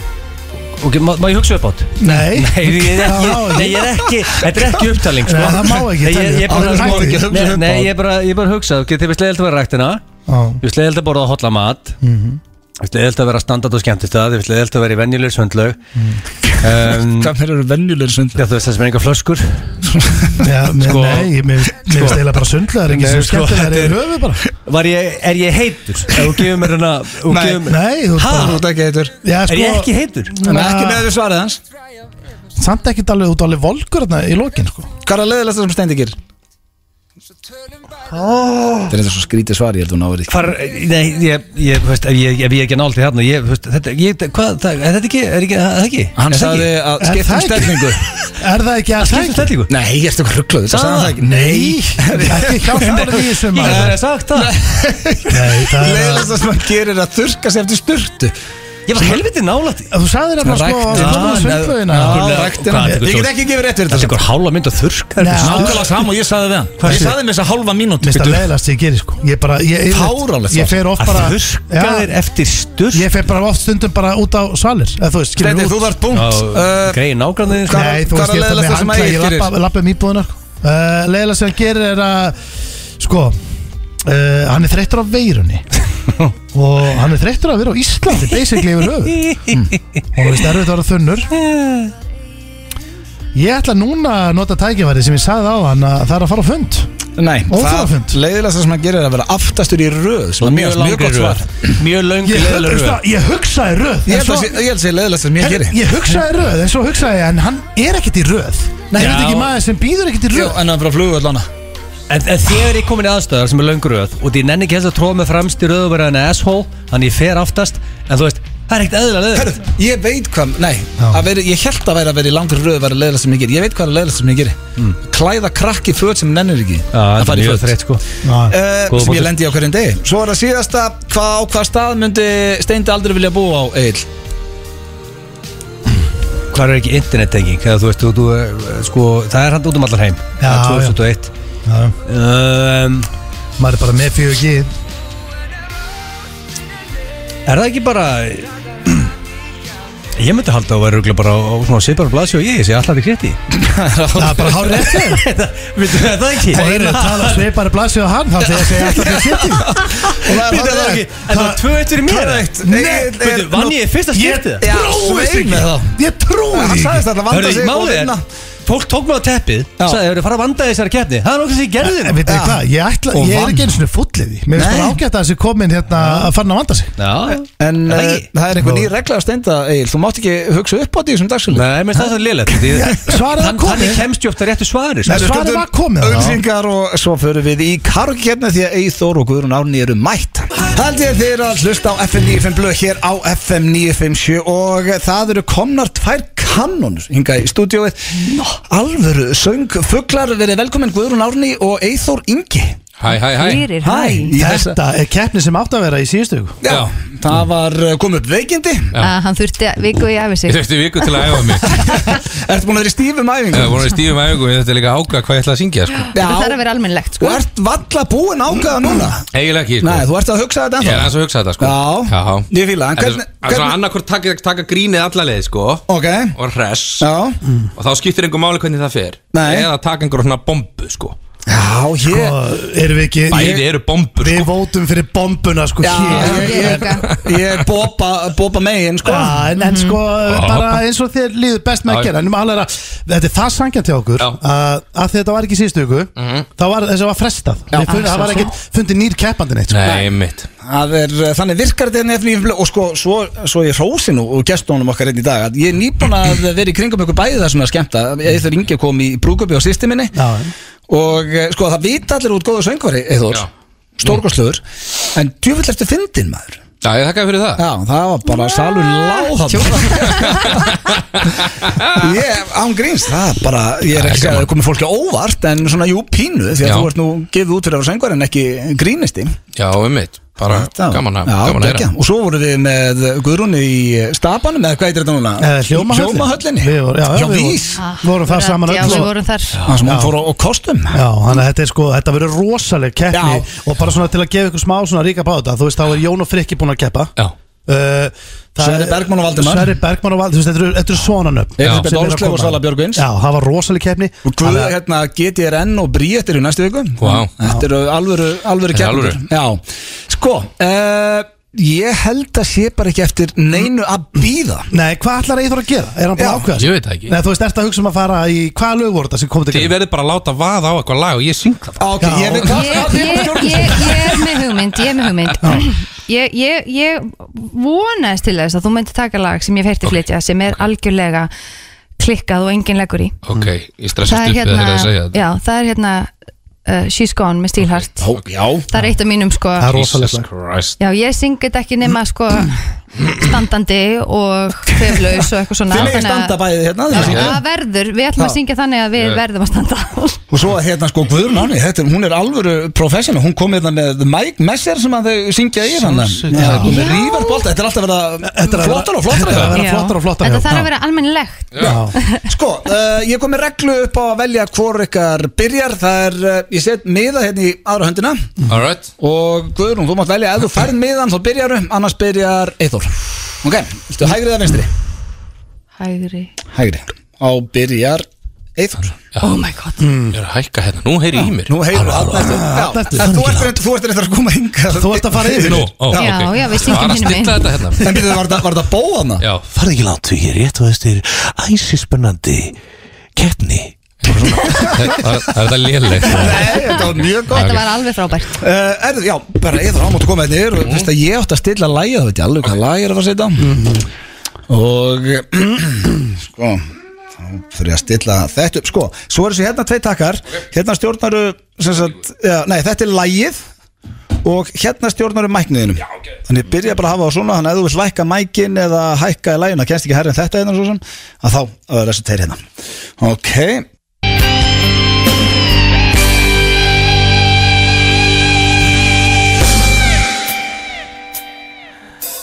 [SPEAKER 3] ok, má, má ég hugsa upp átt?
[SPEAKER 2] Nei,
[SPEAKER 3] Nei, ég er ekki,
[SPEAKER 2] Já,
[SPEAKER 3] nei, ég er ekki Þetta er ekki upptaling sko.
[SPEAKER 2] Nei, það má ekki
[SPEAKER 3] Nei, ég,
[SPEAKER 2] telja
[SPEAKER 3] ég,
[SPEAKER 2] upp.
[SPEAKER 3] bara,
[SPEAKER 2] Það er
[SPEAKER 3] sko,
[SPEAKER 2] ekki
[SPEAKER 1] hugsa
[SPEAKER 3] nei,
[SPEAKER 1] upp
[SPEAKER 3] nei,
[SPEAKER 1] á.
[SPEAKER 3] ég er bara, ég er bara að hugsa okay, Þið finnst leiðilt að vera ræktina
[SPEAKER 2] um Já. Mhm.
[SPEAKER 3] Þið finnst leiðilt að borða hotla mat Þið finnst leiðilt að vera standart og skemmtist Þið finnst leiðilt að vera í venjulegur svöndlaug um,
[SPEAKER 1] Hvað fyrir eru venjulegur sund?
[SPEAKER 3] Já, þú veist það sem er enga flöskur
[SPEAKER 2] Já, mér,
[SPEAKER 3] Sko-
[SPEAKER 2] nei, ég- mér mér finnst eiginlega bara sundlegar ekki
[SPEAKER 3] Nei,
[SPEAKER 2] sem
[SPEAKER 3] sko,
[SPEAKER 2] skemmtilegar
[SPEAKER 3] þetta
[SPEAKER 2] í
[SPEAKER 3] er-
[SPEAKER 2] höfu bara
[SPEAKER 3] Var ég, er ég heitur? Ef þú gefur mér hana þú
[SPEAKER 1] Nei,
[SPEAKER 3] gefur mér-
[SPEAKER 2] Nei, þú
[SPEAKER 3] Ha?
[SPEAKER 1] Þú ert ekki heitur
[SPEAKER 2] Já,
[SPEAKER 3] Er
[SPEAKER 2] sko,
[SPEAKER 3] ég ekki heitur?
[SPEAKER 1] En ekki
[SPEAKER 2] Ah.
[SPEAKER 1] með því svarið hans
[SPEAKER 2] samt ekki alveg út alveg volkur þarna í lokin sko.
[SPEAKER 1] Hvað er að leiðilegsta sem Steindi gerir? Þetta er þetta svo skrítið svar ég held hún áverið
[SPEAKER 3] Hvar, nei, ég, ég, þú veist, ef ég, ef ég er ekki nált í hérna ég, þú veist, þetta, ég, hvað, það, er þetta ekki, er ekki, er það ekki?
[SPEAKER 1] Hann
[SPEAKER 3] Er það
[SPEAKER 1] sagði
[SPEAKER 3] ekki?
[SPEAKER 1] að
[SPEAKER 2] Er
[SPEAKER 1] skipta um
[SPEAKER 2] það ekki?
[SPEAKER 1] stefningu
[SPEAKER 2] Er það ekki að
[SPEAKER 3] Skiptum um stellingu Ah,
[SPEAKER 1] Nei, ég ertu eitthvað rugglaður
[SPEAKER 3] Sagði hann það
[SPEAKER 1] ekki
[SPEAKER 2] Nei, ekki hjálpaður í þessu
[SPEAKER 3] Ég
[SPEAKER 2] maður
[SPEAKER 3] hef sagt það
[SPEAKER 2] Nei, það er að
[SPEAKER 1] Leiðilegsta sem hann gerir er að þurrka sig eftir sturtu
[SPEAKER 3] Ég var helviti nálætt
[SPEAKER 2] Þú sagðir þetta sko
[SPEAKER 1] Ræktin.
[SPEAKER 3] Ah,
[SPEAKER 2] Þú sagðir sundlaugina
[SPEAKER 3] Já,
[SPEAKER 1] Ræktina
[SPEAKER 3] hvað,
[SPEAKER 1] Ég get ekki gefið rétt fyrir
[SPEAKER 3] Þetta sko. er
[SPEAKER 1] þetta
[SPEAKER 3] einhver hálfa mynd að þurrka
[SPEAKER 2] Nei,
[SPEAKER 4] Nákvæmlega saman og ég saði við hann
[SPEAKER 2] Hvað
[SPEAKER 4] Ég
[SPEAKER 2] sé-
[SPEAKER 4] saði með þess að hálfa mínúti
[SPEAKER 2] Mista leiðast ég gerir sko Ég bara ég- ég-
[SPEAKER 1] Fáránlegt
[SPEAKER 2] Ég
[SPEAKER 1] svar.
[SPEAKER 2] fer oft
[SPEAKER 3] Að
[SPEAKER 2] bara
[SPEAKER 3] þurrka þér eftir sturt
[SPEAKER 2] Ég fer bara oft stundum bara út á salir Eða þú veist, skilur
[SPEAKER 1] Steindi,
[SPEAKER 2] út.
[SPEAKER 1] þú þarf punkt Uh,
[SPEAKER 3] Greið nágrann þinn
[SPEAKER 1] Hvað-
[SPEAKER 2] Nei, þú veist,
[SPEAKER 1] hvað er
[SPEAKER 2] ég ætla
[SPEAKER 1] leiðilegasta
[SPEAKER 2] með
[SPEAKER 1] sem
[SPEAKER 2] hangla,
[SPEAKER 1] að Egill
[SPEAKER 2] ég
[SPEAKER 1] gerir?
[SPEAKER 2] lappa, lappa um íbúðunar uh, Leila sem hann gerir er að Sko uh, Hann er þreyttur á veirunni Og hann er þreyttur að vera á Íslandi Basically yfir höfu Og hann veist erfitt að vera þunnur Ég ætla núna að nota tækifæri sem ég sagði á hann að það er að fara á fund
[SPEAKER 1] Nei,
[SPEAKER 2] Óþarfafund.
[SPEAKER 1] leiðilegsta sem hann gerir er að vera aftastur í röð sem er mjög, mjög gott svar
[SPEAKER 3] Mjög löngri
[SPEAKER 2] Ég,
[SPEAKER 3] leiðileg
[SPEAKER 2] ég,
[SPEAKER 3] röð
[SPEAKER 2] ég hugsaði röð
[SPEAKER 1] Ég
[SPEAKER 2] en
[SPEAKER 1] held
[SPEAKER 2] svo-
[SPEAKER 1] að sé- ég held að segja leiðilegsta sem ég
[SPEAKER 2] Herri,
[SPEAKER 1] gerir
[SPEAKER 2] Ég hugsaði röð, en svo hugsaði ég, en hann er ekkert í röð Er þetta ekki maður sem býður ekkert í
[SPEAKER 1] Jú,
[SPEAKER 2] röð?
[SPEAKER 1] en hann fyrir að flugu allan
[SPEAKER 3] En, en þegar ég komin í aðstöðar sem er löngri röð og því nenni ekki þess að tróða með framst í röð og vera en asshole, þannig ég fer aftast en þú veist, það er ekkert eðlilega leður
[SPEAKER 1] Herru, ég veit hvað, nei, að veri, ég held að vera að vera í langri röð að vera leiðilegst sem ég ger, ég veit hvað er leiðilegst sem ég ger klæða krakki föt sem nennir ekki að fara í föt
[SPEAKER 3] þreitt sko
[SPEAKER 2] Já,
[SPEAKER 1] uh,
[SPEAKER 3] Góða
[SPEAKER 1] sem ég
[SPEAKER 3] punktur.
[SPEAKER 1] lendi í á hverjum degi svo er það síðasta, hvað á hvað stað myndi Steindi aldrei vilja búa á Egil
[SPEAKER 3] Hvað er ekki internettenging? Eða, Þú veist, þú, þú, eh, sko, það er hann út um allar heim
[SPEAKER 2] Já,
[SPEAKER 3] Það er 2001
[SPEAKER 2] já,
[SPEAKER 3] um,
[SPEAKER 2] maður er bara með fyrir ekki
[SPEAKER 3] Er það ekki bara Ég myndi halda að vera bara á svona sipar og blaðsjó ég, ég allar ekki rétti
[SPEAKER 2] Það er bara hár rétt þegar
[SPEAKER 3] Vittu það ekki?
[SPEAKER 2] Það eru að tala sveipari blaðsjóð hann Það þegar segja alltaf til City
[SPEAKER 1] Og það
[SPEAKER 3] Vittu það ekki? En það var tvö eitt fyrir mér Nei, veitu, vann ég í fyrsta skiptið það?
[SPEAKER 1] Já,
[SPEAKER 2] Trúi
[SPEAKER 1] svei
[SPEAKER 2] ekki
[SPEAKER 1] með það
[SPEAKER 2] Ég trúi
[SPEAKER 1] Hann
[SPEAKER 2] því ekki
[SPEAKER 1] sagðist alltaf að vanda
[SPEAKER 3] Hörðu,
[SPEAKER 1] sig og
[SPEAKER 3] málið er
[SPEAKER 1] vinna
[SPEAKER 3] Fólk tók mig á teppið
[SPEAKER 1] Já.
[SPEAKER 3] Sæði, þau eru að fara að vanda í þessari keppni Það er nokkuð sem ég gerði
[SPEAKER 2] En
[SPEAKER 3] nú.
[SPEAKER 2] veit þið
[SPEAKER 1] Já.
[SPEAKER 2] hvað, ég, ætla,
[SPEAKER 1] Og
[SPEAKER 2] ég er
[SPEAKER 1] vann.
[SPEAKER 2] ekki eins og fulliði Mér finnst
[SPEAKER 1] Nei.
[SPEAKER 2] bara ágætt að þessi komin hérna að fara að vanda sig
[SPEAKER 3] Já,
[SPEAKER 1] En
[SPEAKER 3] Er það
[SPEAKER 1] eh,
[SPEAKER 3] ekki?
[SPEAKER 1] það er einhver ný regla að stenda, Egil Þú mátt ekki hugsa upp á því sem dagsfjölu
[SPEAKER 3] Nei, mér staði það lélegt því-
[SPEAKER 2] svarið var
[SPEAKER 3] Þann-
[SPEAKER 2] komið.
[SPEAKER 3] Þannig kemst ég ofta réttu svari
[SPEAKER 2] Nei, svarið var komið þarna.
[SPEAKER 1] Auðsingar og svo förum við í karokkerna því að Eithor og Guðrún Árni eru mætt Haldið er þeir að hlusta á FM 95 blöð hér á FM 957 og það eru komnar tvær kannonur hingað í stúdíóið Alvöru söngfuglar verið velkomin Guðrún Árni og Eithor Ingi
[SPEAKER 5] Hæ, Eh, hæ, hæ
[SPEAKER 6] Fyrir,
[SPEAKER 1] Hæ.
[SPEAKER 6] hæ
[SPEAKER 1] Í þessa-
[SPEAKER 2] Þetta er keppni sem átt að vera í síðustu viku.
[SPEAKER 1] Já, það var uh, komið upp veikindi
[SPEAKER 5] Já.
[SPEAKER 6] að Hann þurfti að viku í æfi
[SPEAKER 5] Ég
[SPEAKER 6] sig
[SPEAKER 5] þurfti viku til að æfa mig
[SPEAKER 1] Ertu búin að vera í stífum
[SPEAKER 5] Það
[SPEAKER 1] æfingum?
[SPEAKER 5] voru í stífum æfingu Ég þurfti líka að ákveða hvað ég ætla að syngja sko.
[SPEAKER 6] Þetta þarf að vera almennilegt
[SPEAKER 1] Og
[SPEAKER 6] sko
[SPEAKER 1] ert valla búin ákvæða núna
[SPEAKER 5] Eiginlega ekki sko.
[SPEAKER 1] Nei, þú ert að hugsa þetta
[SPEAKER 5] Ég er
[SPEAKER 1] ennþá
[SPEAKER 5] aðeins að hugsa þetta sko.
[SPEAKER 1] Já, ég fíla, en
[SPEAKER 5] En
[SPEAKER 1] hvernig-
[SPEAKER 5] Það er svona
[SPEAKER 1] hvernig-
[SPEAKER 5] annarkvort taka, taka grínið alla leið sko,
[SPEAKER 1] Ok,
[SPEAKER 5] Og hress
[SPEAKER 1] já
[SPEAKER 5] Og þá skiptir einhver máli hvernig það fer
[SPEAKER 1] Nei.
[SPEAKER 5] Eða taka einhver svona bombu sko.
[SPEAKER 1] Já, ég
[SPEAKER 2] Og Sko, erum við ekki
[SPEAKER 5] Bæði eru bombur
[SPEAKER 2] Við
[SPEAKER 5] sko.
[SPEAKER 2] vótum fyrir bombuna sko
[SPEAKER 1] Já,
[SPEAKER 2] hér.
[SPEAKER 1] ég, ég, ég er boba, boba megin sko.
[SPEAKER 2] Já, en, en sko, bara eins og þér líður best með að
[SPEAKER 5] Já.
[SPEAKER 2] gera En um alveg að þetta er það sangja til okkur
[SPEAKER 5] Já. Mhm.
[SPEAKER 2] að, að þetta var ekki í síðustu viku þá var þessi var frestað Við fundum- Það var ekkert fundið nýr keppandi neitt sko.
[SPEAKER 5] Nei, mitt
[SPEAKER 1] Það er, uh, Þannig virkar þetta nefnir í og sko, svo, svo ég hrósi nú og gestónum okkar einn í dag að ég er nýbúin að vera í kringum ykkur bæði það sem er skemmta Eithor Ingi kom í brúkupi á sýsti minni
[SPEAKER 2] Já.
[SPEAKER 1] og eh, sko það vita allir út góðu söngvari Eithor,
[SPEAKER 5] Já.
[SPEAKER 1] stórkosluður en djúvill eftir fyndin maður
[SPEAKER 5] Já, ég þakka þér fyrir það
[SPEAKER 1] Já, það var bara salur láðan Ég, án gríns, það er bara Ég er
[SPEAKER 5] Það er
[SPEAKER 1] ekki að
[SPEAKER 5] gaman.
[SPEAKER 1] það komið fólki á óvart En svona, jú, pínu Því að
[SPEAKER 5] Já.
[SPEAKER 1] þú ert nú gefið út fyrir að vera söngur En ekki grínisti
[SPEAKER 5] Já, mitt Bara
[SPEAKER 1] Þetta-
[SPEAKER 5] gaman að
[SPEAKER 1] Já,
[SPEAKER 5] gaman að
[SPEAKER 1] geggjað.
[SPEAKER 5] heyra.
[SPEAKER 1] Og svo vorum við með Guðrúni í eh, stapanum Eða hvað heitir þetta núna?
[SPEAKER 2] Eh, Hljómahöllin.
[SPEAKER 1] Hljómahöllinni
[SPEAKER 2] Við vorum- já, já,
[SPEAKER 1] Já,
[SPEAKER 2] við
[SPEAKER 1] vís
[SPEAKER 6] Ah,
[SPEAKER 2] Vorum þar
[SPEAKER 6] rétt,
[SPEAKER 2] saman
[SPEAKER 6] Já,
[SPEAKER 2] öll
[SPEAKER 6] við
[SPEAKER 2] og-
[SPEAKER 6] vorum þar
[SPEAKER 1] Það sem hún fór á á kostum
[SPEAKER 2] Já, þannig að þetta er sko, þetta verður rosaleg keppni
[SPEAKER 1] Já.
[SPEAKER 2] og bara svona til að gefa ykkur smá svona ríka bá þetta þú veist, þá er Jón og Frikki búin að keppa
[SPEAKER 5] Já,
[SPEAKER 2] Uh, það
[SPEAKER 1] Sverrir
[SPEAKER 2] er-
[SPEAKER 1] Bergmann og Valdimar.
[SPEAKER 2] Sverrir Bergmann og Valdimar, þú veist, þetta eru- þetta eru svona nöfn
[SPEAKER 1] Elísabet
[SPEAKER 2] sem eru að
[SPEAKER 1] Áslaug og
[SPEAKER 2] koma.
[SPEAKER 1] Svala Björgvins.
[SPEAKER 2] Já, það var rosaleg keppni
[SPEAKER 1] Og Guð, hérna, GTRN og Bríett eru í næstu viku
[SPEAKER 5] Vá.
[SPEAKER 1] Þetta eru alvöru, alvöru
[SPEAKER 5] Þetta er
[SPEAKER 1] keppnir Já, sko uh, Ég held að sé bara ekki eftir neinu að býða
[SPEAKER 2] Nei, hvað ætlar Eithor að gera? Er hann bara
[SPEAKER 1] Já.
[SPEAKER 2] ákveðast?
[SPEAKER 5] Ég veit það ekki.
[SPEAKER 2] Nei, þú veist, ert að hugsa um að fara í hvaða lög voru þetta sem kom til
[SPEAKER 5] Þið
[SPEAKER 2] greina?
[SPEAKER 5] verðið bara að láta vaða á eitthvað lag og ég syng það
[SPEAKER 1] Ok,
[SPEAKER 2] Já.
[SPEAKER 1] ég veit
[SPEAKER 6] Ég, ég, ég, ég er með hugmynd, ég er með hugmynd ég, ég, ég vonaðist til þess að þú myndir taka lag sem ég fætti flytja sem er algjörlega klikkað og enginn leggur í
[SPEAKER 5] Ok, ég stressast
[SPEAKER 6] það
[SPEAKER 5] upp við
[SPEAKER 6] er
[SPEAKER 5] þegar að
[SPEAKER 6] hérna,
[SPEAKER 5] segja þetta
[SPEAKER 6] já, það er hérna uh, She's Gone með Steelheart
[SPEAKER 1] Ó, Já,
[SPEAKER 6] það er eitt af mínum sko
[SPEAKER 2] Það er
[SPEAKER 5] Jesus
[SPEAKER 2] rosalega
[SPEAKER 5] Christ
[SPEAKER 6] já, ég syngi þetta ekki nema sko standandi og feflaus og eitthvað svona
[SPEAKER 1] þið megið
[SPEAKER 6] þannig að-
[SPEAKER 1] standa bæði hérna þið megið
[SPEAKER 6] Já,
[SPEAKER 1] syngja.
[SPEAKER 6] það verður, við ætlum að
[SPEAKER 1] Já.
[SPEAKER 6] syngja þannig að við
[SPEAKER 5] Já.
[SPEAKER 6] verðum að standa
[SPEAKER 1] Og svo hérna sko Guðrún Áni, þetta, er- hún er alvöru professional Hún kom hérna með Mike Messer sem að þau syngja í hérna
[SPEAKER 2] Já.
[SPEAKER 1] Hún er rífarbólta, þetta er alltaf að
[SPEAKER 2] Þetta er
[SPEAKER 1] vera
[SPEAKER 2] að vera-
[SPEAKER 1] flottar og flottar
[SPEAKER 2] Þetta er að vera
[SPEAKER 6] Já.
[SPEAKER 2] flottar og flottar,
[SPEAKER 6] Þetta
[SPEAKER 2] já.
[SPEAKER 6] þarf
[SPEAKER 2] Já.
[SPEAKER 6] að vera almennilegt
[SPEAKER 2] Já,
[SPEAKER 1] Sko, uh, ég kom með reglu upp á að velja hvort ykkar byrjar Það er, uh, ég set miða hérna í aðra höndina
[SPEAKER 5] Alright
[SPEAKER 1] Og Guðrún, þú mátt velja ef þú færð miðan þá byrjaru, annars byrjar Eithor Ok, viltu hægri eða vinstri?
[SPEAKER 6] Hægri
[SPEAKER 1] Hægri Á byrjar Eithor
[SPEAKER 6] Oh my god
[SPEAKER 5] Ég er að hækka hérna, nú heyri ég í mér
[SPEAKER 1] Mm. Nú heyrðu
[SPEAKER 5] Halló, halló.
[SPEAKER 1] allan
[SPEAKER 2] Arnaldur.
[SPEAKER 1] eftir En þú ert reyndar- þú ert reyndar að koma hingað
[SPEAKER 2] Þú ert að fara yfir
[SPEAKER 5] Nú, ó,
[SPEAKER 6] Já,
[SPEAKER 5] ok.
[SPEAKER 6] já, við syngjum
[SPEAKER 5] Bara
[SPEAKER 6] hinum megin.
[SPEAKER 5] stilla þetta hérna
[SPEAKER 1] En byrjuðu, var þetta- var þetta bóðana?
[SPEAKER 5] Já,
[SPEAKER 7] farið ekki langt því ég rétt og þessi er æsispennandi keppni
[SPEAKER 5] það er- það er það er lélegt
[SPEAKER 1] Nei, þetta var mjög gott
[SPEAKER 6] Þetta var alveg frábært
[SPEAKER 1] Uh, erðu, já, bara Eithor, hann máttu koma hérna yfir og þú veist að ég átti að stilla lægið, þú veit ég alveg hvað lægið er að fara að setja og sko þá þurfið að stilla þetta upp sko, svo eru þessi hérna tvei takkar hérna stjórnaru sem sagt, já, nei, þetta er lægið og hérna stjórnaru mækniðinum okay. þannig byrja bara að hafa það svona, þannig að ef þú vill lækka mækin eða hækka í lægin, það kennst ekki herri en þetta hérna svo sem, að þá að vera þessi teir hérna ok,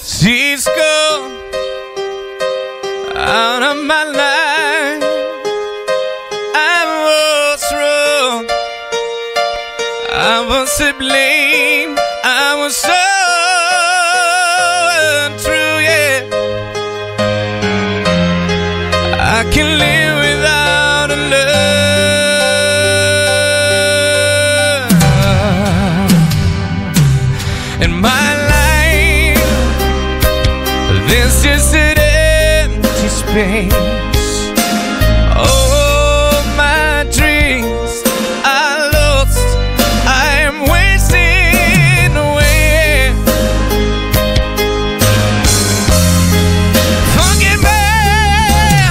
[SPEAKER 8] She's gone out of my life. I was wrong. I was to blame. I was so untrue, yeah. just an empty space. Oh, my dreams are lost. I am wasting away. Forgive me.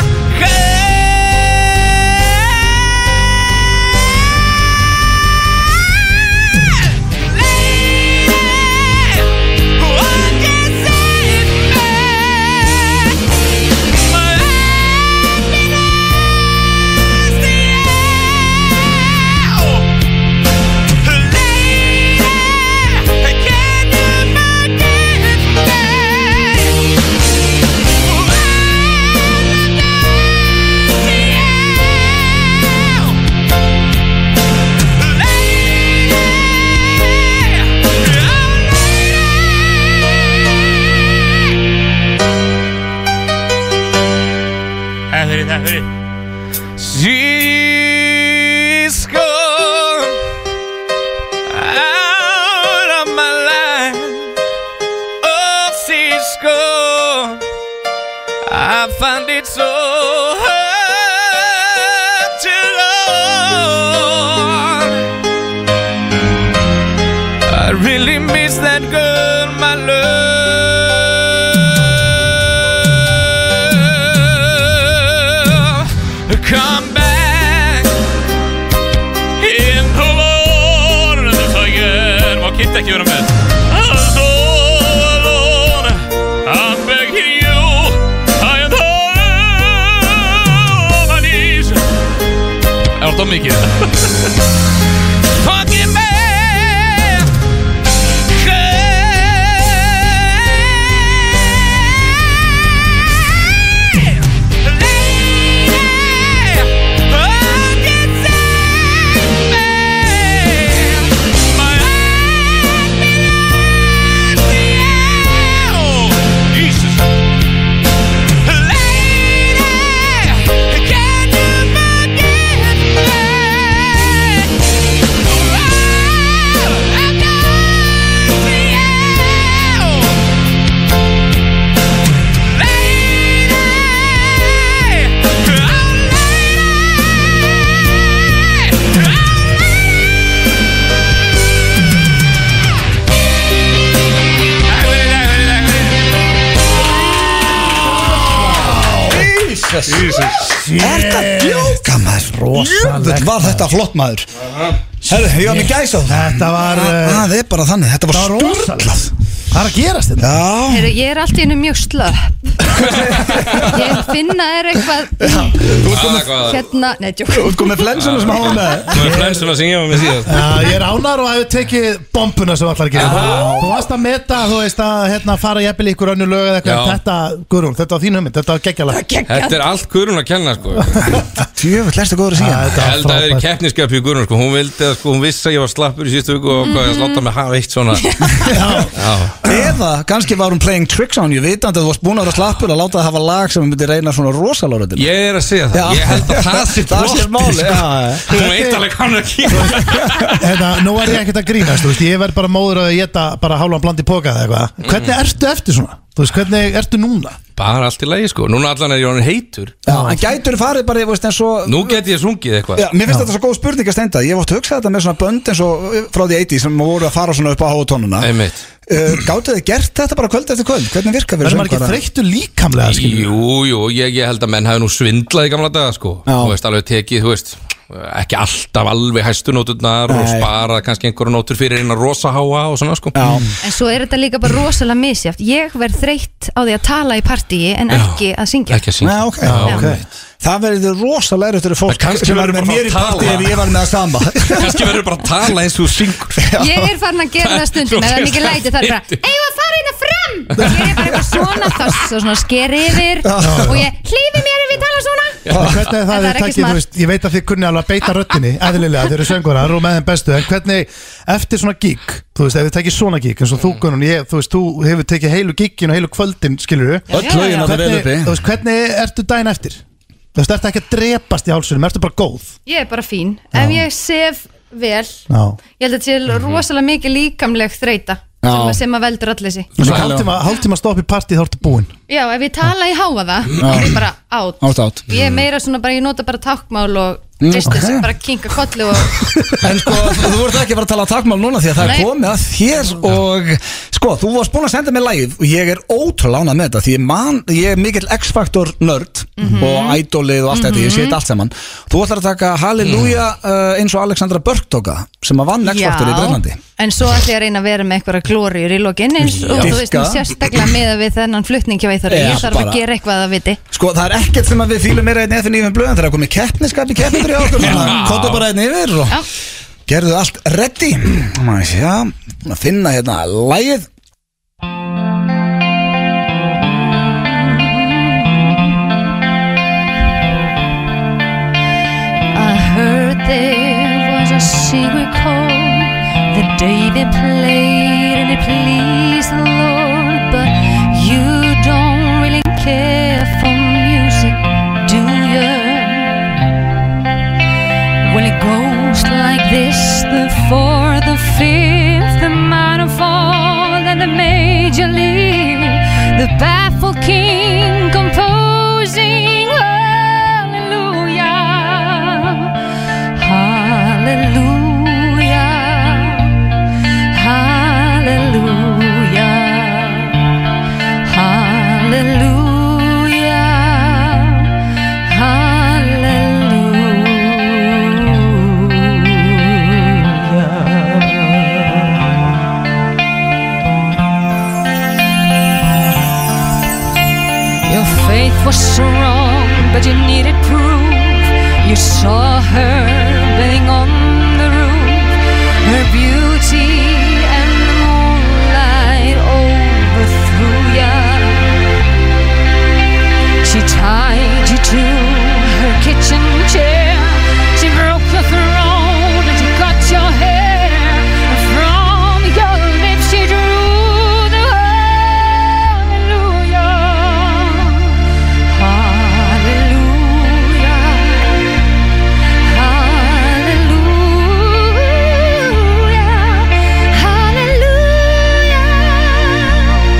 [SPEAKER 8] Það fyrir, það fyrir She's gone Out of my life Oh, she's gone I find it so hard to love I really miss that girl, my love. Come back in the Lord, forget. Má kitta ekki vera með. I'm so alone. I'm begging you. I am on my knees. Er það mikið? Fucking man
[SPEAKER 1] Er þetta djóka maður? Jöfull var þetta flott maður Herðu, ég var mér gæsa það
[SPEAKER 2] Þetta var uh,
[SPEAKER 1] Það er bara þannig, þetta var
[SPEAKER 2] Það var
[SPEAKER 1] sturglað
[SPEAKER 2] Það er að gerast þetta
[SPEAKER 1] Já,
[SPEAKER 6] Heru, ég er allt í hennu mjög slöpp Ég finna er eitthvað
[SPEAKER 5] Ah, Hvað
[SPEAKER 6] Hérna, nei, djók
[SPEAKER 1] útkom með flensuna sem hafa með
[SPEAKER 5] er flensuna sem ég var með síðast?
[SPEAKER 2] Já, ég er ánar og hefur tekið bombuna sem allar að gera Þú- Þú varst að meta, þú veist að hérna, fara jæfnvel í ykkur önnu lög eða eitthvað
[SPEAKER 5] Já.
[SPEAKER 2] en Þetta, Guðrún, þetta var þín hugmynd, þetta var geggjala
[SPEAKER 5] Þetta er allt Guðrún að kenna sko
[SPEAKER 1] Jöfull, lestu góður að síðan
[SPEAKER 5] Ég held að það er keppniskap í Guðrún sko Hún vildi að sko, hún vissi að ég var slappur í síðustu viku og hvað ég slátt að mig hafa eitt svona Já
[SPEAKER 1] Eða, kannski var hún playing tricks on you Vitandi að þú varst búin að vera slappur að láta það hafa lag sem myndi reyna svona rosalóruðin
[SPEAKER 5] Ég er að segja það, ég held að það sé
[SPEAKER 1] Það sé
[SPEAKER 5] plottið,
[SPEAKER 1] máli,
[SPEAKER 5] sko.
[SPEAKER 1] já, já.
[SPEAKER 5] Hún veit alveg hvað hann er að gera
[SPEAKER 2] Þetta, Hérna, nú er ég ekkert að grínast, þú veist, ég verð bara móður að geta bara hálfan bland í póka eða eitthvað Hvernig
[SPEAKER 5] Mm.
[SPEAKER 2] ertu eftir svona? Þú veist, hvernig ertu núna?
[SPEAKER 5] Bara allt í lagi sko, núna allan er ég orðin heitur
[SPEAKER 1] Já, en gætur farið bara, ég veist, eins og
[SPEAKER 5] Nú get ég sungið eitthvað
[SPEAKER 1] Já, mér finnst þetta svo góð spurning að stenda Ég vart að hugsa þetta með svona bönd eins og uh, frá því 80 sem voru að fara svona upp á hátónuna uh,
[SPEAKER 5] Einmitt
[SPEAKER 1] Gáttu þið gert þetta bara kvöld eftir kvöld? Hvernig virka fyrir
[SPEAKER 2] Verður maður ekki
[SPEAKER 1] söngvara?
[SPEAKER 2] þreyttu líkamlega, skilur?
[SPEAKER 5] Jú, jú, ég, ég held að menn hafi nú svindlað í gamla daga sko
[SPEAKER 1] Já.
[SPEAKER 5] Þú veist, alveg tekið, þú veist ekki alltaf alveg hæstu nóturnar og
[SPEAKER 1] Nei.
[SPEAKER 5] sparað kannski einhverju nótur fyrir einn að rosa háa og svona sko
[SPEAKER 1] Já,
[SPEAKER 6] En svo er þetta líka bara rosalega misjæft Ég verð þreytt á því að tala í partíi En
[SPEAKER 5] Já.
[SPEAKER 6] ekki að syngja
[SPEAKER 5] Ekki að
[SPEAKER 1] Nei,
[SPEAKER 5] syngja
[SPEAKER 1] ok, ok Það verður rosalega erut fyrir fólk
[SPEAKER 5] kannski
[SPEAKER 1] sem var með
[SPEAKER 5] verður bara
[SPEAKER 1] mér í
[SPEAKER 5] að
[SPEAKER 1] partí
[SPEAKER 5] tala.
[SPEAKER 1] ef ég var með að sama
[SPEAKER 5] Kannski verður bara að tala eins og þú syngur
[SPEAKER 6] Ég er farin að gera það stundum Ef það er mikið læti það er bara Eða að fara hérna fram Ég er bara eitthvað svona þess og svona sker yfir Og ég hlýfi mér ef ég tala svona
[SPEAKER 2] En Hvernig er
[SPEAKER 6] En
[SPEAKER 2] það,
[SPEAKER 6] það
[SPEAKER 2] það
[SPEAKER 6] er ekki
[SPEAKER 2] takið,
[SPEAKER 6] smart.
[SPEAKER 2] þú veist, ég veit að þið kunni alveg að beita röttinni eðlilega, þið eru söngvarar og með þeim bestu en hvernig, eftir svona gig þú veist, ef þið tekið svona gig, eins og þú Gunnum ég, þú veist, þú hefur tekið heilu gigin og heilu kvöldin skilur
[SPEAKER 6] Já, já, já.
[SPEAKER 2] hvernig, þú veist, hvernig ertu dæn eftir þú veist, ertu ekki að drepast í hálsunum, ertu bara góð
[SPEAKER 6] Ég er bara fín Ef ég sef vel
[SPEAKER 2] Já. Mhm.
[SPEAKER 6] Ég held að þetta sé rosalega mikið líkamleg þreita sem, að-
[SPEAKER 1] Já,
[SPEAKER 6] sem að veldur allir þessi
[SPEAKER 2] Svo hálftíma, hálftíma stopp í partí þá ertu búinn
[SPEAKER 6] Já, ef ég tala í háa það þá er ég bara átt
[SPEAKER 1] átt átt
[SPEAKER 6] Ég er meira svona bara, ég nota bara tákmál og
[SPEAKER 1] Mm,
[SPEAKER 6] distance,
[SPEAKER 1] ok.
[SPEAKER 6] bara kinka kollu og
[SPEAKER 1] En sko, þú voru ekki að fara að tala að takmál núna því að það
[SPEAKER 6] Nei.
[SPEAKER 1] er komið að þér og sko, þú varst búin að senda mér lægið og ég er ótrúlega ánað með þetta því ég, man, ég er mikill X-Factor nörd og idolið og allt þetta, ég sé þetta allt saman Þú ætlar að taka Hallelujah uh, eins og Alexandra Börk tóka sem að vann X-Factor í Brennlandi
[SPEAKER 6] en svo ætlum ég að reyna að vera með einhverja glóriur í lokinn eins og þú veist,
[SPEAKER 1] Dýrka.
[SPEAKER 6] nú sérstaklega með að við þennan flutning hjá Eithar,
[SPEAKER 1] Já,
[SPEAKER 6] ég þarf
[SPEAKER 1] bara.
[SPEAKER 6] að gera eitthvað að viti
[SPEAKER 1] Sko, það er ekkert sem að við fýlum meira einn efinn í yfir blöðum þegar það er komið keppniskap í keppnitri á okkur Kottu bara einn yfir og
[SPEAKER 6] Já.
[SPEAKER 1] gerðu allt ready Má ég sjá, búin að finna hérna lægið
[SPEAKER 6] I heard there was a secret chord the day they played and it pleased the Lord, but you don't really care for music, do you? Well, it goes like this the fourth, the fifth, the minor fall, and the major league, the baffled king composing. Hallelujah. Hallelujah. Hallelujah. Hallelujah, hallelujah. Your faith was strong, but you needed proof. You saw her bathing on the roof, her beauty and the moonlight overthrew you. She tied you to her kitchen chair. She broke your throne and she cut your hair. And from your lips she drew the hallelujah. Hallelujah. Hallelujah. Hallelujah.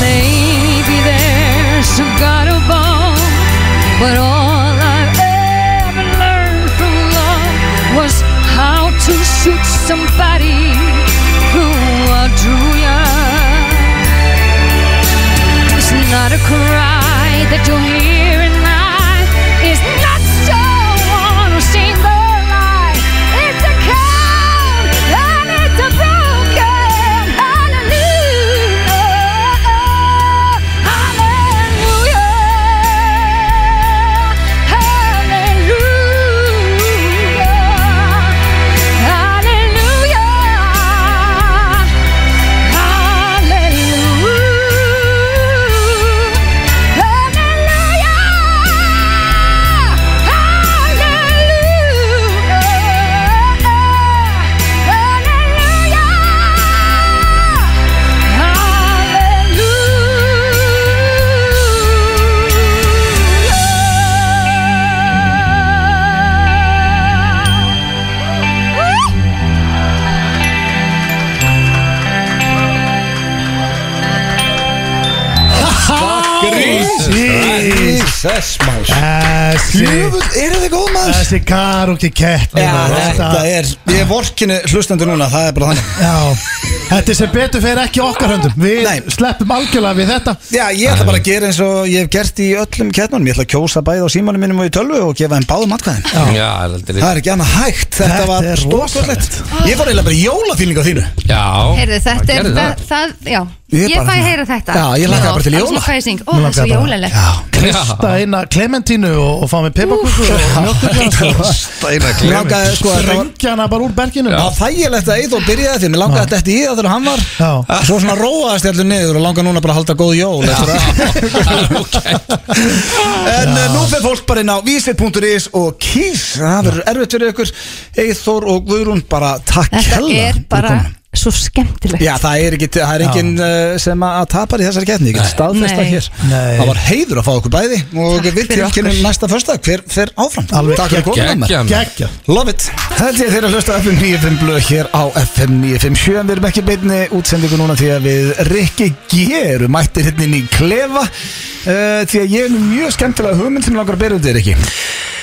[SPEAKER 6] Maybe there's a God above, but all I've ever learned from love was how to shoot somebody who outdrew ya. It's not a cry that you'll hear at night. It's not someone who's seen the light. It's a count and it's a broken hallelujah. Hallelujah. Hallelujah. Hallelujah.
[SPEAKER 1] Jesus, maður
[SPEAKER 2] Þessi
[SPEAKER 1] Jöfull, eru þið góð maður?
[SPEAKER 2] Þessi karaoke keppni
[SPEAKER 1] Já,
[SPEAKER 2] maður,
[SPEAKER 1] þetta er, ég er vorkinu hlustandi núna, það er bara þannig
[SPEAKER 2] Já, þetta er sem betur fyrir ekki okkar höndum Við
[SPEAKER 1] Nei.
[SPEAKER 2] sleppum algjörlega við þetta
[SPEAKER 1] Já, ég ætla bara að gera eins og ég hef gert í öllum kettnunum Ég ætla að kjósa bæði á símanum minnum og í tölvu og gefa þeim báðum atkvæðin
[SPEAKER 5] Já, heldur
[SPEAKER 1] Það er ekki annað hægt, þetta,
[SPEAKER 2] Þetta
[SPEAKER 1] var
[SPEAKER 2] er
[SPEAKER 1] stórkvöldlegt Ég fór eiginlega bara í jólafýlingu á þínu
[SPEAKER 5] Já
[SPEAKER 6] Heyrðu, þetta
[SPEAKER 5] maður
[SPEAKER 6] er
[SPEAKER 5] gerði
[SPEAKER 6] það, það, já, Ég fæ að heyra þetta
[SPEAKER 1] Já, ég hlakka bara til jóla.
[SPEAKER 6] Alls hvað ég syng, ó
[SPEAKER 2] Mér
[SPEAKER 6] það er svo
[SPEAKER 2] langaði bara-
[SPEAKER 6] jólalegt
[SPEAKER 2] Krista eina Clementínu og, og fá mig pepparkúku og mjölkurglas
[SPEAKER 5] Steina
[SPEAKER 1] Langaði, sko, þetta var-
[SPEAKER 2] Rengja hana bara úr berginu
[SPEAKER 1] Það var þægilegt að Eithor byrjaði því Mér langaði þetta eftir í það þegar hann var
[SPEAKER 2] Já.
[SPEAKER 1] Svo svona róaðist ég allir niður og langaði núna bara að halda góð jól eftir það. En Já. nú fyrir fólk bara inn á vísir.is og kýs Það verður erfitt fyrir ykkur Eithor og Guðrún bara takk
[SPEAKER 6] Þetta
[SPEAKER 1] hella
[SPEAKER 6] er
[SPEAKER 1] fyrir
[SPEAKER 6] bara
[SPEAKER 1] komuna.
[SPEAKER 6] svo skemmtilegt
[SPEAKER 1] Já, það er, ekki, það er engin uh, sem að tapar í þessari getni, ég get staðfesta
[SPEAKER 6] Nei.
[SPEAKER 1] hér
[SPEAKER 2] Nei.
[SPEAKER 1] Það var heiður að fá okkur bæði og
[SPEAKER 6] Takk
[SPEAKER 1] við
[SPEAKER 6] fyrir
[SPEAKER 1] tilkynum næsta fyrsta, hver fer áfram
[SPEAKER 2] Alveg
[SPEAKER 1] Takk fyrir komuna Anna.
[SPEAKER 5] Gekkja
[SPEAKER 2] Gekkja
[SPEAKER 1] Love it Held ég þeirra að hlusta á FM 95 blöð hér á FM 957 en Við erum ekki í beinni útsendingu núna því að við Rikki G erum mættir hérna inn í klefa uh, Því að ég er með mjög skemmtilega hugmynd sem mig langar að bera undir Rikki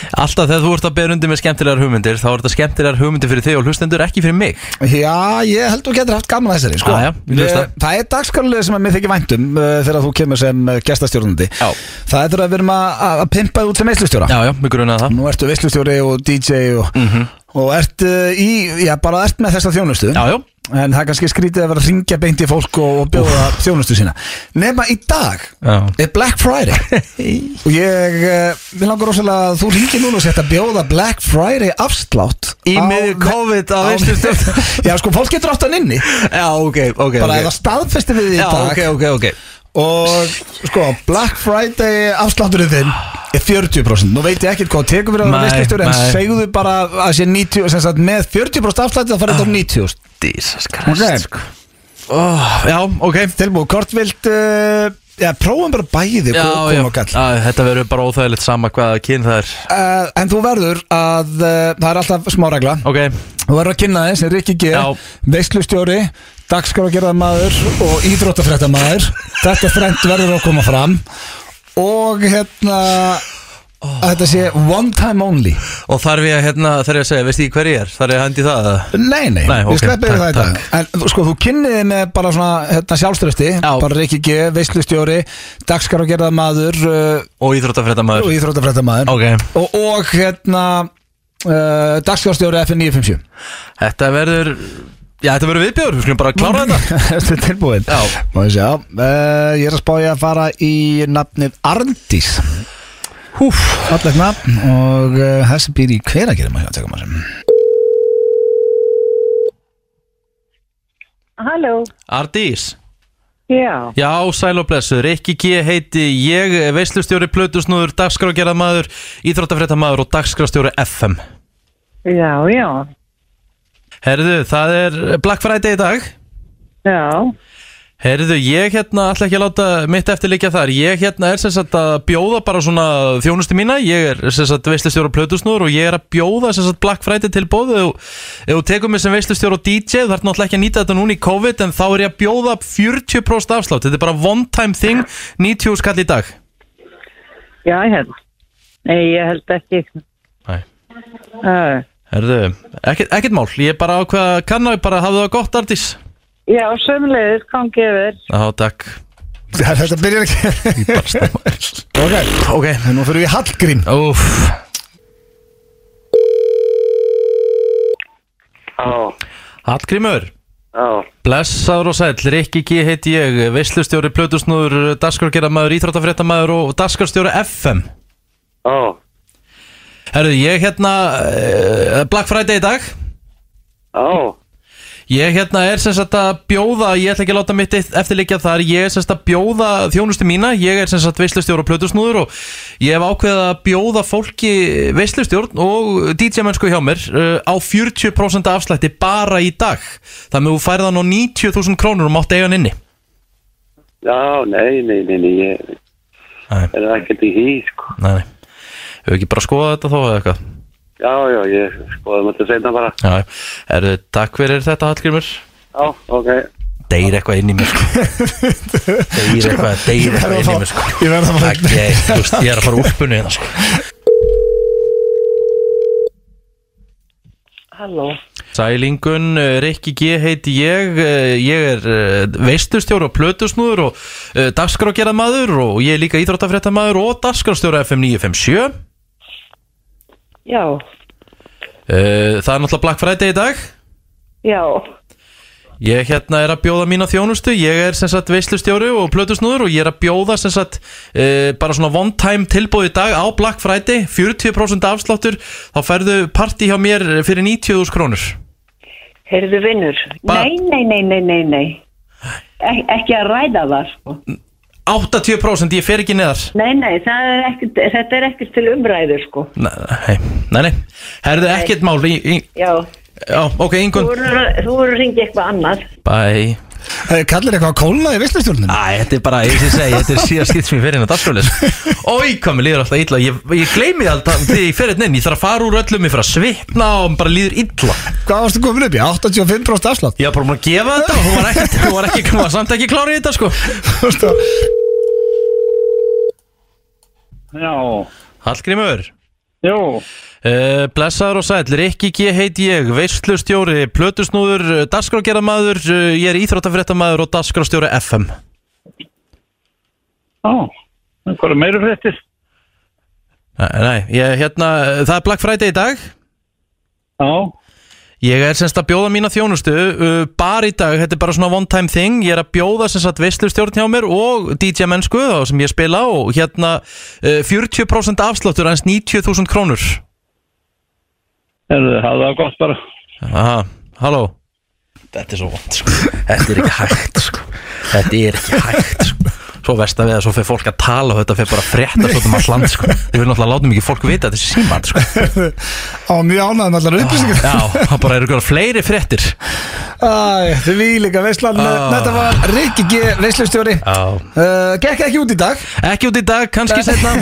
[SPEAKER 9] Alltaf þegar þú ert að beða undir með skemmtilegar hugmyndir þá er þetta skemmtilegar hugmyndir fyrir þig og hlustendur ekki fyrir mig
[SPEAKER 1] Já, ég held þú getur haft gaman að þessari sko.
[SPEAKER 9] Já, já, við hlusta.
[SPEAKER 1] Eh, Það er dagskarlega sem að mér þykir væntum uh, þegar þú kemur sem uh, gestastjórnandi
[SPEAKER 9] Já.
[SPEAKER 1] Það er þegar við erum að, að- að pimpa þig út sem eislustjóra
[SPEAKER 9] Já, já, mig grunaði það Mhm.
[SPEAKER 1] Nú ertu veislustjóri og DJ og, og ert uh, í, já bara ert með þessa þjónustu
[SPEAKER 9] Já, já,
[SPEAKER 1] En það er kannski skrítið að vera að ringja beint í fólk og, og bjóða þjónustu sína Nefna í dag
[SPEAKER 9] Já.
[SPEAKER 1] er Black Friday Og ég, eh, við langar rosalega að þú ringir núna og setja að bjóða Black Friday afslátt
[SPEAKER 9] Í
[SPEAKER 1] á-
[SPEAKER 9] miðju COVID á veislustjórn.
[SPEAKER 1] Já sko, fólk getur átt hann inni
[SPEAKER 9] já, ok, ok
[SPEAKER 1] Bara
[SPEAKER 9] ok.
[SPEAKER 1] okay. eða staðfesti við því í
[SPEAKER 9] Já,
[SPEAKER 1] dag
[SPEAKER 9] ok, ok, ok
[SPEAKER 1] Og sko, Black Friday afslátturinn þinn er 40% Nú veit ég ekkert hvað tekur fyrir að
[SPEAKER 9] Nei,
[SPEAKER 1] veistlustjóri En
[SPEAKER 9] nei.
[SPEAKER 1] segðu bara að sé 90 sem sagt, Með 40% afslátti það farið á 90
[SPEAKER 9] Ah. Jesus Christ
[SPEAKER 1] Ok.
[SPEAKER 9] sko. oh, Já, ok
[SPEAKER 1] Tilbúið, hvort vilt uh, Já, prófum bara bæði
[SPEAKER 9] Já,
[SPEAKER 1] kom,
[SPEAKER 9] já,
[SPEAKER 1] kom og kall
[SPEAKER 9] Æ, þetta verður bara óþægilegt sama hvaða kyn það er
[SPEAKER 1] uh, En þú verður að uh, Það er alltaf smá regla
[SPEAKER 9] Ok,
[SPEAKER 1] Þú verður að kynna þeim sem Rikki G
[SPEAKER 9] Já.
[SPEAKER 1] Veislustjóri, dagskrágerðarmadur Og íþróttafréttamaður Þetta þrennt verður að koma fram Og hérna að Þetta sé one time only
[SPEAKER 9] og þarf ég að hérna, þarf ég að segja, veist ég hver ég er? Þarf ég að hendi það? eða?
[SPEAKER 1] Nei, nei,
[SPEAKER 9] Nei,
[SPEAKER 1] við
[SPEAKER 9] ok,
[SPEAKER 1] sleppum við
[SPEAKER 9] takk,
[SPEAKER 1] það í dag En sko, þú kynniði með bara svona hérna, sjálfströsti
[SPEAKER 9] Já.
[SPEAKER 1] Bara Rikki G, veislustjóri, dagskrágerðarmaður uh,
[SPEAKER 9] Og íþróttafréttamaður
[SPEAKER 1] Og íþróttafréttamaður
[SPEAKER 9] Ok,
[SPEAKER 1] og, og hérna uh, dagskjárstjóri FN957
[SPEAKER 9] þetta verður Já, þetta verður viðbjör, við skulum bara klára þetta
[SPEAKER 1] Þetta er tilbúin
[SPEAKER 9] Já.
[SPEAKER 1] Má ég sjá uh, Ég er að spája að fara í nafnið Arndís Húf Alleg nafn og uh, þessi býr í hver að gera maður hjá að teka maður sem
[SPEAKER 10] Halló,
[SPEAKER 9] Ardís
[SPEAKER 10] já,
[SPEAKER 9] Já, sæl og blessuð, Rikki G heiti ég, veislustjóri plötusnúður, dagskrágerðamaður, íþróttafréttamaður og dagskrástjóri FM.
[SPEAKER 10] já, já,
[SPEAKER 9] Herðu, það er Black Friday í dag.
[SPEAKER 10] já,
[SPEAKER 9] Herðu, ég hérna, ætla ekki að láta mitt eftir líka þar, ég hérna er sem sagt að bjóða bara svona þjónustu mína, ég er sem sagt veislustjóri plötusnúður og ég er að bjóða sem sagt Black Friday til bóðu og ef þú tekur mig sem veislustjóri og DJ, þú ert náttúrulega ekki að nýta þetta núna í COVID en þá er ég að bjóða 40% afslátt, þetta er bara one time thing, 90 skall í dag.
[SPEAKER 10] já, hérna. Nei, ég held ekki.
[SPEAKER 9] Nei.
[SPEAKER 10] Uh,
[SPEAKER 9] Herðu, ekkert, ekkert mál, ég er bara ákveða að kanna, ég bara hafði það gott artís
[SPEAKER 10] já, sömulegður, gangi yfir.
[SPEAKER 9] Já, takk
[SPEAKER 1] Þetta byrjar ekki Ok,
[SPEAKER 9] Ok,
[SPEAKER 1] nú fyrir við í Hallgrím
[SPEAKER 9] úf
[SPEAKER 10] Já,
[SPEAKER 9] Hallgrímur,
[SPEAKER 10] já,
[SPEAKER 9] blessaður og sæll, Rikki G heiti ég, veislustjóri, plötusnúður, dagskargerðamaður, íþróttafréttamaður og dagskarstjóri FM
[SPEAKER 10] já,
[SPEAKER 9] Herðu, ég hérna, uh, Black Friday í dag
[SPEAKER 10] já,
[SPEAKER 9] Ég hérna er sem sagt að bjóða, ég ætla ekki að láta mitt eftirleikja þar, ég er sem sagt að bjóða þjónustu mína, ég er sem sagt veislustjórn og plötusnúður og ég hef ákveðið að bjóða fólki veislustjórn og DJ mennsku hjá mér uh, á 40% afslætti bara í dag. Þannig að þú færið hann á 90.000 krónur og mátt eiga hann inni.
[SPEAKER 10] já, nei, nei, nei, nei, ég
[SPEAKER 9] Nei.
[SPEAKER 10] er ekkert í hý, sko.
[SPEAKER 9] Nei, nei. Hefur ekki bara skoðað þetta þá eða eitthvað?
[SPEAKER 10] Já, já, ég skoðum þetta seinna bara.
[SPEAKER 9] Já, er þið takk fyrir þetta Hallgrimur?
[SPEAKER 10] Já, ok.
[SPEAKER 9] Deyr eitthvað inn í mér sko. Deyr eitthvað, deyr eitthvað inn í mér sko.
[SPEAKER 1] Ég verða Sko, að
[SPEAKER 9] Takk, ég, þú veist, ég er að fara úlpunni hérna sko.
[SPEAKER 10] Halló.
[SPEAKER 9] Sælingun, eh, Rikki G heiti ég, eh, ég er eh, veistustjóri og plötusnúður og dagskrágerðamaður og ég er líka íþróttafréttamaður og dagskrástjóri FM 957
[SPEAKER 10] Já,
[SPEAKER 9] Uh, Eh, Það er náttúrulega Black Friday í dag
[SPEAKER 10] já,
[SPEAKER 9] Ég hérna er að bjóða mína þjónustu, ég er sem sagt veislustjóri og plötusnúður og ég er að bjóða sem sagt e, bara svona one time tilbúið í dag á Black Friday, 40% afsláttur, þá færðu partí hjá mér fyrir 90.000 krónur.
[SPEAKER 11] Heyrðu vinnur. Nei, nei, nei, nei, nei, nei. Ek, ekki að ræða það, sko.
[SPEAKER 9] 80% ég fer ekki neðar.
[SPEAKER 11] Nei, nei, það er ekkert, þetta er ekkert til umræðu, sko.
[SPEAKER 9] Nei, nei, nei, herðu ekkert mál, í, í,
[SPEAKER 11] Já,
[SPEAKER 9] já, ok,
[SPEAKER 11] þú
[SPEAKER 9] yngun,
[SPEAKER 11] voru þú voru að ringja eitthvað annað.
[SPEAKER 9] bye.
[SPEAKER 1] Kallir eitthvað að kólna í visslustjórnum?
[SPEAKER 9] Æ, þetta er bara, ég sé segja, þetta er síðan skipt sem ég fer inn á dagskólis Ói, hvað mér líður alltaf illa Ég, ég gleymi alltaf þegar ég fer inn inn Ég þarf að fara úr öllum, ég fer að svitna og mér bara líður illa
[SPEAKER 1] Hvað varstu komin upp í? 85% afslátt?
[SPEAKER 9] Ég var bara búin að gefa þetta og hún var ekkert, hún var ekki, hún var samt ekki klárið þetta sko
[SPEAKER 12] Já,
[SPEAKER 9] Hallgrímur
[SPEAKER 12] Jó
[SPEAKER 9] uh, Blessaður og sæll, Rikki G heiti ég Veislustjóri, plötusnúður, dagskrágerðamaður uh, Ég er íþróttafréttamaður og dagskrástjóri FM
[SPEAKER 12] já, hvað er meira fréttir?
[SPEAKER 9] Nei, nei, ég, hérna, það er Black Friday í dag
[SPEAKER 12] Já
[SPEAKER 9] Ég er semst að bjóða mína þjónustu uh, Bar í dag, þetta er bara svona one time thing Ég er að bjóða semst að veistlustjórn hjá mér Og DJ mennsku þá sem ég spila Og hérna uh, 40% afsláttur Ens 90.000 krónur
[SPEAKER 12] Herðu, hafðu það gott bara
[SPEAKER 9] Aha, halló Þetta er svo vond sko. Þetta er ekki hægt sko. Þetta er ekki hægt sko. Svo versta við að svo fer fólk að tala og þetta fer bara að frétta svo um allt land sko. Ég vil náttúrulega láta mikið fólk vita að þetta er símand sko.
[SPEAKER 1] Á mjög ánægðum allar upplýsingar
[SPEAKER 9] Já, það bara eru eitthvað fleiri fréttir
[SPEAKER 1] Æ, því líka veislan
[SPEAKER 9] Ah.
[SPEAKER 1] Þetta var Rikki G. veislustjóri
[SPEAKER 9] Já
[SPEAKER 1] uh, Gekk ekki út í dag
[SPEAKER 9] Ekki út í dag, kannski setna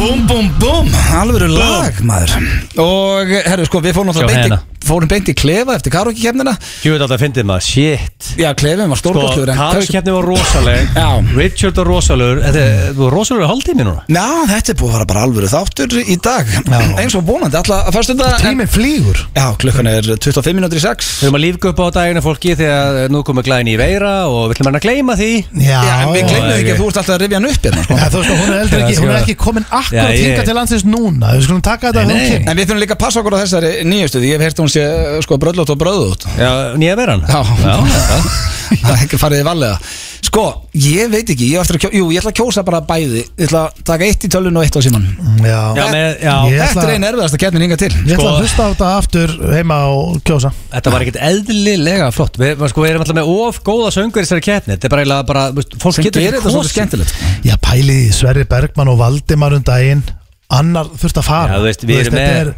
[SPEAKER 1] Búm, búm, búm Alvöru lag, maður Og, herru, sko, við fórum
[SPEAKER 3] Sjá
[SPEAKER 1] náttúrulega beint
[SPEAKER 3] hérna.
[SPEAKER 1] í, fórum beint í klefa eftir karaoke kemnina
[SPEAKER 3] Ég veit alltaf að fyndið maður, shit
[SPEAKER 1] Já, klefin var
[SPEAKER 3] Sko,
[SPEAKER 1] stórkostlegur en hversu-
[SPEAKER 3] Karukjæfni var rosaleg Richard var rosalegur Þetta er- þú er rosalegur hálftími núna
[SPEAKER 1] Já, þetta er búið að fara bara alvöru þáttur í dag Eins og vonandi, alltaf að fyrstu þetta Tíminn flýgur Já, klukkan er 25 minútur í 6
[SPEAKER 3] Við erum að lífgu upp á dagina fólki þegar eh, nú komur glæni í veira og við ætlum hann að gleyma því
[SPEAKER 1] Já, en við glemum ekki að þú ert alltaf að rifja hann upp hérna sko.
[SPEAKER 2] Þú veist að hún er eldri ekki, hún er ekki komin akkurat
[SPEAKER 1] Já, ég-
[SPEAKER 2] hingað til landsins núna Við skulum taka þetta þegar hún kemur
[SPEAKER 1] En við þurfum líka að passa okkur á þessari nýjustu Því ég hef heyrt að hún sé uh, sko bröðlót og bröðót
[SPEAKER 3] Já, nýja veran
[SPEAKER 1] Já, það er ekki farið í valega Sko, ég veit ekki, ég, á eftir að kjó, jú, ég ætla að kjósa bara bæði Ég ætla að taka eitt í tölun og eitt á síman
[SPEAKER 2] Já,
[SPEAKER 3] Já, með- já. Ég
[SPEAKER 1] Þetta
[SPEAKER 3] ætla-
[SPEAKER 1] er einn erfiðast að keppnin hinga til
[SPEAKER 2] Ég ætla að hlusta á þetta aftur heima og kjósa
[SPEAKER 3] Þetta var ekkert eðlilega flott Við, maður sko, við erum alltaf með of góða söngur í þessari keppni Þetta er bara, eiginlega bara veist, fólk
[SPEAKER 1] Sem
[SPEAKER 3] getur
[SPEAKER 1] gerir þetta svolítið skemmtilegt.
[SPEAKER 2] Já, pælið í Sverri Bergmann og Valdimar um daginn Annar þurft að fara
[SPEAKER 3] Já, þú veist, við erum
[SPEAKER 2] þetta,
[SPEAKER 3] með-
[SPEAKER 2] er,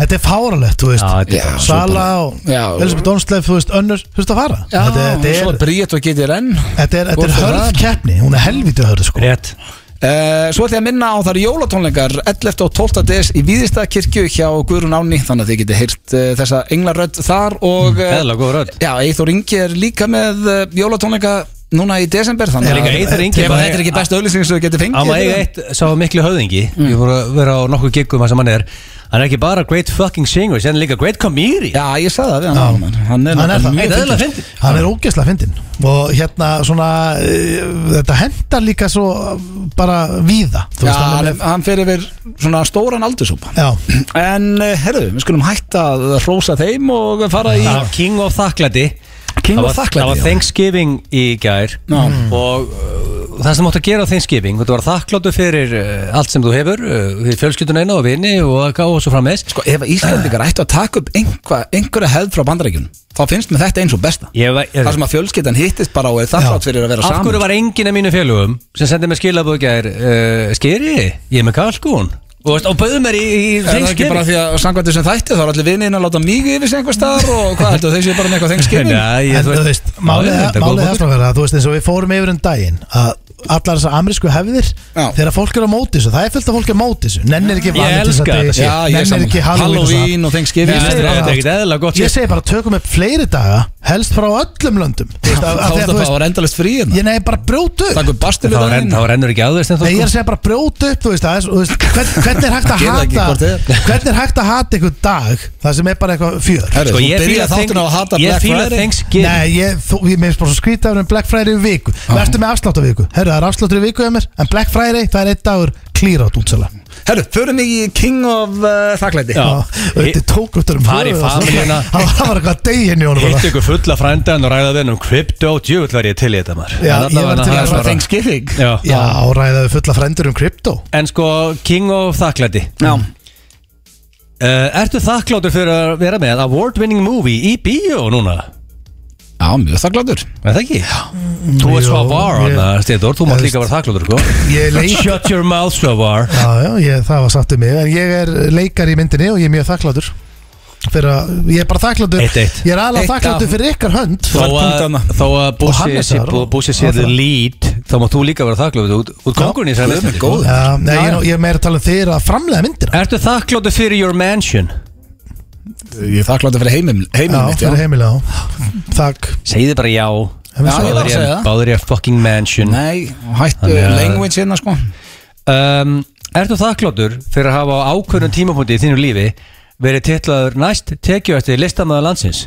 [SPEAKER 2] þetta er fáralegt, þú veist
[SPEAKER 3] Já, þetta er
[SPEAKER 2] Já,
[SPEAKER 3] bara svo
[SPEAKER 2] Sala
[SPEAKER 3] bara-
[SPEAKER 2] og
[SPEAKER 3] Já.
[SPEAKER 2] Elisabeth Dónsleif, þú veist, önnur þurft að fara
[SPEAKER 1] Já,
[SPEAKER 2] þetta,
[SPEAKER 1] hún
[SPEAKER 2] þetta
[SPEAKER 1] er
[SPEAKER 2] er,
[SPEAKER 1] svona bríðt og getur enn
[SPEAKER 2] þetta er, þetta
[SPEAKER 1] Góð
[SPEAKER 2] er
[SPEAKER 1] fyrir
[SPEAKER 2] hörð
[SPEAKER 1] það.
[SPEAKER 2] keppni, hún er helvítið hörð sko.
[SPEAKER 3] Rétt
[SPEAKER 1] Uh, svo ætlum ég að minna á þar jólatónleikar 11. og 12. des í Víðistakirkju hjá Guðrún Áni þannig að þið getið heyrt uh, þessa englarödd þar og uh,
[SPEAKER 3] Eðla góð rödd
[SPEAKER 1] Já, Eithor Ingi er líka með uh, jólatónleika núna í desember þannig
[SPEAKER 3] Er líka Eyþór Ingi
[SPEAKER 1] Ef
[SPEAKER 3] bara-
[SPEAKER 1] þetta er ekki bestu auðlýsing sem þið getið fengið
[SPEAKER 3] Á maður eiga eitt sá miklu höfðingi
[SPEAKER 1] Mm.
[SPEAKER 3] Ég voru að vera á nokkuð giggum að sem hann er Hann er ekki bara great fucking singer Hann er líka great comedian
[SPEAKER 1] Já, ég sagði það við hann áðan, man. Hann
[SPEAKER 2] hann er það
[SPEAKER 1] mjög
[SPEAKER 2] fyndinn.
[SPEAKER 1] fyndinn.
[SPEAKER 2] hann er ógeðslega fyndin og hérna svona uh, þetta hendar líka svo eh, bara víða þú
[SPEAKER 1] Já,
[SPEAKER 2] veist, hann er
[SPEAKER 1] hann,
[SPEAKER 2] með-
[SPEAKER 1] hann fer yfir svona stóran aldursúpa
[SPEAKER 2] Já.
[SPEAKER 1] En uh, herðu, við skulum hætta að hrósa þeim og fara í
[SPEAKER 3] Já, King of Þakklæti
[SPEAKER 1] King
[SPEAKER 3] Það
[SPEAKER 1] of
[SPEAKER 3] var-
[SPEAKER 1] þakklæti,
[SPEAKER 3] Það var
[SPEAKER 1] já.
[SPEAKER 3] Thanksgiving í gær og uh, það sem þú átt að gera á Thanksgiving þú var þakkláttu fyrir uh, allt sem þú hefur uh, fyrir fjölskyldun eina og vini og að gáða svo frammeðis
[SPEAKER 1] Sko, ef Íslandingar ættu að taka upp einhva, einhverja hefð frá bandarækjunum þá finnst mér þetta eins og besta
[SPEAKER 3] Ég var,
[SPEAKER 1] þar sem að fjölskyldan hittist bara og er þakklátt fyrir að vera
[SPEAKER 3] Af
[SPEAKER 1] saman
[SPEAKER 3] hverju var enginn af mínu félögum sem sendið mér skilabóð gær uh, Skeri, ég er með kalkún og, veist, og bauðu mér í, í
[SPEAKER 1] Er það ekki bara því að sangvættu sem þætti þá er allir vinnin að láta mig yfir sig einhver staðar og hvað heldur þeir séu bara með eitthvað þengskipin
[SPEAKER 3] Nei, ég-
[SPEAKER 2] En þú veist, málið
[SPEAKER 3] Já,
[SPEAKER 2] er
[SPEAKER 3] þetta er góð
[SPEAKER 2] málið er
[SPEAKER 3] punktur.
[SPEAKER 2] svona verið að þú veist eins og við fórum yfir um daginn að allar þessar amerísku hefðir þegar fólk er á móti þessu, það er fullt af fólk er á móti þessu nennir ekki
[SPEAKER 3] Ég
[SPEAKER 2] Valentine's
[SPEAKER 3] elska
[SPEAKER 2] Day,
[SPEAKER 3] þetta shit. Já, ég er
[SPEAKER 2] nennir
[SPEAKER 3] sammála.
[SPEAKER 2] ekki Halloween,
[SPEAKER 1] Halloween og Thanksgiving.
[SPEAKER 2] Ég
[SPEAKER 1] Þetta
[SPEAKER 2] segi
[SPEAKER 1] er
[SPEAKER 2] bara-
[SPEAKER 1] ekkert eðlilega gott
[SPEAKER 2] Ég
[SPEAKER 1] shit.
[SPEAKER 2] segi bara tökum upp fleiri daga helst frá öllum löndum Þú veist,
[SPEAKER 1] Þá
[SPEAKER 2] af- af því að
[SPEAKER 1] er þetta
[SPEAKER 2] þú
[SPEAKER 1] bara
[SPEAKER 2] veist-
[SPEAKER 1] var endalist frí hérna
[SPEAKER 2] Ég nefn bara brjótu
[SPEAKER 1] Takk upp bastu
[SPEAKER 3] Það var enn- það var ennur ekki aðveist
[SPEAKER 2] Nei, ég er að segja bara brjótu upp, þú veist, aðeins, þú veist hvern, hvernig er hægt að
[SPEAKER 1] Gerðu það ekki, hvort
[SPEAKER 2] hata
[SPEAKER 1] eð
[SPEAKER 2] hvernig er hægt að hata einhvern dag það sem er bara eitthvað fjör
[SPEAKER 1] Herru, Sko, þú ég byrjar fíla þáttinn á að hata Thank- ég Black fíla Friday. Thanksgiving.
[SPEAKER 2] Nei, ég, þú, ég meðist bara svo skrítið um Black Friday í viku Verstu með afslátt á viku Herru, það er afsláttur í viku hjá mér En Black Friday, það er einn dagur klírat útsala
[SPEAKER 1] Herru, förum við í King of uh, Þakklæti
[SPEAKER 2] Já. Þetta tók út um
[SPEAKER 3] Far í
[SPEAKER 2] vörðu, það-
[SPEAKER 3] familíuna.
[SPEAKER 2] Það var eitthvað degin í honum bara.
[SPEAKER 3] Hitt ykkur fulla frændan og ræða þinn um krypto Djúvill var ég til í þetta maður
[SPEAKER 2] Já,
[SPEAKER 3] En
[SPEAKER 2] ég var til í
[SPEAKER 3] allavega það
[SPEAKER 2] að
[SPEAKER 3] er
[SPEAKER 2] ræða
[SPEAKER 3] svona-
[SPEAKER 1] Thanksgiving.
[SPEAKER 3] Já.
[SPEAKER 2] Já, og ræðaði fulla frendur um krypto
[SPEAKER 3] En sko, King of Þakklæti Eh,
[SPEAKER 1] Já
[SPEAKER 3] Ertu þakkláttur fyrir að vera með award-winning movie í bíó núna?
[SPEAKER 1] Já, mjög þakkláttur
[SPEAKER 3] Er það ekki? Þú er
[SPEAKER 2] Jú,
[SPEAKER 3] Svavar,
[SPEAKER 2] ég-
[SPEAKER 3] yeah. Steindor, þú mátt líka vera þakkláttur, sko
[SPEAKER 2] Ég leik-
[SPEAKER 3] Shut your mouth, Svavar
[SPEAKER 2] Já, já, ég, það var satt um mig En ég er leikar í myndinni og ég er mjög þakkláttur Fyrir að, ég er bara þakkláttur
[SPEAKER 3] Eitt, eitt.
[SPEAKER 2] Ég er
[SPEAKER 1] Eitt
[SPEAKER 2] aðlega
[SPEAKER 1] af-
[SPEAKER 2] þakkláttur fyrir ykkar hönd
[SPEAKER 3] Þó að, þó að
[SPEAKER 2] Og Hannesar
[SPEAKER 3] Bussi sé-
[SPEAKER 2] og-
[SPEAKER 3] Bussi sé
[SPEAKER 2] og
[SPEAKER 3] the
[SPEAKER 2] það.
[SPEAKER 3] lead Þá mátt þú líka vera þakkláttur út, út kongurinn í þessari
[SPEAKER 1] guð minn
[SPEAKER 3] myndinni,
[SPEAKER 1] góður.
[SPEAKER 3] sko.
[SPEAKER 2] Já, nei,
[SPEAKER 3] Já,
[SPEAKER 2] ég,
[SPEAKER 3] já.
[SPEAKER 2] ég er meira að tala um þeir að framlega myndina
[SPEAKER 3] Ertu þakkláttur fyrir your mansion?
[SPEAKER 1] Ég er þakkláttur fyrir heimil, heimil
[SPEAKER 2] Já,
[SPEAKER 1] mitt
[SPEAKER 2] fyrir heimilega já. Takk
[SPEAKER 3] Segðu bara já
[SPEAKER 1] Já, ég var að segja það.
[SPEAKER 3] Báður ég fucking mansion
[SPEAKER 1] Nei, hættu
[SPEAKER 3] Þannig að-
[SPEAKER 1] language hérna sko
[SPEAKER 3] um, Ertu þakkláttur fyrir að hafa á ákveðnum tímapunkti í þínu lífi verið titlaður næst tekjuætti listamæða landsins?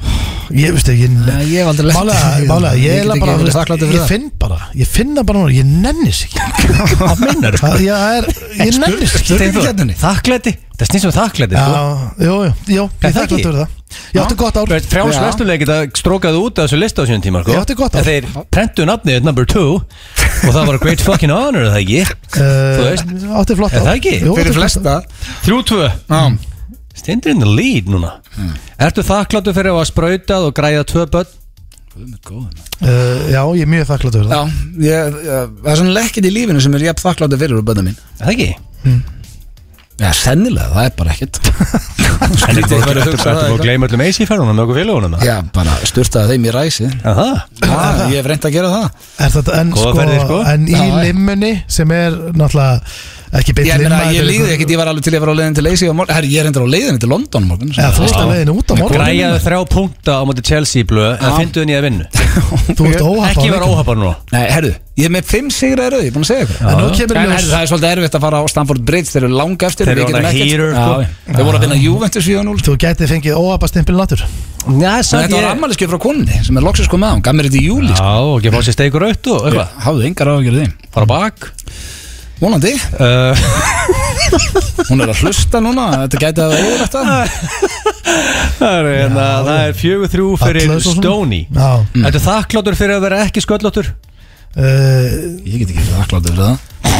[SPEAKER 2] Ég veist ekki Nei,
[SPEAKER 1] ég hef aldrei lent í því.
[SPEAKER 2] Málega, málega, ég,
[SPEAKER 1] Ég get
[SPEAKER 2] ég,
[SPEAKER 1] ekki
[SPEAKER 2] bara,
[SPEAKER 1] verið þakklátur fyrir
[SPEAKER 2] ég
[SPEAKER 1] það.
[SPEAKER 2] finn bara Ég finn það bara núna, ég nennis ekki
[SPEAKER 3] Hvað meinar
[SPEAKER 2] Það- Já, það er, ég nennis ekki
[SPEAKER 3] Þakklæti? Það snýst um þakklæti
[SPEAKER 2] Já,
[SPEAKER 3] sko.
[SPEAKER 2] jú, jú, jú,
[SPEAKER 3] Er
[SPEAKER 2] ég
[SPEAKER 3] það ekki?
[SPEAKER 2] þakkláttur fyrir það Ég átti gott ár
[SPEAKER 3] Frjáls
[SPEAKER 2] Já.
[SPEAKER 3] vestuleg geta strókaðu út af þessu lista á sínum tíma sko.
[SPEAKER 2] Ég átti gott ár.
[SPEAKER 3] En Þeir prentu nafnið number two og það var a great fucking honor, er það ekki? Þú
[SPEAKER 2] Eh,
[SPEAKER 3] veist,
[SPEAKER 2] Átti flott
[SPEAKER 3] er
[SPEAKER 2] ár
[SPEAKER 3] það ekki?
[SPEAKER 2] Jú, átti flott ár.
[SPEAKER 1] flesta
[SPEAKER 3] Þrjú tvö
[SPEAKER 1] Já. Hmm.
[SPEAKER 3] Stendur in the lead núna Ertu þakkláttur fyrir að hafa sprautað og græða tvö börn?
[SPEAKER 2] Eh, Já, ég er mjög þakkláttur fyrir
[SPEAKER 1] Já, ég, ég, það er svona lekkit í lífinu sem er jafn þakkláttur fyrir úr bönna mín
[SPEAKER 3] Er það ekki?
[SPEAKER 2] Mm.
[SPEAKER 1] Já, sennilega, það er bara ekkit
[SPEAKER 3] En þetta
[SPEAKER 1] verið
[SPEAKER 3] er
[SPEAKER 1] að
[SPEAKER 3] ekki
[SPEAKER 1] hugsa það
[SPEAKER 3] að gleyma öllum AC-ferðunum með okkur félagunum
[SPEAKER 1] Já, bara styrtaði þeim í ræsi
[SPEAKER 3] Aha.
[SPEAKER 1] Já, Ég hef reynd að gera það
[SPEAKER 2] Ah. Er þetta en
[SPEAKER 3] Góða
[SPEAKER 2] sko,
[SPEAKER 3] ferðir, sko.
[SPEAKER 2] en í
[SPEAKER 1] Já, já.
[SPEAKER 2] limunni sem er náttúrulega ekki beint
[SPEAKER 1] Ég,
[SPEAKER 2] limma,
[SPEAKER 1] meina, ég
[SPEAKER 2] þetta er
[SPEAKER 1] líði
[SPEAKER 2] eitthvað-
[SPEAKER 1] ekkert, ég var alveg til að vera á leiðin til Leysi Herri, ég er reyndar á leiðin til London á morgun
[SPEAKER 2] Já, þú veist að
[SPEAKER 1] Já.
[SPEAKER 2] leiðinu út á morgun
[SPEAKER 3] Græjaðu þrjá punkta á móti Chelsea í blöð En
[SPEAKER 1] Já.
[SPEAKER 3] fyndu henni að vinnu
[SPEAKER 2] Þú veist óhapp
[SPEAKER 3] Ekki vera óhafbar nú
[SPEAKER 1] Nei, herru, ég er með fimm sigra í rauð, ég er búin að segja ykkur
[SPEAKER 2] En nú kemur í
[SPEAKER 1] En
[SPEAKER 2] ljós-
[SPEAKER 1] herru, það er svolítið erfitt að fara á Stamford Bridge Þeir eru langa eftir
[SPEAKER 3] Þeir eru
[SPEAKER 1] við getum
[SPEAKER 3] orðnar
[SPEAKER 1] ekkert-
[SPEAKER 3] hýrur, sko.
[SPEAKER 1] Já, já. Þeir voru að vinna
[SPEAKER 2] Ah.
[SPEAKER 1] Juventus 4-0
[SPEAKER 2] Þú gæti fengið óhappastimpil náttúr
[SPEAKER 3] Næ,
[SPEAKER 1] En Þetta var ammæliskei frá konni sem er loksins komið á Hún gaf mér þetta í júli
[SPEAKER 3] Já, og ekki að fá sér steikur aukt og eitthvað
[SPEAKER 1] Háðu engar á að gera þeim
[SPEAKER 3] Fara á bak
[SPEAKER 1] Vonandi,
[SPEAKER 3] uh,
[SPEAKER 1] hún er að hlusta núna Þetta gæti að vera yfir þetta
[SPEAKER 3] Það er, hérna, það er fjögur þrjú fyrir
[SPEAKER 2] Atlas og svona.
[SPEAKER 3] Stoney
[SPEAKER 2] Já
[SPEAKER 3] Þetta
[SPEAKER 1] Hmm.
[SPEAKER 3] er þakkláttur fyrir að vera ekki sköllóttur
[SPEAKER 2] Eh,
[SPEAKER 1] Ég get ekki þakkláttur fyrir það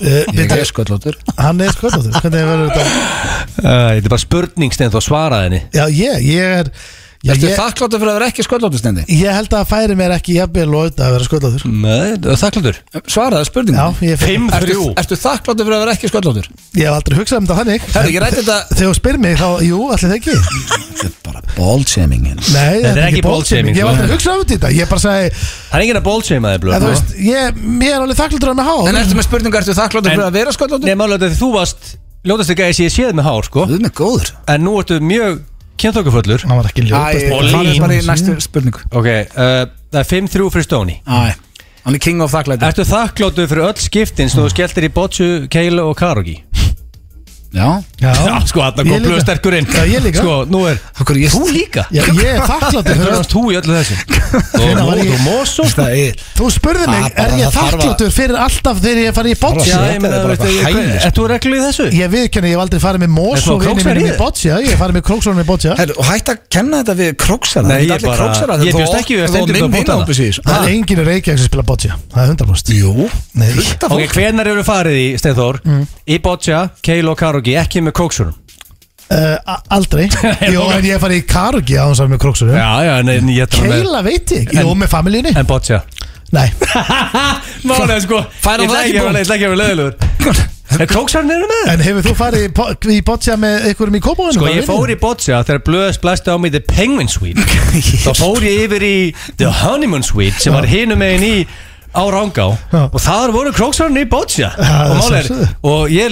[SPEAKER 2] eh,
[SPEAKER 1] Ég
[SPEAKER 2] Bíddu,
[SPEAKER 1] er sko- sköllóttur
[SPEAKER 2] Hann er sköldóttur Hvernig verður þetta?
[SPEAKER 3] Þetta er bara spurning stein þú að svara henni
[SPEAKER 2] Já, ég, ég er já,
[SPEAKER 1] Ertu
[SPEAKER 2] ég,
[SPEAKER 1] þakkláttur fyrir að vera ekki sköllóttur stendi?
[SPEAKER 2] ég held að færi mér ekki jafnvel og auðvitað að vera sköldóttur
[SPEAKER 3] Nei, þetta er Eh, þakkláttur
[SPEAKER 1] Svaraðu
[SPEAKER 2] Já,
[SPEAKER 1] spurningum
[SPEAKER 2] ég,
[SPEAKER 3] Fimm
[SPEAKER 1] Ertu,
[SPEAKER 3] þrjú
[SPEAKER 1] ertu þakkláttur fyrir að vera ekki sköllóttur?
[SPEAKER 2] ég hef aldrei hugsað um þetta þannig
[SPEAKER 1] Herru, ég rætti þetta
[SPEAKER 2] Þegar þú spyr mig þá, jú, allir það ekki
[SPEAKER 1] Þetta er bara ball-shaming hérna.
[SPEAKER 2] Nei,
[SPEAKER 3] Þetta er ekki
[SPEAKER 2] ball shaming.
[SPEAKER 3] ball shaming,
[SPEAKER 2] Ég hef
[SPEAKER 3] sko.
[SPEAKER 2] aldrei hugsað um þetta Ég bara sagði,
[SPEAKER 3] Það er enginn að bólseima þig
[SPEAKER 2] en
[SPEAKER 3] blöð
[SPEAKER 2] þú veist, ég, ég er alveg þakkláttur að með há
[SPEAKER 1] En ertu með spurningu, ertu þakkláttur fyrir að vera sko, sköllóttur?
[SPEAKER 3] Nei, málega þegar þú varst Ljótastu gæði sem ég séð með hár, sko
[SPEAKER 1] Guð með góður
[SPEAKER 3] En nú ertu mjög kynþokkaföllur
[SPEAKER 2] Hann var ekki ljótast
[SPEAKER 3] og
[SPEAKER 1] Það er
[SPEAKER 3] lín.
[SPEAKER 1] bara í næstu spurningu
[SPEAKER 3] Ok, uh, það er 5-3 fyrir Stoney
[SPEAKER 1] Æ, hann er king of þakklæti
[SPEAKER 3] Ertu þakkláttu fyrir öll skiptin sem þú skelltir í Botsu, Keila og Karogi?
[SPEAKER 1] Já
[SPEAKER 3] Já, sko,
[SPEAKER 2] Ég
[SPEAKER 3] þarna kom
[SPEAKER 2] líka.
[SPEAKER 3] blöðsterkurinn
[SPEAKER 2] Já, ég líka.
[SPEAKER 3] Sko, nú er
[SPEAKER 1] Akkur ég
[SPEAKER 3] Þú líka?
[SPEAKER 2] Já, ég er þakkláttur
[SPEAKER 3] Þú
[SPEAKER 2] fyrir
[SPEAKER 3] varst
[SPEAKER 2] að
[SPEAKER 3] þú í öllu þessu Og
[SPEAKER 2] var
[SPEAKER 3] mó-
[SPEAKER 2] ég-
[SPEAKER 3] og Mosó sko.
[SPEAKER 1] Það er
[SPEAKER 2] Þú spurði mig,
[SPEAKER 1] Það er Ah, bara-
[SPEAKER 2] er ég
[SPEAKER 1] það þarf að-
[SPEAKER 2] þakkláttur fyrir alltaf þegar ég farið í
[SPEAKER 3] Já,
[SPEAKER 2] boccia?
[SPEAKER 3] ég meina,
[SPEAKER 1] bara
[SPEAKER 3] veistu,
[SPEAKER 1] eitthvað hæli,
[SPEAKER 3] ég-
[SPEAKER 1] sko.
[SPEAKER 3] ert þú reglu í þessu?
[SPEAKER 2] Ég viðkynna, ég hef aldrei farið með
[SPEAKER 3] Ertu á
[SPEAKER 2] Mosó vinni
[SPEAKER 3] Krókseyri?
[SPEAKER 2] mínum í boccia Ég hef farið með króksónum í boccia
[SPEAKER 1] Her, Og hætt að kenna þetta við króksara Þetta er
[SPEAKER 3] Nei, ég
[SPEAKER 1] allir
[SPEAKER 3] bara-
[SPEAKER 1] króksara,
[SPEAKER 3] ég
[SPEAKER 1] þetta
[SPEAKER 3] bjóst
[SPEAKER 1] er
[SPEAKER 3] ekki við
[SPEAKER 1] þú-
[SPEAKER 3] að Steindór
[SPEAKER 1] þú- minn
[SPEAKER 3] myndi bóta hana.
[SPEAKER 1] vinahópur sé í þessu.
[SPEAKER 2] Það er enginn í Reykjavík sem spila boccia Það er 100%
[SPEAKER 1] Jú
[SPEAKER 2] Nei.
[SPEAKER 1] Fullt af
[SPEAKER 3] Ok,
[SPEAKER 1] fólki.
[SPEAKER 3] hvenar eru farið í, Steinþór?
[SPEAKER 2] Mm.
[SPEAKER 3] Í Botja, Keila og Karogi, ekki með kóksunum
[SPEAKER 2] Uh, a- Aldrei Jó, en ég hef farið í Karugi á hans að með króksónum
[SPEAKER 3] Já, já, en en ég ætla með
[SPEAKER 2] Keila veit ég, jú, með familíunni
[SPEAKER 3] En Botja
[SPEAKER 2] Nei,
[SPEAKER 3] Málega sko
[SPEAKER 1] Fær hann
[SPEAKER 3] Ég
[SPEAKER 1] það
[SPEAKER 3] ætla
[SPEAKER 1] ekki
[SPEAKER 3] ekki að
[SPEAKER 1] bótt?
[SPEAKER 3] vera- ég ætla ekki að vera leðilegur En kóksunum eru með
[SPEAKER 2] en hefur þú farið í bo- í boccia með einhverjum í kópóðunum?
[SPEAKER 3] Sko ég fór í Boccia þegar Blöðs blæsti á mig The Penguin Suite Þá fór ég yfir í The Honeymoon Suite sem var hinum megin í á Rangá
[SPEAKER 2] Já.
[SPEAKER 3] og þar voru króksarinn í Boccia
[SPEAKER 2] Já,
[SPEAKER 3] og, máli er,
[SPEAKER 2] sjálfsögðu.
[SPEAKER 3] og ég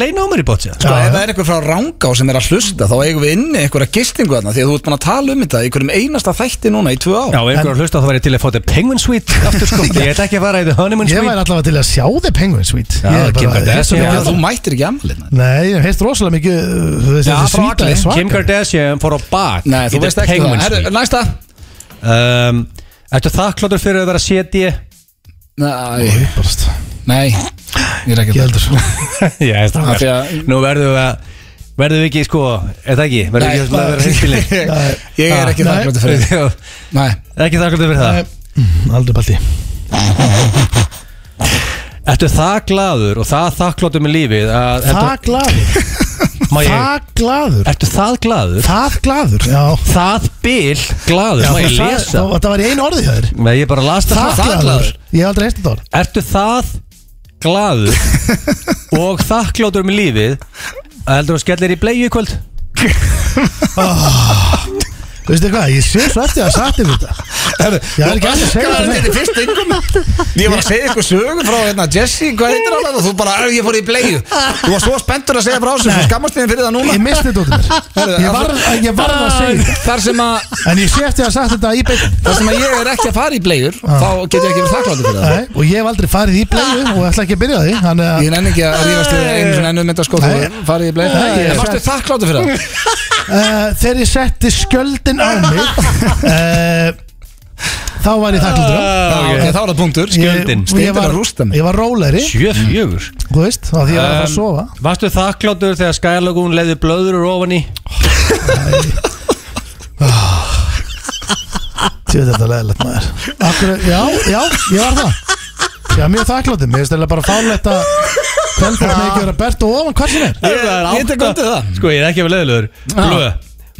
[SPEAKER 3] leina á mér í Boccia
[SPEAKER 1] Sko,
[SPEAKER 2] Já,
[SPEAKER 1] ef
[SPEAKER 2] já.
[SPEAKER 1] það er einhver frá Rangá sem er að hlusta þá eigum við inni einhverja gistingu þarna því að þú ert búin að tala um þetta í einhverjum einasta þætti núna í tvö ár
[SPEAKER 3] Já, ef einhver að hlusta þá var ég til að fá The Penguin Suite aftur sko Ég ætla ekki að fara í The
[SPEAKER 2] Ég
[SPEAKER 3] Honeymoon Suite
[SPEAKER 2] væri allavega til að sjá þið penguin sweet
[SPEAKER 3] Já, Kim Kardashian,
[SPEAKER 1] Já,
[SPEAKER 3] já.
[SPEAKER 1] þú mættir ekki ammælið
[SPEAKER 2] Nei, ég hef heist rosalega mikið uh, þú veist,
[SPEAKER 1] Já,
[SPEAKER 2] þessi
[SPEAKER 1] frá
[SPEAKER 2] svíta
[SPEAKER 1] allir.
[SPEAKER 2] er svaka.
[SPEAKER 3] Kim Kardashian fór á bak
[SPEAKER 1] Nei,
[SPEAKER 3] í
[SPEAKER 1] þú
[SPEAKER 3] The
[SPEAKER 1] veist ekki
[SPEAKER 3] Penguin sko.
[SPEAKER 1] það Herru,
[SPEAKER 3] Suite
[SPEAKER 1] Næsta
[SPEAKER 3] um, Ertu þakkláttur fyrir að vera CD?
[SPEAKER 1] Nei,
[SPEAKER 2] Bara st-
[SPEAKER 1] nei Ég er ekki
[SPEAKER 2] Ég heldur
[SPEAKER 3] Já,
[SPEAKER 1] Af
[SPEAKER 3] strákar
[SPEAKER 1] því að-
[SPEAKER 3] Nú verðum við að Verðum við ekki sko Eða ekki Verðum við
[SPEAKER 1] Nei,
[SPEAKER 3] ekki að vera Ah, hinskilir
[SPEAKER 1] Nei, ég er ekki þakkláttur fyrir
[SPEAKER 3] það
[SPEAKER 1] Nei
[SPEAKER 3] Ekki þakkláttur fyrir það
[SPEAKER 2] Mm, Aldrei balti
[SPEAKER 3] Ertu það glaður og það þakkláttur með lífið að,
[SPEAKER 2] Það glaður
[SPEAKER 3] heldur, Má ég
[SPEAKER 2] Það glaður
[SPEAKER 3] Ertu það glaður?
[SPEAKER 2] Það glaður, já
[SPEAKER 3] Það bil glaður,
[SPEAKER 2] Já,
[SPEAKER 3] má ég
[SPEAKER 2] þú sagði-
[SPEAKER 3] lesa
[SPEAKER 2] þá- þetta var í einu orði hjá þér.
[SPEAKER 3] Nei, ég bara las þetta
[SPEAKER 2] Það glaður Ég hef aldrei heist þetta orð
[SPEAKER 3] Ertu það glaður og þakkláttur með lífið að heldur að skellir í bleiu í kvöld?
[SPEAKER 2] Veistu hvað, ég sé svo eftir að sagt yfir þetta Ég er ekki alveg að segja þetta
[SPEAKER 1] þetta
[SPEAKER 2] neitt.
[SPEAKER 1] fyrst yngum Ég var að segja ykkur sögu frá hérna Jesse, hvað heitir hann og þú bara, "Æ, ég fór í bleju Þú var svo spenntur að segja frá þessu
[SPEAKER 2] Nei.
[SPEAKER 1] svo skammast þín fyrir það núna
[SPEAKER 2] Ég misti þetta út af mér
[SPEAKER 1] Herðu,
[SPEAKER 2] Ég varð ég varð að segja þetta.
[SPEAKER 1] Þar sem að
[SPEAKER 2] En ég sé eftir að sagt þetta í beitt
[SPEAKER 1] Þar sem að ég er ekki að fara í bleiur
[SPEAKER 2] Ah.
[SPEAKER 1] Þá get ég ekki verið þakkláttur fyrir það
[SPEAKER 2] Nei, og ég hef aldrei farið í bleiðu og ætla ekki að byrja á því þannig að
[SPEAKER 1] Ég nenni ekki að rífast við einu svona ennum mynda sko Þú
[SPEAKER 2] Nei.
[SPEAKER 1] farið í bleiur
[SPEAKER 2] Nei, ég-
[SPEAKER 1] En varstu þakkláttur fyrir það?
[SPEAKER 2] uh, þegar ég setti skjöldin á mig uh, þá var ég þakkláttur
[SPEAKER 1] Já,
[SPEAKER 3] Ah,
[SPEAKER 1] ok, Þá er það punktur
[SPEAKER 2] Ég- og ég
[SPEAKER 1] Steindir
[SPEAKER 2] var,
[SPEAKER 1] að rústa mig
[SPEAKER 2] ég var róleri,
[SPEAKER 3] Sjö fjögur
[SPEAKER 2] þú veist, þá því ég var að fara að sofa
[SPEAKER 3] Um, Varstu þakkláttur þegar Skylagún leiði blöður ofan í?
[SPEAKER 2] Tjóð þetta er leðilegt maður Akkur, Já, já, ég var það Já, mjög þakkláttur, mér finnst þetta bara fálegt að Kveldfólk með ekki vera bert og ofan hvað sem er
[SPEAKER 3] Ég, ég tek undir það Sko ég er ekki að vera leiðilegur Blöð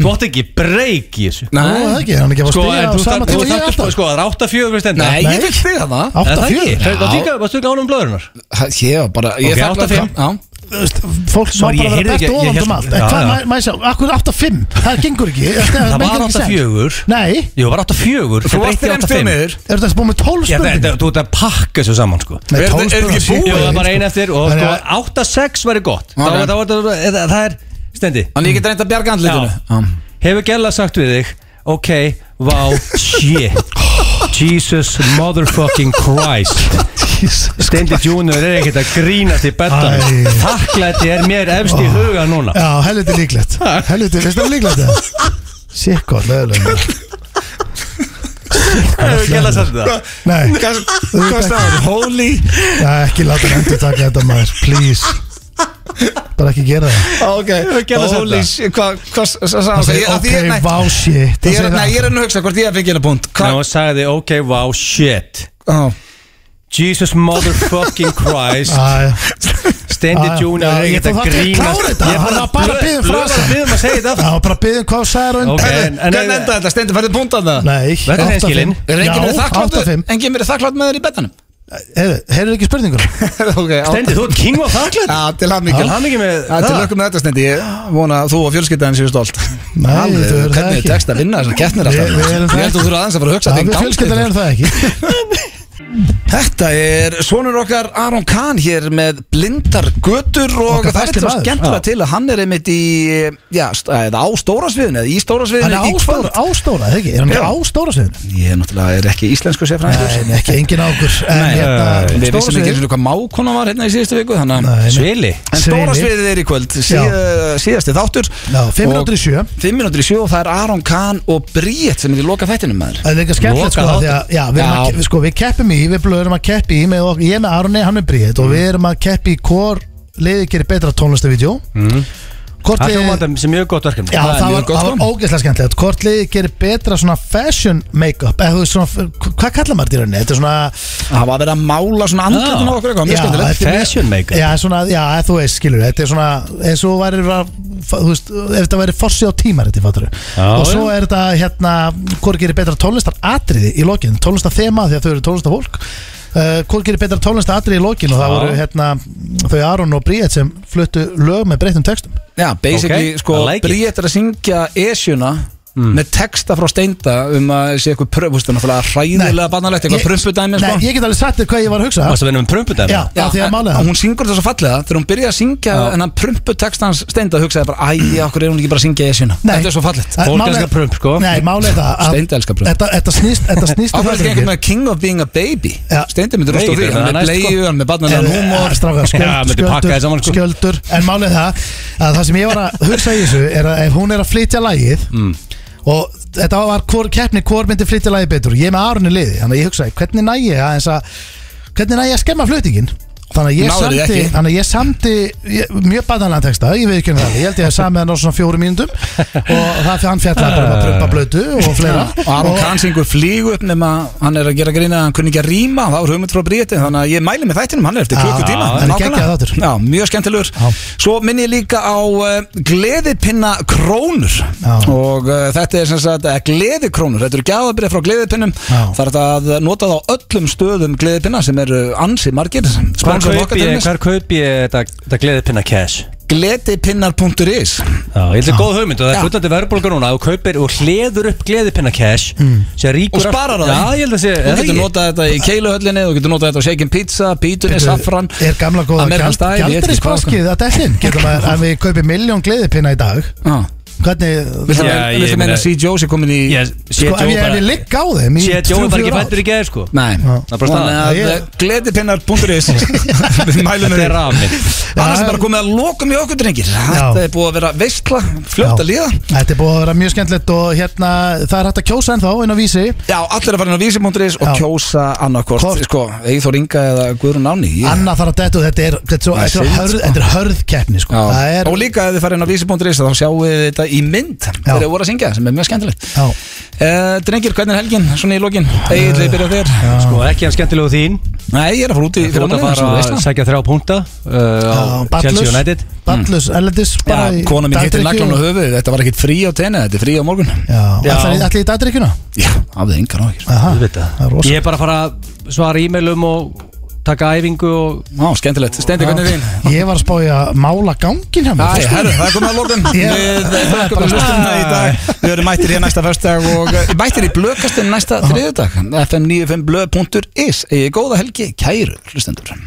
[SPEAKER 3] Þú átt ekki breyk í þessu
[SPEAKER 2] Nú, það ekki, er hann ekki að fara að
[SPEAKER 3] Sko
[SPEAKER 2] stiga
[SPEAKER 3] en
[SPEAKER 2] á
[SPEAKER 3] þú
[SPEAKER 2] sama
[SPEAKER 3] þarf
[SPEAKER 2] tíma og
[SPEAKER 3] Þú
[SPEAKER 2] ég
[SPEAKER 3] þarf
[SPEAKER 2] alltaf?
[SPEAKER 3] Sko það er 8-4 fyrir stenda
[SPEAKER 1] Nei, ég
[SPEAKER 2] Nei.
[SPEAKER 1] fikk þig að það
[SPEAKER 3] Er það ekki?
[SPEAKER 2] 8-4
[SPEAKER 3] Það
[SPEAKER 1] Já.
[SPEAKER 3] tíka, varstu ekki ánum blöðurinnar?
[SPEAKER 1] Ég var bara
[SPEAKER 3] Ok,
[SPEAKER 1] Ég er þakkláttur
[SPEAKER 3] 8-5.
[SPEAKER 1] Já.
[SPEAKER 2] Þú veist, Fólk má
[SPEAKER 3] Sorry, ég
[SPEAKER 2] bara vera
[SPEAKER 3] heyrði ekki-
[SPEAKER 2] bert og
[SPEAKER 3] ég
[SPEAKER 2] ofan
[SPEAKER 3] hélt-
[SPEAKER 2] um allt En
[SPEAKER 3] Já,
[SPEAKER 2] hvað,
[SPEAKER 3] já.
[SPEAKER 2] maður- maður sjá, akkur 8-5 Það gengur ekki, það meikar
[SPEAKER 3] Það var
[SPEAKER 2] ekki sens.
[SPEAKER 3] 8-4
[SPEAKER 2] Nei,
[SPEAKER 3] Jú, var 8-4
[SPEAKER 1] Þú varst þeim stjórniður
[SPEAKER 2] er þetta búið með 12
[SPEAKER 3] Já, þetta,
[SPEAKER 2] spurningar?
[SPEAKER 3] þú ert að pakka þessu saman sko
[SPEAKER 2] Nei,
[SPEAKER 1] er
[SPEAKER 2] 12
[SPEAKER 1] þetta- er þetta ekki
[SPEAKER 2] spurningar, shit,
[SPEAKER 1] búið?
[SPEAKER 3] Jú, það var
[SPEAKER 2] sko.
[SPEAKER 3] bara ein eftir og
[SPEAKER 2] Þannig
[SPEAKER 3] sko
[SPEAKER 2] að-
[SPEAKER 3] 8-6 væri gott Þá
[SPEAKER 1] Ok.
[SPEAKER 3] var það, það, það er stendi
[SPEAKER 1] Þannig ég get reynda að bjarga andlitinu
[SPEAKER 3] Hefur Gella sagt við þig Ok, wow, shit Jesus motherfucking Christ Stendi Junior er ekkert að grínast í
[SPEAKER 2] Æ.
[SPEAKER 3] betanum Þakklæti er mér efst í huga núna
[SPEAKER 2] Já, helviti líklegt Helviti, veist það líklegt það? Sikkort, leðilega
[SPEAKER 3] Hefur Gella sagt það
[SPEAKER 2] Nei,
[SPEAKER 1] Hvað staður? Holy
[SPEAKER 2] Já, ekki láta hann endur taka þetta maður, please Bara ekki gera það
[SPEAKER 1] Ok
[SPEAKER 3] gerði þetta.
[SPEAKER 1] Holy shit, Hvað hva, hva,
[SPEAKER 2] Það
[SPEAKER 1] sagði
[SPEAKER 2] segir,
[SPEAKER 1] hann?
[SPEAKER 2] ok, vá, shit
[SPEAKER 1] Ég er nei, ég er enn að hugsa hvort ég fikk hérna punkt
[SPEAKER 3] Ná,
[SPEAKER 1] Hvað?
[SPEAKER 3] hún sagði ok, wow, shit
[SPEAKER 1] Já.
[SPEAKER 3] Jesus motherfucking Christ
[SPEAKER 2] Æ,
[SPEAKER 3] Stendi
[SPEAKER 2] Já, já.
[SPEAKER 3] Junior er
[SPEAKER 2] Já, ég
[SPEAKER 3] ekkert að
[SPEAKER 2] þarf ekki að
[SPEAKER 3] grínast
[SPEAKER 2] klára þetta.
[SPEAKER 3] Ég er
[SPEAKER 2] Hann var bara að biðja um
[SPEAKER 3] blöð-
[SPEAKER 2] frasa.
[SPEAKER 3] blöð- blöð um að segja þetta
[SPEAKER 2] já, bara byggðum hvað þú sagði raun
[SPEAKER 3] Ok,
[SPEAKER 1] En-
[SPEAKER 3] en- en-
[SPEAKER 1] Hvernig enda þetta? Steindi færði punkt að það?
[SPEAKER 2] Nei,
[SPEAKER 3] Verður þeir skilin?
[SPEAKER 2] 8-5
[SPEAKER 1] Er enginn verið þakklátt
[SPEAKER 2] 8-5
[SPEAKER 1] Enginn verið þakklátt með þér í betanum?
[SPEAKER 2] Heyrðu ekki spurningur?
[SPEAKER 1] Ok, átta-
[SPEAKER 3] Stendi, þú ert king og þakklætt
[SPEAKER 1] Já, til hann mikil
[SPEAKER 3] Til hamingju með það.
[SPEAKER 1] Til lökum með þetta Steindi Ég vona að þú og fjölskyldaðin séu stolt
[SPEAKER 2] Nei,
[SPEAKER 1] Alveg,
[SPEAKER 2] þau eru það
[SPEAKER 1] Hvernig
[SPEAKER 2] ekki
[SPEAKER 1] tekst að vinna þessar keppnir
[SPEAKER 2] Við-
[SPEAKER 1] alltaf
[SPEAKER 2] við erum
[SPEAKER 1] Ég
[SPEAKER 2] það
[SPEAKER 1] held að þú þurfa aðeins að fara að hugsa
[SPEAKER 2] Það
[SPEAKER 1] þig
[SPEAKER 2] við
[SPEAKER 1] dálítið.
[SPEAKER 2] fjölskyldan erum það ekki
[SPEAKER 1] Þetta er sonur okkar Aron Kahn hér með blindar götur og
[SPEAKER 2] Okkar
[SPEAKER 1] það er
[SPEAKER 2] besti
[SPEAKER 1] svo
[SPEAKER 2] maður.
[SPEAKER 1] skemmtilega til að hann er einmitt í, já, st- eða á stóra sviðinu eða í
[SPEAKER 2] Hann
[SPEAKER 1] stóra sviðinu
[SPEAKER 2] er
[SPEAKER 1] í kvöld
[SPEAKER 2] ástóra, ástóra, eða ekki? Er hann ekki
[SPEAKER 1] Já.
[SPEAKER 2] ástóra sviðinu?
[SPEAKER 1] Ég er náttúrulega er ekki íslensku sérfræðingur
[SPEAKER 2] Nei, ekki engin ákur En
[SPEAKER 1] Nei,
[SPEAKER 2] hérna,
[SPEAKER 1] við
[SPEAKER 2] stóra
[SPEAKER 1] vissum ekki eins
[SPEAKER 2] sviðinu
[SPEAKER 1] og hvað mákona var hérna í síðustu viku þannig að
[SPEAKER 2] Nei, nei.
[SPEAKER 3] Svili
[SPEAKER 1] En stóra
[SPEAKER 2] Svili.
[SPEAKER 1] sviðið er í kvöld, síð, síðasti þáttur
[SPEAKER 2] Já, fimm mínútur í sjö.
[SPEAKER 1] 5 minútur í 7 og það er Aron Kahn og Bríett sem er í loka þættinum maður
[SPEAKER 2] Það er líka skemmtilegt sko,
[SPEAKER 3] Loka
[SPEAKER 2] því að, já, við, erum
[SPEAKER 1] Já.
[SPEAKER 2] Að, ke- sko, við keppum í, við blöðum að keppi í með, ok- ég með Arne, hann er bríðið og
[SPEAKER 1] Mm.
[SPEAKER 2] við erum að keppi í hvor liði gerir betra tónlistavídjó mm. Hvort
[SPEAKER 3] Það
[SPEAKER 2] liði
[SPEAKER 3] hljóma þetta sem mjög gott verkefni
[SPEAKER 2] Já,
[SPEAKER 1] það er
[SPEAKER 2] það
[SPEAKER 1] mjög
[SPEAKER 2] var,
[SPEAKER 1] gott,
[SPEAKER 2] það var
[SPEAKER 1] sko.
[SPEAKER 2] ógeðslega skemmtilegt Hvort liði gerir betra svona fashion make-up eða þú veist svona, hvað kallar maður þetta í rauninni? Þetta er svona
[SPEAKER 1] Það var verið að mála svona andlutin á okkur eitthvað, mjög
[SPEAKER 2] Já,
[SPEAKER 1] skemmtilegt
[SPEAKER 2] þetta er mjög-
[SPEAKER 3] Fashion make-up.
[SPEAKER 2] Já, svona, já, þú veist, skilur, þetta er svona eins og væri, þú veist, ef þetta væri forsið á tímariti, fattur
[SPEAKER 3] Já,
[SPEAKER 2] og svo
[SPEAKER 3] já.
[SPEAKER 2] er þetta, hérna, hvort gerir betra tónlistar atriði í lokin, tónlistar þema því að þau eru tónlistar fólk Uh, hvort gerir betra tónlistar atriði í lokin og það
[SPEAKER 3] Já.
[SPEAKER 2] voru hérna þau Aron og Bríett sem fluttu lög með breyttum textum
[SPEAKER 1] Já, basically,
[SPEAKER 3] Ok,
[SPEAKER 1] sko,
[SPEAKER 3] I
[SPEAKER 1] like
[SPEAKER 3] like it.
[SPEAKER 1] Bríett er að syngja Esjuna
[SPEAKER 2] Hmm.
[SPEAKER 1] með texta frá Steinda um að sé eitthvað pröf, þú veist, það er náttúrulega hræðilega bannalegt, eitthvað pröfudæmi,
[SPEAKER 2] Nei,
[SPEAKER 1] sko
[SPEAKER 2] ég get alveg sagt þér hvað ég var að hugsa
[SPEAKER 3] Varst að vinna um með prumpudæmi
[SPEAKER 2] Já, já, því að
[SPEAKER 1] en-
[SPEAKER 2] málega
[SPEAKER 1] en hún syngur þess að fallega þegar hún byrjaði að syngja þennan prumpu texta hans Steinda hugsaði bara, æja, okkur er hún ekki bara að syngja Esjuna
[SPEAKER 2] Nei.
[SPEAKER 1] Þetta er svo fallegt
[SPEAKER 2] Að-
[SPEAKER 3] Fólk
[SPEAKER 2] málið-
[SPEAKER 3] elskar prump, sko.
[SPEAKER 2] Nei, málið er það að-
[SPEAKER 1] Steindi elskar prump.
[SPEAKER 2] Þetta- Þetta snýst Þetta snýst um
[SPEAKER 1] Ákveður ekki
[SPEAKER 2] það,
[SPEAKER 1] einhver með King of Being a Baby
[SPEAKER 2] Já.
[SPEAKER 1] Steindi myndir rúst
[SPEAKER 3] Nei,
[SPEAKER 1] á því,
[SPEAKER 3] þetta er
[SPEAKER 1] hann er með
[SPEAKER 3] næst, sko.
[SPEAKER 1] bleiu, hann er með barnalega
[SPEAKER 2] Eh,
[SPEAKER 1] númor
[SPEAKER 2] eh, strákar, skjöld,
[SPEAKER 3] Já, myndi pakka
[SPEAKER 2] skjöldur,
[SPEAKER 3] þér saman, sko.
[SPEAKER 2] skjöldur En málið er það að það sem ég var að hugsa í þessu er að ef hún er að flytja lagið
[SPEAKER 1] Mm.
[SPEAKER 2] og þetta var hvor, keppni hvort myndi flytja lagið betur ég er með Arun í liði, þannig að ég hugsaði hvernig næ ég að, að hvernig næ ég að skemma flutningin Þannig að ég
[SPEAKER 1] Náðu því
[SPEAKER 2] samti,
[SPEAKER 1] ekki.
[SPEAKER 2] þannig að ég samti ég, mjög badalega texta, ég veit ekki henni það ég held ég að samið hann á svona fjórum mínútum og það fyrir hann fjallar bara um að prumpa blötu og fleira
[SPEAKER 1] Eh. og Aron Kansingur flýgu upp nema hann er að gera grína að hann kunni ekki að rýma það var hugmynd frá Bríti þannig að ég mæli með þættinum hann er eftir
[SPEAKER 2] Já,
[SPEAKER 1] klukku tíma
[SPEAKER 2] hann er geggjaður þáttur.
[SPEAKER 1] já, mjög skemmtilegur svo minni ég líka á uh, gleðipinna krónur og uh, þetta er sem sagt uh, gleðikrónur þetta eru gjáðabrið frá gleðipinnum það er þetta að nota það á öllum stöðum gleðipinna sem eru ansi margir
[SPEAKER 3] Hvar
[SPEAKER 1] Sponsor okkar
[SPEAKER 3] kaup
[SPEAKER 1] til
[SPEAKER 3] ég,
[SPEAKER 1] dæmis.
[SPEAKER 3] hvar kaup ég þetta, þetta gleðipinna cash?
[SPEAKER 1] gleðipinnar.is
[SPEAKER 3] Já, ég held
[SPEAKER 1] Já.
[SPEAKER 3] að góð hugmynd og það
[SPEAKER 1] Já.
[SPEAKER 3] er gullandi verðbólga núna þú kaupir og hleður upp gleðipinna cash sem
[SPEAKER 1] Hmm. og
[SPEAKER 3] ríkur af-
[SPEAKER 1] sparar það
[SPEAKER 3] Já, ég held að sé
[SPEAKER 1] þú getur notað þetta í keiluhöllinni þú getur notað þetta á shaken pizza, bítunni,
[SPEAKER 2] Bíddu,
[SPEAKER 1] safran
[SPEAKER 2] er gamla góða
[SPEAKER 1] American
[SPEAKER 2] gjald,
[SPEAKER 1] style, ég veit ekki hvað- sko.
[SPEAKER 2] gjaldirisbraskið að dellin getur maður að við kaupið miljón gleðipinna í dag hvernig
[SPEAKER 1] Viltu meina-
[SPEAKER 3] ég
[SPEAKER 1] viltu meina
[SPEAKER 3] meina-
[SPEAKER 1] C. Joe sé komin í
[SPEAKER 2] sko, ef ég, ef ég ligg á þeim í
[SPEAKER 3] Sér Jói bara ekki
[SPEAKER 2] 3-4 ár.
[SPEAKER 3] fættur í geð sko
[SPEAKER 1] Nei,
[SPEAKER 3] það er
[SPEAKER 1] Þannig
[SPEAKER 3] bara staðan
[SPEAKER 1] að eh, gledipinnar.is Við mælum
[SPEAKER 3] Þetta er rafmynd.
[SPEAKER 1] Annars er bara komið að lokum í okkur drengir Þetta er búið að vera veistla,
[SPEAKER 2] Já.
[SPEAKER 1] fljótt að líða
[SPEAKER 2] Þetta er búið að vera mjög skemmtilegt og hérna það er hægt að kjósa ennþá inn á vísi
[SPEAKER 1] Já, allir að fara inn á vísi.is og
[SPEAKER 2] Já.
[SPEAKER 1] kjósa annarkort sko, Eithor Inga eða Guðrún Áni Ég-
[SPEAKER 2] Anna þarf að dettu, þetta er, þetta er, svo, þetta
[SPEAKER 1] Það er
[SPEAKER 2] er,
[SPEAKER 1] synd,
[SPEAKER 2] hörð,
[SPEAKER 1] sko.
[SPEAKER 2] þetta er hörð keppni sko.
[SPEAKER 1] Já.
[SPEAKER 2] Það er,
[SPEAKER 1] Og líka ef þið farið inn á vísi.is þá sjáum við þetta í mynd þegar þið voru að syngja sem er mjög skemmtilegt
[SPEAKER 2] Já.
[SPEAKER 1] uh, Drengir, hvernig er helgin? Svona í lokin Egil,
[SPEAKER 2] Eh,
[SPEAKER 1] við byrja á þér
[SPEAKER 3] Sko, ekki hann skemmtilegu þín
[SPEAKER 1] Nei, ég er að fara út í
[SPEAKER 3] Þú ert að
[SPEAKER 1] fyrramálið,
[SPEAKER 3] fara
[SPEAKER 1] svona
[SPEAKER 3] að
[SPEAKER 1] veisla.
[SPEAKER 3] sækja þrjá púnta uh, á Chelsea
[SPEAKER 2] ballus,
[SPEAKER 3] United
[SPEAKER 2] ballus, erlendis bara
[SPEAKER 1] Mm. Já,
[SPEAKER 2] í
[SPEAKER 1] kona mín hittir
[SPEAKER 2] dagdrykkju.
[SPEAKER 1] naglan á höfuð Þetta var ekkit frí á tenni, þetta er frí á morgun
[SPEAKER 2] Já, ætlar í- ætlar í dagdrykkjuna?
[SPEAKER 1] Já, hafið engan áhyggjur
[SPEAKER 2] Aha,
[SPEAKER 3] það
[SPEAKER 2] er rosa
[SPEAKER 3] Ég er bara að fara að svara e-mailum og taka æfingu og
[SPEAKER 1] Já, skemmtilegt, stendi hvernig þín
[SPEAKER 2] Ég var að spá í að mála gangin hjá
[SPEAKER 1] Æ,
[SPEAKER 2] mér
[SPEAKER 1] herru, það er komið að lókum
[SPEAKER 2] Ég-
[SPEAKER 1] Við eh, þakkum við hlustunna í dag Við erum mættir hér næsta föstudag og eh, mættir í blöðkastin næsta þriðudag fm95blöð.is Egið góða helgi, kæru hlustendur